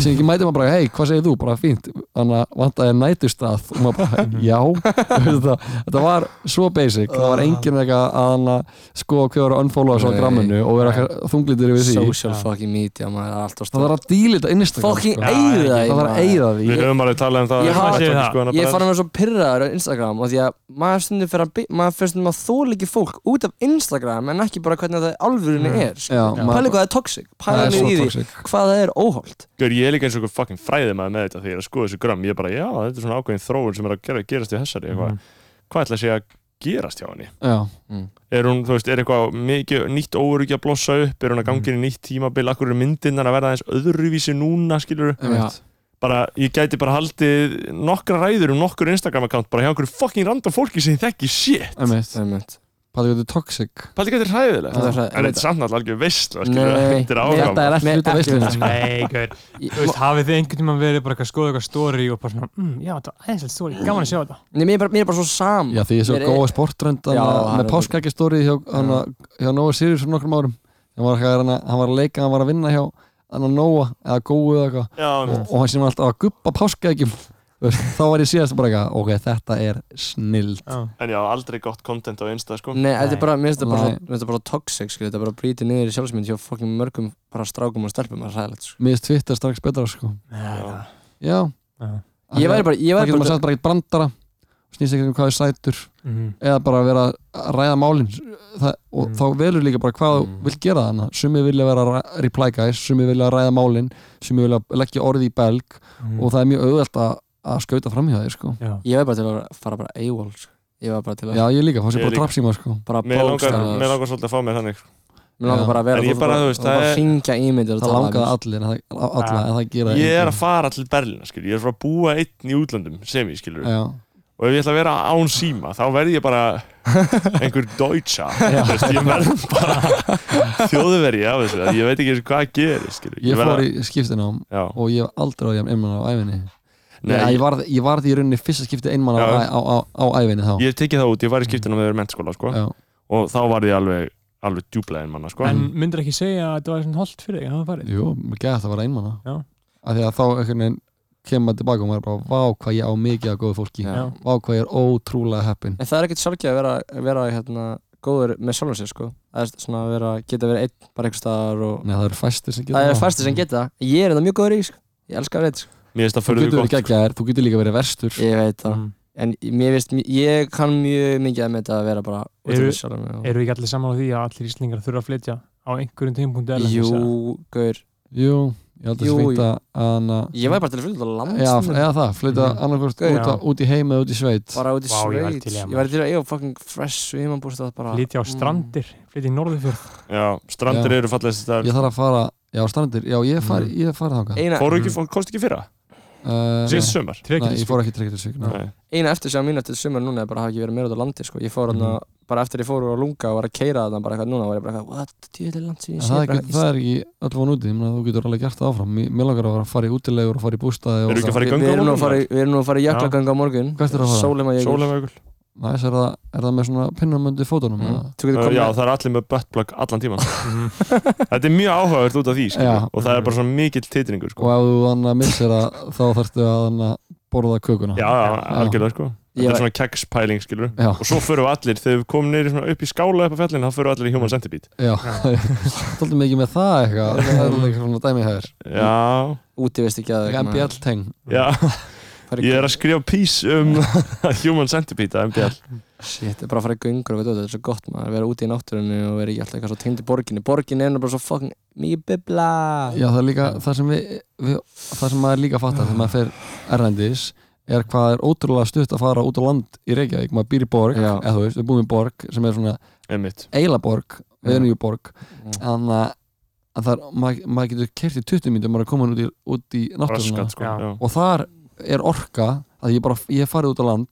[SPEAKER 7] sem ekki mæti maður bara, hei, hvað segir þú, bara fínt þannig að vantaði nætustað og maður bara, já þetta, þetta var svo basic, það var engin eitthvað að hann að sko hver var að unfollowa svo
[SPEAKER 8] Ah. Nei.
[SPEAKER 7] gramminu og vera eitthvað þunglítur yfir því
[SPEAKER 8] Social fucking media, maður er alltaf
[SPEAKER 7] það þarf að dílita Instagram
[SPEAKER 8] Fucking
[SPEAKER 7] sko.
[SPEAKER 8] eigið það
[SPEAKER 7] það þarf að eigða því
[SPEAKER 1] Við höfum alveg talað um það
[SPEAKER 8] Ég
[SPEAKER 1] að
[SPEAKER 8] hafa-
[SPEAKER 1] þetta
[SPEAKER 2] Ég
[SPEAKER 1] er sko hana
[SPEAKER 8] Ég er
[SPEAKER 1] bara-
[SPEAKER 8] farin að vera svo pyrraður á Instagram og því að maður stundum fyrir að, by- maður fyrir stundum að þóla ekki fólk út af Instagram en ekki bara hvernig það alvörunni
[SPEAKER 2] Mm.
[SPEAKER 8] er sko.
[SPEAKER 7] Já,
[SPEAKER 8] Pæli hvað það er toxic,
[SPEAKER 7] það
[SPEAKER 8] pæli
[SPEAKER 7] er
[SPEAKER 8] niður
[SPEAKER 7] svo
[SPEAKER 8] í því
[SPEAKER 7] toxic
[SPEAKER 8] hvað það er óholt
[SPEAKER 1] Gaur, ég er líka eins og einhver fucking fræðið maður með þetta þegar ég er að skoða þessu gram, ég er bara, já, þetta er svona ákveðin þróun sem er að gera, gerast í þessari, eitthvað
[SPEAKER 2] Mhm.
[SPEAKER 1] hvað ætla að segja að gerast hjá henni
[SPEAKER 7] já,
[SPEAKER 8] Mm.
[SPEAKER 1] er hún, þú veist, er eitthvað mikið, nýtt óöryggi að blossa upp, er hún að gangi inn í nýtt tímabil akkur eru myndinnar að verða aðeins öðruvísi núna, skilur,
[SPEAKER 7] já.
[SPEAKER 1] bara ég gæti bara haldið nokkra ræður um nokkur Instagram account, bara hjá einhverju fucking random fólki sem ég þekki, shit,
[SPEAKER 7] einmitt
[SPEAKER 8] Einmitt.
[SPEAKER 7] Pæli hvað þetta er toxic
[SPEAKER 1] pæli hvað þetta er hræðilegt
[SPEAKER 8] Þetta er hræ-
[SPEAKER 1] en þetta er samt náttúrulega algjör veistla, skilur,
[SPEAKER 8] Nei,
[SPEAKER 1] þetta er
[SPEAKER 8] nei,
[SPEAKER 1] áram
[SPEAKER 7] er ekki
[SPEAKER 8] Nei,
[SPEAKER 7] hluti af
[SPEAKER 8] ekki
[SPEAKER 7] veislunni,
[SPEAKER 8] hluti.
[SPEAKER 7] sko.
[SPEAKER 2] nei, gaur
[SPEAKER 8] Ég-
[SPEAKER 2] Þú veist, hafið þið einhvern tímann verið bara eitthvað að skoða eitthvað story og bara svona, mm, já, þetta var aðeinslega story, gaman að sjá þetta
[SPEAKER 8] Nei, mér er bara, mér er bara svo sam
[SPEAKER 7] Já, því ég svo
[SPEAKER 8] Mér er-
[SPEAKER 7] góða sportrönd
[SPEAKER 8] Já, hann
[SPEAKER 7] með
[SPEAKER 8] er-
[SPEAKER 7] páskækjastóri hjá, hana, hjá Nóa Sirius fyrir nokkrum árum hann var, hann, hann var að leika, hann var að vinna hjá hann að Nóa eða góðu eða eitthvað
[SPEAKER 1] já,
[SPEAKER 7] og hann sem var alltaf að guppa páskækjum Þú veist, þá var ég síðast bara eitthvað ok, þetta er snill
[SPEAKER 1] en já, aldrei gott content á Insta, sko
[SPEAKER 8] Nei,
[SPEAKER 2] Nei.
[SPEAKER 8] þetta er bara, mér finnst þetta bara,
[SPEAKER 7] Nei.
[SPEAKER 8] svo- mér finnst þetta bara toxic, skilur, þetta er bara að brýti niður í sjálfsmynd hjá fucking mörgum bara strákum og stelpum, það er sælægt, sko.
[SPEAKER 7] mér finnst Twitter strax betra sko
[SPEAKER 1] Já.
[SPEAKER 2] Já,
[SPEAKER 7] já,
[SPEAKER 2] Já.
[SPEAKER 8] Ég væri bara, ég
[SPEAKER 7] það
[SPEAKER 8] væri
[SPEAKER 7] getur maður
[SPEAKER 8] bara,
[SPEAKER 7] sagt bara eitthvað brandara snýst ekki um hvað er sætur
[SPEAKER 2] Mhm.
[SPEAKER 7] eða bara vera að ræða málin það, og
[SPEAKER 2] Mm.
[SPEAKER 7] þá velur líka bara hvað þú
[SPEAKER 8] Mm.
[SPEAKER 7] vil gera þannig, sumi vilja vera ra- reply guys, sumi vilja ræða málin sumi vilja leggja orði í belg
[SPEAKER 1] Mm.
[SPEAKER 2] Mhm.
[SPEAKER 7] og það er mjög auðvelt að, að skauta framhjá þér sko.
[SPEAKER 2] Já.
[SPEAKER 8] ég væri bara til að fara bara AWOL, sko. Ég væri bara til að,
[SPEAKER 7] já ég líka, þá sé
[SPEAKER 1] Ég
[SPEAKER 7] bara
[SPEAKER 1] líka.
[SPEAKER 7] trapsíma sko.
[SPEAKER 8] bara
[SPEAKER 1] Mér langar,
[SPEAKER 8] bókstæða,
[SPEAKER 1] mér langar svolítið að fá mér þannig
[SPEAKER 8] mér langar
[SPEAKER 7] Já.
[SPEAKER 8] bara að vera,
[SPEAKER 1] En ég bara, þú veist, það
[SPEAKER 8] það er bara
[SPEAKER 1] er-
[SPEAKER 8] að hringja ímyndir
[SPEAKER 7] það
[SPEAKER 8] og tala um
[SPEAKER 7] langaði
[SPEAKER 8] við-
[SPEAKER 7] allir en það, alla,
[SPEAKER 2] Ah.
[SPEAKER 7] en það gera
[SPEAKER 1] Ég er að fara til Berlina, skilur, ég er frá að búa einn í útlöndum sem ég skilur,
[SPEAKER 7] já,
[SPEAKER 1] og ef ég ætla að vera án síma þá verð ég bara einhver deutscha, þú veist, ég verð bara þjóðverja af þessu ég veit ekki eins og hvað gerir, skilur
[SPEAKER 7] ég
[SPEAKER 1] verð
[SPEAKER 7] fór
[SPEAKER 1] að-
[SPEAKER 7] í skiptinám
[SPEAKER 1] Já,
[SPEAKER 7] og ég hef aldrei á ég einmann á æfinni
[SPEAKER 1] nei,
[SPEAKER 7] Nei,
[SPEAKER 1] ég,
[SPEAKER 7] ég, varð, ég varð í rauninni fyrsta skipti einmann á,
[SPEAKER 1] Já.
[SPEAKER 7] á, á, á æfinni þá
[SPEAKER 1] ég hef tekið það út, ég var í skiptina með mennskóla, sko,
[SPEAKER 7] Mm. já.
[SPEAKER 1] og þá var ég alveg alveg djúblega manna, sko
[SPEAKER 2] En myndir ekki segja að þetta var svona holdt fyrir þig að það farið?
[SPEAKER 7] Jú, mér gæði þetta að vera einmann
[SPEAKER 2] Já.
[SPEAKER 7] af því að þá einhvern veginn kemur maður tilbaka og maður er bara vá hvað ég á mikið af góðu fólki
[SPEAKER 8] Já.
[SPEAKER 7] vá hvað ég er ótrúlega heppin
[SPEAKER 8] En það er ekkert sjálfgeð að vera, að vera hérna, góður með sjálfum sér sko Það er svona að vera, geta verið einn bara einhver staðar og
[SPEAKER 7] Nei, það eru fæstir sem geta
[SPEAKER 8] Það er fæstir sem geta, það. ég er þetta mjög góður í sko Ég elska að vera einn sko
[SPEAKER 1] mér finnst það
[SPEAKER 7] Þú
[SPEAKER 1] fyrir
[SPEAKER 7] getur
[SPEAKER 1] því gott,
[SPEAKER 7] verið geggjaðir, þú getur líka verið verstur
[SPEAKER 8] Ég veit það
[SPEAKER 2] Mm.
[SPEAKER 8] En mér veist, ég kann mjög mikið að með þetta að vera bara út
[SPEAKER 2] Eru-
[SPEAKER 8] af sjálfum mér og-
[SPEAKER 2] Eru ekki allir saman á því að allir íslendingar þurfa að flytja á einhverjum tímpunkti erlendis?
[SPEAKER 8] Jú,
[SPEAKER 2] eða?
[SPEAKER 8] gaur
[SPEAKER 7] Jú, ég held að það
[SPEAKER 8] Jú, jú.
[SPEAKER 7] fýnda að
[SPEAKER 8] Ég væri bara til að flytja út á
[SPEAKER 7] Já,
[SPEAKER 8] landsinu
[SPEAKER 7] eða það, flytta
[SPEAKER 2] Mhm.
[SPEAKER 7] annarkvort
[SPEAKER 8] Já.
[SPEAKER 7] út, á- út í heim eða út í sveit
[SPEAKER 8] Bara út í
[SPEAKER 2] Vá, ég væri
[SPEAKER 8] sveit
[SPEAKER 2] til í það,
[SPEAKER 8] Ég væri til að eiga fucking fresh svimanbúst bara
[SPEAKER 2] Flytja á strandir, flytja í norðurfjörð
[SPEAKER 1] já, strandir
[SPEAKER 7] Já.
[SPEAKER 1] eru fallegast það
[SPEAKER 7] Ég þarf að fara, já, strandir, já, ég fari, ég fari þangað
[SPEAKER 8] Eina,
[SPEAKER 1] fóru ekki, fór- komst ekki fyrra,
[SPEAKER 7] uh,
[SPEAKER 1] síðast sumar
[SPEAKER 7] Mm. Nei, ég
[SPEAKER 2] Trekkingsvík
[SPEAKER 7] fór ekki trekkið til svík
[SPEAKER 2] Nei.
[SPEAKER 1] Nei.
[SPEAKER 8] eina eftir sem mín eftir sumar núna er bara að hafa ekki verið meira út á landi sko. ég fór hann
[SPEAKER 7] Mhm.
[SPEAKER 8] bara eftir ég fór úr að lunga og var að keira þarna bara eitthvað núna var ég bara eitthvað what, djöðlega land sem ég sé
[SPEAKER 7] Það er,
[SPEAKER 8] bara
[SPEAKER 7] ekki, það er ekki öll von úti, ég meina, þú getur alveg gert það áfram Mér mér langar að fara að fara í útilegur og fara í bústaði
[SPEAKER 1] Eru ekki að
[SPEAKER 7] og
[SPEAKER 1] fara í
[SPEAKER 8] Við- við erum nú að fara
[SPEAKER 1] göngu
[SPEAKER 8] í- við erum nú að fara í jaklaganga á morgun
[SPEAKER 7] Hvert er að fara?
[SPEAKER 8] sólema jökul
[SPEAKER 1] Sólæmaugur
[SPEAKER 7] Næs, er það, er það með svona pinnamöndi fótunum?
[SPEAKER 8] Mm.
[SPEAKER 7] Mm.
[SPEAKER 8] þú getur
[SPEAKER 1] Uh,
[SPEAKER 8] komið
[SPEAKER 1] já,
[SPEAKER 8] með-
[SPEAKER 1] það er allir með buttplug allan tíman Þetta er mjög áhugavert út af því skilur,
[SPEAKER 7] Já.
[SPEAKER 1] og það er bara svona mikill titringur
[SPEAKER 7] Og
[SPEAKER 1] sko.
[SPEAKER 7] ef þú annað missir það, þá þarftu að annað borða kökuna.
[SPEAKER 1] Já, já, algjörlega sko.
[SPEAKER 8] Ég
[SPEAKER 1] Þetta er
[SPEAKER 8] var-
[SPEAKER 1] svona kegspæling skilur
[SPEAKER 7] Já,
[SPEAKER 1] Og svo förum við allir, þegar við komum neyri upp í skála upp á fjallin, þá förum við allir í Human Centipede
[SPEAKER 7] já. Tóltum mikið með það eitthvað, það er líka svona dæmið hefur.
[SPEAKER 1] Já,
[SPEAKER 8] úti veist ekki að
[SPEAKER 7] MBL-teng.
[SPEAKER 1] já,
[SPEAKER 8] Fara í
[SPEAKER 1] ég er
[SPEAKER 8] göngu.
[SPEAKER 1] að skrifa pís um Human Centipede að MBL
[SPEAKER 8] Shit, bara að fara í göngur og eitthvað, þetta er svo gott maður vera úti í náttúrunni og vera ekki alltaf eitthvað svo tengd í borginni borgin er nú bara svo fucking mikið bibla
[SPEAKER 7] Já, það er líka það sem við, við það sem maður líka fattar þegar maður fer erlendis er hvað er ótrúlega stutt að fara út á land í Reykjavík, maður býr í borg
[SPEAKER 8] Já.
[SPEAKER 7] eða þú veist, við búum í borg sem er svona
[SPEAKER 1] einmitt
[SPEAKER 7] eilaborg,
[SPEAKER 8] Já.
[SPEAKER 7] venjuborg
[SPEAKER 8] Mm.
[SPEAKER 7] þannig að- að það er, maður, maður getur kert í 20 mínútur, maður er komin út í, út í náttúruna
[SPEAKER 1] raskat sko,
[SPEAKER 2] Já.
[SPEAKER 1] já.
[SPEAKER 7] og þar er orka að ég bara, ég hef farið út á land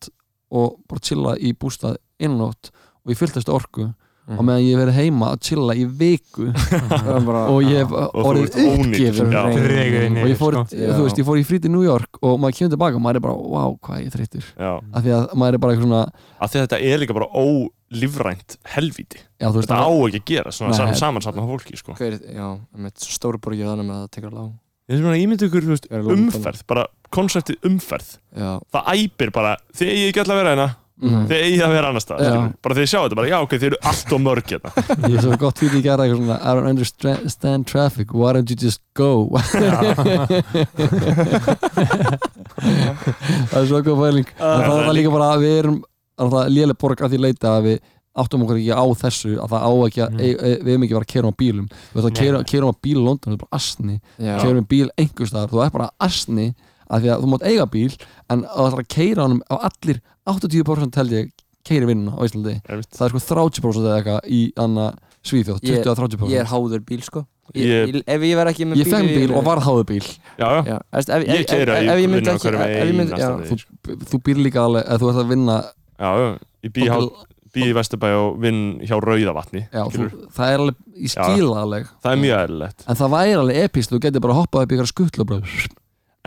[SPEAKER 7] og bara chilla í bústað innanótt og ég fylltast orku
[SPEAKER 8] Mhm.
[SPEAKER 7] og meðan ég hef verið heima að chilla í viku
[SPEAKER 8] Það er bara-
[SPEAKER 7] og ég hef
[SPEAKER 1] þú
[SPEAKER 7] orðið
[SPEAKER 1] ert ónýtur.
[SPEAKER 7] uppgefin
[SPEAKER 1] Já.
[SPEAKER 2] Dregur
[SPEAKER 7] og ég fór,
[SPEAKER 2] Sko.
[SPEAKER 8] Já.
[SPEAKER 7] þú veist, ég fór í frýti í New York og maður kemur tilbaka og maður er bara, wow, hvað ég er þreyttur
[SPEAKER 1] Já.
[SPEAKER 7] af því að maður er bara eitthvað svona
[SPEAKER 1] að því að þetta er líka bara ólífrænt helvíti,
[SPEAKER 7] já, þú veist,
[SPEAKER 1] þetta á ekki að gera svona
[SPEAKER 7] Nei.
[SPEAKER 1] sam, samansapna fólki sko.
[SPEAKER 8] Hver, já, einmitt, svo stóru borgið þannig með að það tekur lág
[SPEAKER 1] ég sem að ímynda ykkur þú veist,
[SPEAKER 8] Vera London.
[SPEAKER 1] umferð, bara konseptið umferð
[SPEAKER 8] Já,
[SPEAKER 1] það æpir bara, þið eigið ekki alltaf að vera hérna
[SPEAKER 8] Mm.
[SPEAKER 7] Mhm.
[SPEAKER 1] þið eigið að vera annar stað
[SPEAKER 7] Já.
[SPEAKER 1] bara þið sjá þetta, bara já ok, þið eru allt og mörg hérna
[SPEAKER 7] ég svo gott fyrir í gera eitthvað svona I don't understand traffic, why don't you just go það er svo góð fæling en það er líka bara að við erum að það léle borg að því leita að við áttum okkur ekki á þessu að það á ekki að
[SPEAKER 2] Mm.
[SPEAKER 7] e, e, við hefum ekki verið að kera á bílum við veist að
[SPEAKER 2] Nei.
[SPEAKER 7] kera, kera á bíl í London, það er bara asni
[SPEAKER 8] já,
[SPEAKER 7] kera um bíl einhvers staðar, þú er bara asni að því að þú mátt eiga bíl en að það er að keira honum á allir 80% held ég keiri vinnuna á Íslandi
[SPEAKER 1] Einmitt.
[SPEAKER 7] það er sko 30% eða eitthvað í anna Svíþjóð,
[SPEAKER 8] Ég-
[SPEAKER 7] 20-30%
[SPEAKER 8] ég er háður bíl sko ég,
[SPEAKER 1] Ég-
[SPEAKER 8] ég, Ef ég verð ekki með
[SPEAKER 7] ég fenn bíl og varð háðu bíl
[SPEAKER 1] já, já.
[SPEAKER 8] já, veist, ef,
[SPEAKER 1] ég
[SPEAKER 8] ef-
[SPEAKER 1] keira
[SPEAKER 8] ef,
[SPEAKER 1] í
[SPEAKER 8] ef ég myndi
[SPEAKER 1] vinnuna
[SPEAKER 8] ekki
[SPEAKER 1] hverjum
[SPEAKER 8] ef ég myndi,
[SPEAKER 1] einasta
[SPEAKER 8] já,
[SPEAKER 1] degi, sko.
[SPEAKER 7] þú býr líka alveg að þú ert að vinna
[SPEAKER 1] já, já, ég bý, há, bý í Vesturbæ og vinn hjá Rauðavatni
[SPEAKER 7] já, þú,
[SPEAKER 1] skilur.
[SPEAKER 7] það er alveg, ég skil það alveg
[SPEAKER 1] það er mjög eðlilegt
[SPEAKER 7] en það væri alveg epist, þú getur bara hoppað upp í ykkur skuttlu og bara,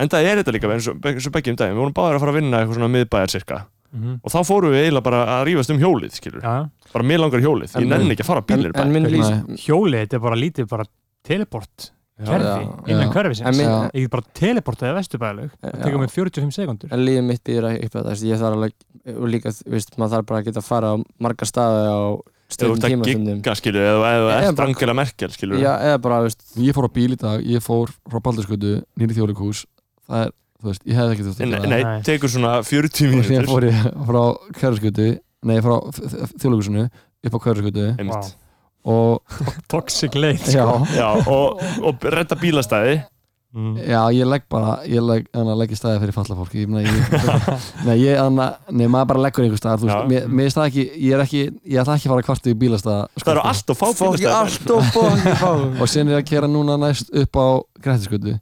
[SPEAKER 1] en það er þetta líka, eins og, eins og beggi um daginn við vorum báðir að fara að vinna eitthvað svona miðbæjar cirka
[SPEAKER 2] Mhm.
[SPEAKER 1] og þá fórum við eiginlega bara að rífast um hjólið skilur,
[SPEAKER 2] Já,
[SPEAKER 1] bara mér langar hjólið
[SPEAKER 8] En-
[SPEAKER 1] ég nenni ekki að fara
[SPEAKER 8] en,
[SPEAKER 1] bílir
[SPEAKER 8] en minn
[SPEAKER 7] Nei.
[SPEAKER 8] lýs
[SPEAKER 2] hjólið, þetta er bara lítið bara teleport kerfi
[SPEAKER 8] já,
[SPEAKER 2] innan
[SPEAKER 7] já.
[SPEAKER 8] En
[SPEAKER 2] kerfisins
[SPEAKER 8] minn-
[SPEAKER 7] Já.
[SPEAKER 2] ég get bara teleportaði vesturbæðalög það tekur mig 45 sekundur
[SPEAKER 8] En lífið mitt býður ekki upp að það Ég þarf alveg, og líka, þú veist, maður þarf bara að geta að fara á marga staði á
[SPEAKER 1] eða þú
[SPEAKER 8] stundum
[SPEAKER 1] ert að
[SPEAKER 8] tímastundum
[SPEAKER 1] gigga skilur eða eða þú
[SPEAKER 8] Eða
[SPEAKER 1] ert
[SPEAKER 8] bara-
[SPEAKER 1] Angela Merkel skilur
[SPEAKER 8] Já, eða bara, þú veist,
[SPEAKER 7] ég fór á bíl í dag, ég fór frá Baldurskutu nýri þjóðleikús, það er þú veist, ég hefði ekki þurft að
[SPEAKER 1] En-
[SPEAKER 7] gera það.
[SPEAKER 1] nei,
[SPEAKER 2] Nei.
[SPEAKER 1] tekur svona 40
[SPEAKER 7] og síðan
[SPEAKER 1] mínútur
[SPEAKER 7] fór ég frá Kæraskutu nei, frá þjóðlökusinu upp á Kæraskutu
[SPEAKER 1] Einmitt.
[SPEAKER 2] Vá.
[SPEAKER 7] og
[SPEAKER 2] toxic late
[SPEAKER 7] já,
[SPEAKER 2] sko.
[SPEAKER 1] Já, og, og redda bílastæði
[SPEAKER 2] mm.
[SPEAKER 7] já, ég legg bara ég legg, anna, legg í staði fyrir falla fólk ég, meina, ég, nei, ég, anna, nei, maður bara leggur einhver staðar, þú
[SPEAKER 1] Já.
[SPEAKER 7] veist, mér, mér er stað ekki ég er ekki, ég ætla ekki að fara að kvartu í bílastað sko.
[SPEAKER 1] það eru allt og fá
[SPEAKER 8] fólk
[SPEAKER 1] bílastæði
[SPEAKER 8] allt og fólk fá
[SPEAKER 7] og síðan er ég að kera núna næst upp á Grettiskutu,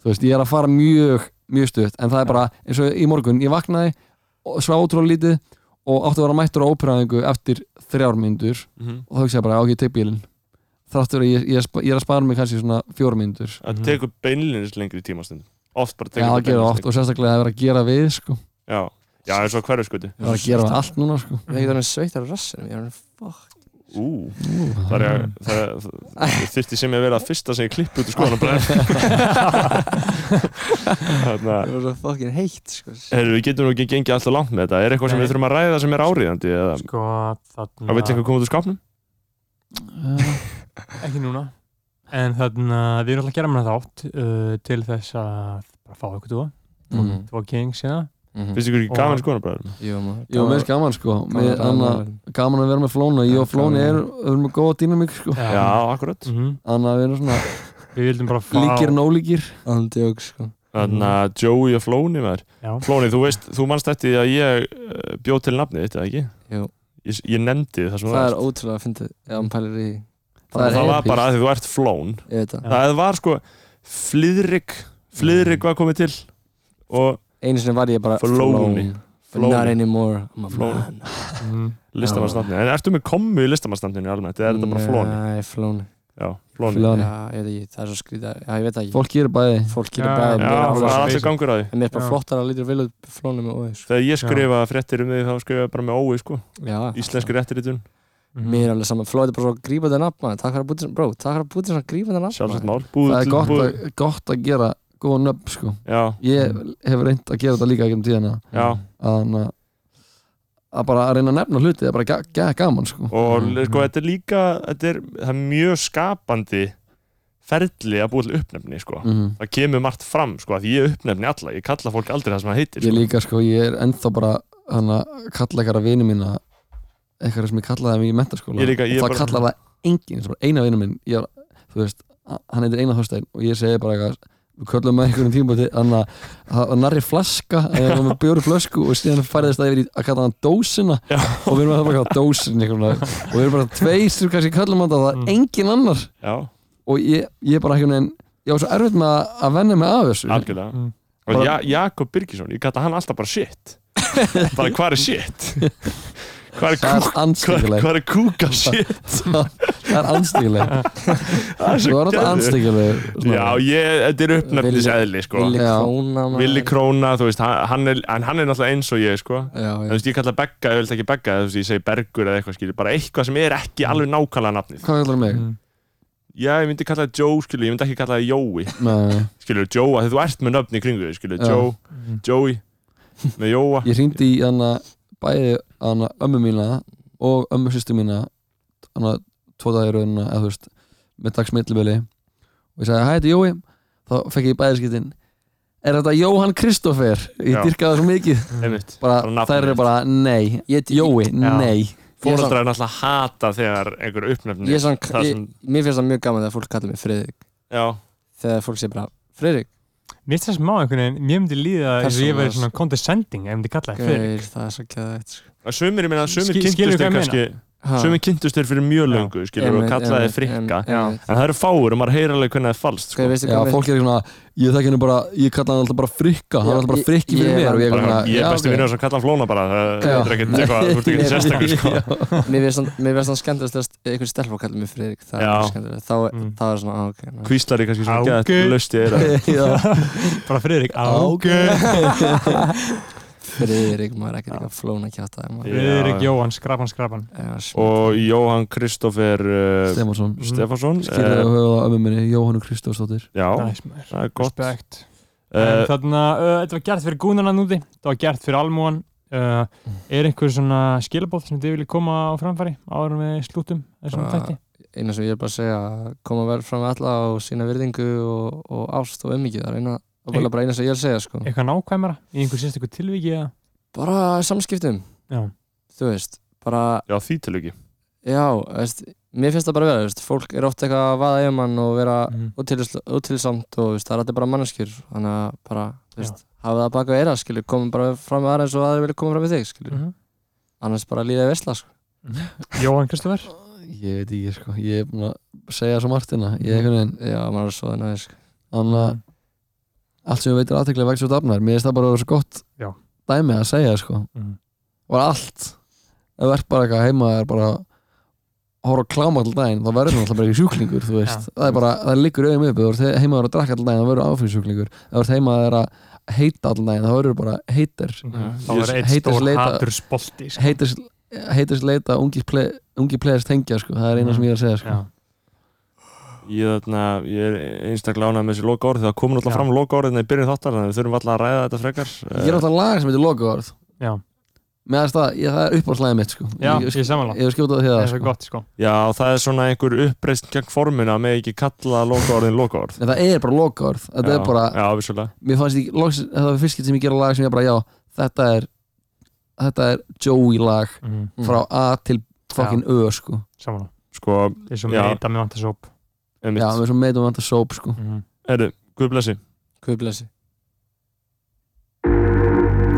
[SPEAKER 7] þú veist, ég er að fara mjög, mjög stutt, en það er bara eins og í morgun, ég vaknaði og svaf ótrúlega lítið og átti að vera mættur á óperæðingu eftir þrjár myndur
[SPEAKER 1] Mhm.
[SPEAKER 7] og þá hugsa ég bara, ok, ég tek bílinn þráttur að ég, ég, er að spa- ég er að spara mig kannski svona fjóra mínútur
[SPEAKER 1] það tekur beinlinnis lengri tímastund oft bara
[SPEAKER 7] Já,
[SPEAKER 1] tekur
[SPEAKER 7] það gera oft og sérstaklega að vera að gera við sko.
[SPEAKER 1] já. já, eins og hverju skuti
[SPEAKER 7] vera að gera við allt núna sko.
[SPEAKER 8] Ég get hann sveitar á rassinum Ég er hann fokk
[SPEAKER 1] Ú, það er að
[SPEAKER 2] Ah.
[SPEAKER 1] það er- það þurfti sem ég að vera að fyrsta sem ég klippi út úr skoðan og Þannig að
[SPEAKER 8] Það var svo fokkin heitt, sko
[SPEAKER 1] Heru, við getum nú ekki gengið alltaf langt með þetta er eitthvað sem
[SPEAKER 2] Nei.
[SPEAKER 1] við þurfum að ræða sem er áriðandi eða
[SPEAKER 2] sko, Mm. þarna
[SPEAKER 1] það veit eitthvað koma út úr skápnum
[SPEAKER 2] ekki núna en þarna, við erum alltaf að gera með þátt uh, til þess að bara fá eitthvað tvo,
[SPEAKER 8] Mhm.
[SPEAKER 2] tvo kings hérna.
[SPEAKER 1] finnst ykkur ekki
[SPEAKER 2] Og-
[SPEAKER 1] gaman skoðan bræður
[SPEAKER 8] Jú, maður
[SPEAKER 7] Jú, mér er gaman sko gaman, gaman, gaman að vera með Flóna Ég og Flóni
[SPEAKER 8] Gaman.
[SPEAKER 7] er, erum með góða dýnamík sko.
[SPEAKER 1] já, akkurat
[SPEAKER 2] Mhm.
[SPEAKER 7] Þannig að við erum svona
[SPEAKER 2] við vildum bara fá
[SPEAKER 7] líkir en ólíkir
[SPEAKER 8] Andjók, sko
[SPEAKER 1] þannig að Joey og Flóni var
[SPEAKER 2] Já.
[SPEAKER 1] Flóni, þú veist, þú manst eftir því að ég eh, bjó til nafnið þetta, ekki?
[SPEAKER 8] Jú.
[SPEAKER 1] Ég, ég nefndi það sem
[SPEAKER 8] Það er ótrúlega að fyndið Ef hann pælir í
[SPEAKER 1] það,
[SPEAKER 7] það er
[SPEAKER 1] var
[SPEAKER 7] epic.
[SPEAKER 1] bara að því þú ert flón
[SPEAKER 8] Ég veit það
[SPEAKER 2] Já. Mm.
[SPEAKER 1] það var sko flýðrik flýðrik var komið til og
[SPEAKER 8] Einu sinni var ég bara
[SPEAKER 1] Flóni.
[SPEAKER 8] Flóni Not
[SPEAKER 1] flón,
[SPEAKER 8] anymore I'm a
[SPEAKER 1] Flóni.
[SPEAKER 8] man
[SPEAKER 2] Mhm.
[SPEAKER 1] listamannsnafni en ertu með kommu í listamannsnafninu almennt eða er þetta bara flóni?
[SPEAKER 8] Nei, flóni
[SPEAKER 1] Já, flóni
[SPEAKER 7] Flóni.
[SPEAKER 8] Já, ég veit ekki, það er svo skrítið Já, ég veit það ekki
[SPEAKER 7] Fólk gerir bæði
[SPEAKER 2] Já,
[SPEAKER 8] Fólk gerir bæði
[SPEAKER 1] Já,
[SPEAKER 8] mér er
[SPEAKER 1] það
[SPEAKER 8] alveg-
[SPEAKER 1] er
[SPEAKER 2] alveg-
[SPEAKER 1] alltaf gangur að því
[SPEAKER 8] En mér er bara
[SPEAKER 2] Já.
[SPEAKER 8] flottar að lítur vel út flónum og óðis
[SPEAKER 1] þegar ég skrifa fréttir um þig þá skrifa ég bara með ói sko
[SPEAKER 8] Já,
[SPEAKER 1] íslenski réttiritun,
[SPEAKER 2] Mhm.
[SPEAKER 8] Mér er alveg saman, Flóð er bara svo grípandi nafn maður Takk fyrir að búti svona, bró, takk fyrir að búti svona grípandi nafn
[SPEAKER 1] sjálfsagt
[SPEAKER 8] maður.
[SPEAKER 1] mál búið
[SPEAKER 7] Það er
[SPEAKER 1] til-
[SPEAKER 7] gott,
[SPEAKER 1] búið-
[SPEAKER 7] að, gott að gera góða nöfn sko.
[SPEAKER 1] já,
[SPEAKER 7] Ég hef reynd að gera þetta líka ekki um tíðina
[SPEAKER 1] já
[SPEAKER 7] Þannig að- að bara að reyna að nefna hluti Það er bara ga ga gaman sko.
[SPEAKER 1] og sko þetta er líka þetta er, það er mjög skapandi ferli að búið til uppnefni sko
[SPEAKER 7] Mhm.
[SPEAKER 1] það kemur margt fram sko að ég uppnefni alla ég kalla fólk aldrei það sem það heitir
[SPEAKER 7] Ég
[SPEAKER 1] sko.
[SPEAKER 7] líka sko, ég er ennþá bara hana, kalla eitthvað að vini mína eitthvað sem ég kallaði þeim í mentaskóla
[SPEAKER 1] Ég líka, ég
[SPEAKER 7] og það
[SPEAKER 1] bara-
[SPEAKER 7] kallar það enginn, það er bara eina vini minn ég, var- þú veist, a- hann heitir Einar Þorstein og ég segi bara eitthvað við köllum með einhverjum tímabóti þannig að það var narri flaska að ég var með bjóru flösku og síðan færðist það yfir í að kalla hann dósina
[SPEAKER 1] Já.
[SPEAKER 7] og við erum að það bara að kalla dósin og við erum bara tveir sem kannski köllum hann það
[SPEAKER 2] Mm.
[SPEAKER 7] er engin annar
[SPEAKER 1] já,
[SPEAKER 7] og ég, ég bara einhvern veginn ég var svo erfitt með að, að venja mig af þessu
[SPEAKER 1] algjörlega
[SPEAKER 2] Mm.
[SPEAKER 1] og ja, Jakob Birgisson, ég gata hann alltaf bara shit bara hvað er shit hvað er
[SPEAKER 7] það er
[SPEAKER 1] kúka hvað
[SPEAKER 7] anstíkileg
[SPEAKER 1] hvað er kúka shit
[SPEAKER 7] það er anstíkileg
[SPEAKER 1] það er
[SPEAKER 7] þú
[SPEAKER 1] svo
[SPEAKER 7] var alltaf
[SPEAKER 1] geðveikt.
[SPEAKER 7] anstíkileg
[SPEAKER 1] já, ég, þetta er uppnefnis
[SPEAKER 8] Villi-
[SPEAKER 1] eðli sko.
[SPEAKER 8] Villi
[SPEAKER 7] Já.
[SPEAKER 8] Króna maður.
[SPEAKER 1] Willi Króna, þú veist, hann- hann er, en hann er náttúrulega eins og ég, sko
[SPEAKER 7] já,
[SPEAKER 1] En Þú
[SPEAKER 7] já.
[SPEAKER 1] veist, ég kalla begga, ég vil ekki begga, þú veist, ég segi bergur eða eitthvað, skilur, bara eitthvað sem er ekki alveg nákvæmlega nafnið.
[SPEAKER 7] hvað kallar mig?
[SPEAKER 2] Mm.
[SPEAKER 1] Já, ég myndi kalla það Joe, skilur, ég myndi ekki kalla það Jói,
[SPEAKER 7] Nei,
[SPEAKER 1] skilur, Joe, af því þú ert með nöfni í kringu þig, skilur,
[SPEAKER 7] Já.
[SPEAKER 1] Joe,
[SPEAKER 2] Mm.
[SPEAKER 1] Joey, með Jóa.
[SPEAKER 7] ég hringdi í hana bæði hana ömmu mína og ömmu sýstu mína hana tvo dagir raunina eða þú veist með dagsmillibili og ég sagði hæ, þetta er Jói þá fekk ég bæði skiptin er þetta Jóhann Kristoffer?
[SPEAKER 1] Já.
[SPEAKER 7] ég dyrkaði það svo mikið
[SPEAKER 1] Einmitt. Bara
[SPEAKER 7] bara,
[SPEAKER 1] nafnið.
[SPEAKER 7] þær eru bara nei,
[SPEAKER 8] Ég-
[SPEAKER 7] Jói, nei
[SPEAKER 1] Fóreldrar er náttúrulega hata þegar einhver uppnefni.
[SPEAKER 8] Ég er svona,
[SPEAKER 1] það
[SPEAKER 8] ég,
[SPEAKER 1] sem,
[SPEAKER 8] mér finnst það mjög gaman þegar fólk kallar mig Friðrik
[SPEAKER 1] já,
[SPEAKER 8] Þegar fólk sé bara, Friðrik,
[SPEAKER 2] Mér finnst það smá einhvern veginn, mér myndi líða eins og ég væri
[SPEAKER 8] Persónulega.
[SPEAKER 2] svona condescending, ef ég myndi kalla það fyrir.
[SPEAKER 8] gauð, það er svo gæðið
[SPEAKER 1] að sumir, ég meina, sumir
[SPEAKER 2] Skil-
[SPEAKER 1] kynntust
[SPEAKER 2] skilur hvað
[SPEAKER 1] þér
[SPEAKER 2] ég
[SPEAKER 1] kannski,
[SPEAKER 8] sko."
[SPEAKER 1] sumir kynntust þér fyrir mjög löngu, skilur, og kallaði þér frikka. En það eru fáur og maður heyr alveg hvernig það er falskt,
[SPEAKER 8] Hvað
[SPEAKER 1] sko.
[SPEAKER 8] ég veistu
[SPEAKER 7] Já,
[SPEAKER 8] hvað
[SPEAKER 7] fólk er svona, ég þekki henni bara, ég kalla hann alltaf bara frikka, hann
[SPEAKER 8] Já,
[SPEAKER 7] er alltaf bara
[SPEAKER 8] ég-
[SPEAKER 7] frikki fyrir
[SPEAKER 8] ég-
[SPEAKER 7] mér og ég er
[SPEAKER 1] Bara,
[SPEAKER 7] svona,
[SPEAKER 1] ég er
[SPEAKER 7] já,
[SPEAKER 1] besti
[SPEAKER 7] ok.
[SPEAKER 1] vinnur sem kalla hann flóna bara, það
[SPEAKER 7] Já.
[SPEAKER 1] það er ekkert eitthvað, þú ert
[SPEAKER 7] Nei.
[SPEAKER 1] ekkert sérstakur, sko.
[SPEAKER 8] Mér finnst það- mér finnst það skemmtilegast að einhver stelpa kallar mig Friðrik Það
[SPEAKER 1] Já.
[SPEAKER 8] er skemmtilegast, þá
[SPEAKER 2] Mm.
[SPEAKER 8] þá er svona, á, ok ná.
[SPEAKER 1] kvíslar ég kannski
[SPEAKER 2] Ágæ.
[SPEAKER 1] svona gett löst ég er
[SPEAKER 7] Já, Ah,
[SPEAKER 2] Bara Friðrik,
[SPEAKER 7] ok. sko.
[SPEAKER 8] Friðrik, maður er ekkert eitthvað flóna kjátt
[SPEAKER 1] Já.
[SPEAKER 8] að
[SPEAKER 2] Friðrik Jóhann, skrapan, skrapan.
[SPEAKER 1] og Jóhann Kristoffer uh,
[SPEAKER 7] Stefánsson,
[SPEAKER 1] Stefansson
[SPEAKER 7] skilur
[SPEAKER 1] uh,
[SPEAKER 7] það höfuð á ömmu minni, Jóhannu Kristofsdóttir.
[SPEAKER 1] já,
[SPEAKER 2] Nice, maður.
[SPEAKER 1] það er gott uh,
[SPEAKER 2] Respekt. En Þannig að uh, þetta var gert fyrir gúnanan úti, þetta var gert fyrir almúan. Uh, er einhver svona skilabóð sem þið viljið koma á framfæri áður með slútum þessum
[SPEAKER 8] Bara-
[SPEAKER 2] tætti?
[SPEAKER 8] eina sem ég er bara að segja koma vel fram með alla og sína virðingu og, og ást og umvikið það er eina og vel bara eina sem ég er að segja sko
[SPEAKER 2] Eitthvað nákvæmara í einhver sérstakku tilviki eða?
[SPEAKER 8] bara samskiptum,
[SPEAKER 2] Já.
[SPEAKER 8] þú veist bara,
[SPEAKER 1] já, því til ekki
[SPEAKER 8] já, veist mér finnst það bara vel, þú veist, fólk er oft eitthvað að vaða eiginmann og vera
[SPEAKER 2] Mm.
[SPEAKER 8] útilis- útilsamt og veist, það er allir bara manneskjur þannig að bara, þú
[SPEAKER 2] Já.
[SPEAKER 8] veist, hafa það baka eira skilur, komum bara fram með aðra eins og aðra vilja koma fram með þig skilur,
[SPEAKER 2] Mhm.
[SPEAKER 8] annars bara líða vesla sko.
[SPEAKER 2] Jóhann Kristoffer?
[SPEAKER 7] Ég veit ekki, sko, ég er búin að segja svo Martina, ég er einhvern veginn,
[SPEAKER 8] já, maður er svo það næði sko.
[SPEAKER 7] þannig að allt sem við veitir aðteklega vegst svo dafnar, mér finnst það bara að vera svo gott
[SPEAKER 2] Já.
[SPEAKER 7] dæmi að segja, sko,
[SPEAKER 2] Mhm.
[SPEAKER 7] og allt, ef þú ert bara eitthvað heima, er bara að horfa á kláma all daginn, þá verður náttúrulega bara ekki sjúklingur, þú veist, það er bara, það liggur auðum upp, ef þú ert heima að vera að drakka all daginn, þá verður áfengssjúklingur, ef þú ert heima að vera að heita all daginn, þá verður bara heitir,
[SPEAKER 2] Þá
[SPEAKER 1] Ég
[SPEAKER 2] var eitt
[SPEAKER 7] heitist
[SPEAKER 2] stór
[SPEAKER 7] leita-
[SPEAKER 2] hatur spolti sko.
[SPEAKER 7] heitir, heitir leita ungir ple, ungi players tengja sko, það er eina sem ég er að segja sko.
[SPEAKER 2] Já.
[SPEAKER 1] ég, þarna, ég er einstaklega ánægð með þessi loka orð það komur alltaf
[SPEAKER 2] Já.
[SPEAKER 1] fram loka orðin í byrjun þáttar þannig að við þurfum alltaf að ræða þetta frekar Eh,
[SPEAKER 7] ég er alltaf lag sem heitir lokaorð
[SPEAKER 2] Já.
[SPEAKER 7] með þess að ég, það er uppáðslæðið mitt sko.
[SPEAKER 2] Já,
[SPEAKER 7] ég,
[SPEAKER 2] ég er samanlá
[SPEAKER 7] ég hef skjótað því
[SPEAKER 2] Það
[SPEAKER 7] það
[SPEAKER 2] er svo
[SPEAKER 7] sko.
[SPEAKER 2] gott sko
[SPEAKER 1] já, það er svona einhver uppreist gegn forminu að með ekki kalla loka orðin loka orð
[SPEAKER 7] en það er bara lokaorð þetta
[SPEAKER 1] já,
[SPEAKER 7] er bara,
[SPEAKER 1] já, vissulega
[SPEAKER 7] mér fannst ég loks, það var fyrst skipt sem ég gera lag sem ég bara, já, þetta er þetta er Joey lag
[SPEAKER 2] mm.
[SPEAKER 7] frá A til fucking Ö sko.
[SPEAKER 2] Samanlá
[SPEAKER 1] sko,
[SPEAKER 2] Ég er svo
[SPEAKER 1] Já.
[SPEAKER 2] meita með vantar sóp
[SPEAKER 7] já,
[SPEAKER 1] einmitt,
[SPEAKER 7] með svo meitum vantar soap sko.
[SPEAKER 2] mm.
[SPEAKER 1] erðu, guð blessi
[SPEAKER 8] hvað blessi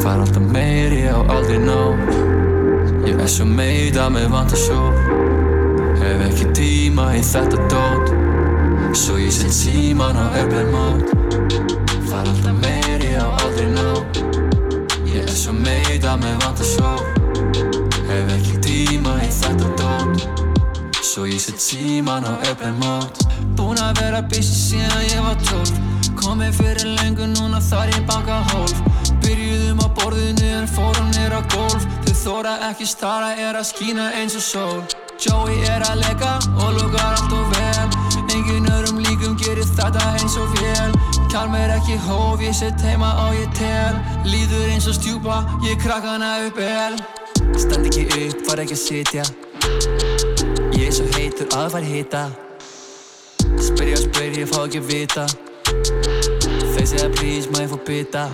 [SPEAKER 6] Fær alltaf meiri á aldrei nóg Ég er svo meita með vantar svo Hef ekki tíma í þetta dót Svo ég set síman á öfnir mót Fær alltaf meiri á aldrei nóg Ég er svo meita með vantar svo Hef ekki tíma í þetta dót Svo ég set síman á öfnir mót Búin að vera busy síðan ég var tólf Komið fyrir lengur núna þar ég baka hólf Byrjuðum á borðinu en fórum nýr á gólf Þau þóra ekki stara er að skína eins og sól Joey er að leika og lukkar allt og vel Engin örum líkum gerir þetta eins og vél Kalm er ekki hóf, ég set heima og ég tel Líður eins og stjúpa, ég krakkana upp el Stend ekki upp, var ekki að sitja Ég er svo heitur að fara hita Spyrja og spyrja, ég fá ekki að vita Þeir segja please, maður fór bita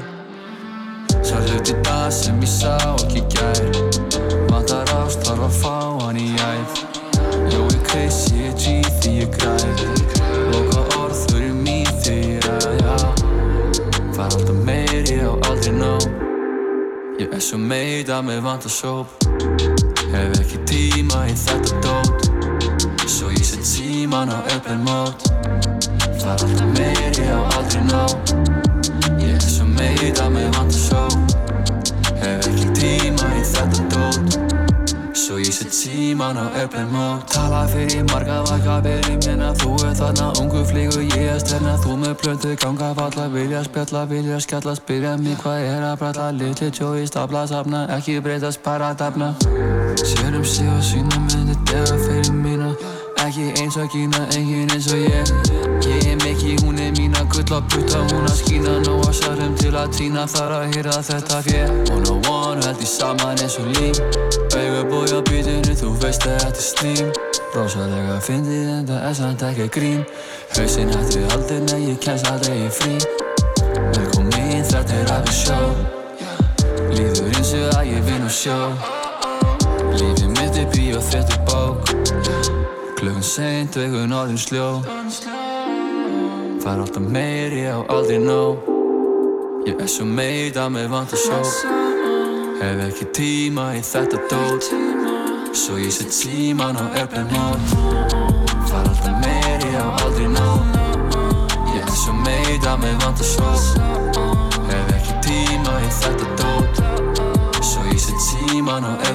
[SPEAKER 6] Svo hluti það sem ég sá ekki í gær Vantar ást, þarf að fá hann í æð Jói Chris, ég er G því ég græð Loka orð, þau eru mín þegar ég ræð Ég er svo meit að mig vant að sóp Hef ekki tíma í þetta dót Svo ég set síman á öppin mót Það er alltaf meir, ég á aldrei nóg Ég er svo meit að mig vant að sóp Hef ekki tíma í þetta dót Svo ég set síman á öppin mót Tala fyrir marga vaka verið minna Þú er þarna ungu flýgu ég að sterna Þú með plöntu ganga falla Vilja spjalla, vilja skjalla Spyrja mig hvað er að bralla Litli tjói stapla safna Ekki breytast bara dafna Sér um sig og sína myndi Dega fyrir mína Ekki eins og kína, engin eins og ég Ég er mikið, hún er mína Gull og butta, hún að skína Nó að sarum til að týna Þar að hýra þetta fjö One on one, held í saman eins og lím Augur búið á býtinu, þú veist að þetta er slím Rósalega fyndið en það er samt ekki grín Hausinn hætti aldrei, nei, ég kemst aldrei í frí Velkomin, þetta er aðeins sjó Líður eins og að ég vinn á sjó Lífið mitt er bíó, þetta er bók Klukkan seint, vegun orðin sljó Fær alltaf meir, ég á aldrei nóg Ég er svo meit að mig vant að sjó Hef ekki tíma í þetta dót Svo ég set síman á öfnum mót Fær alltaf meir, ég á aldrei nóg Ég er svo meit að mig vant að sjó Hef ekki tíma í þetta dót Svo ég set síman á öfnum mót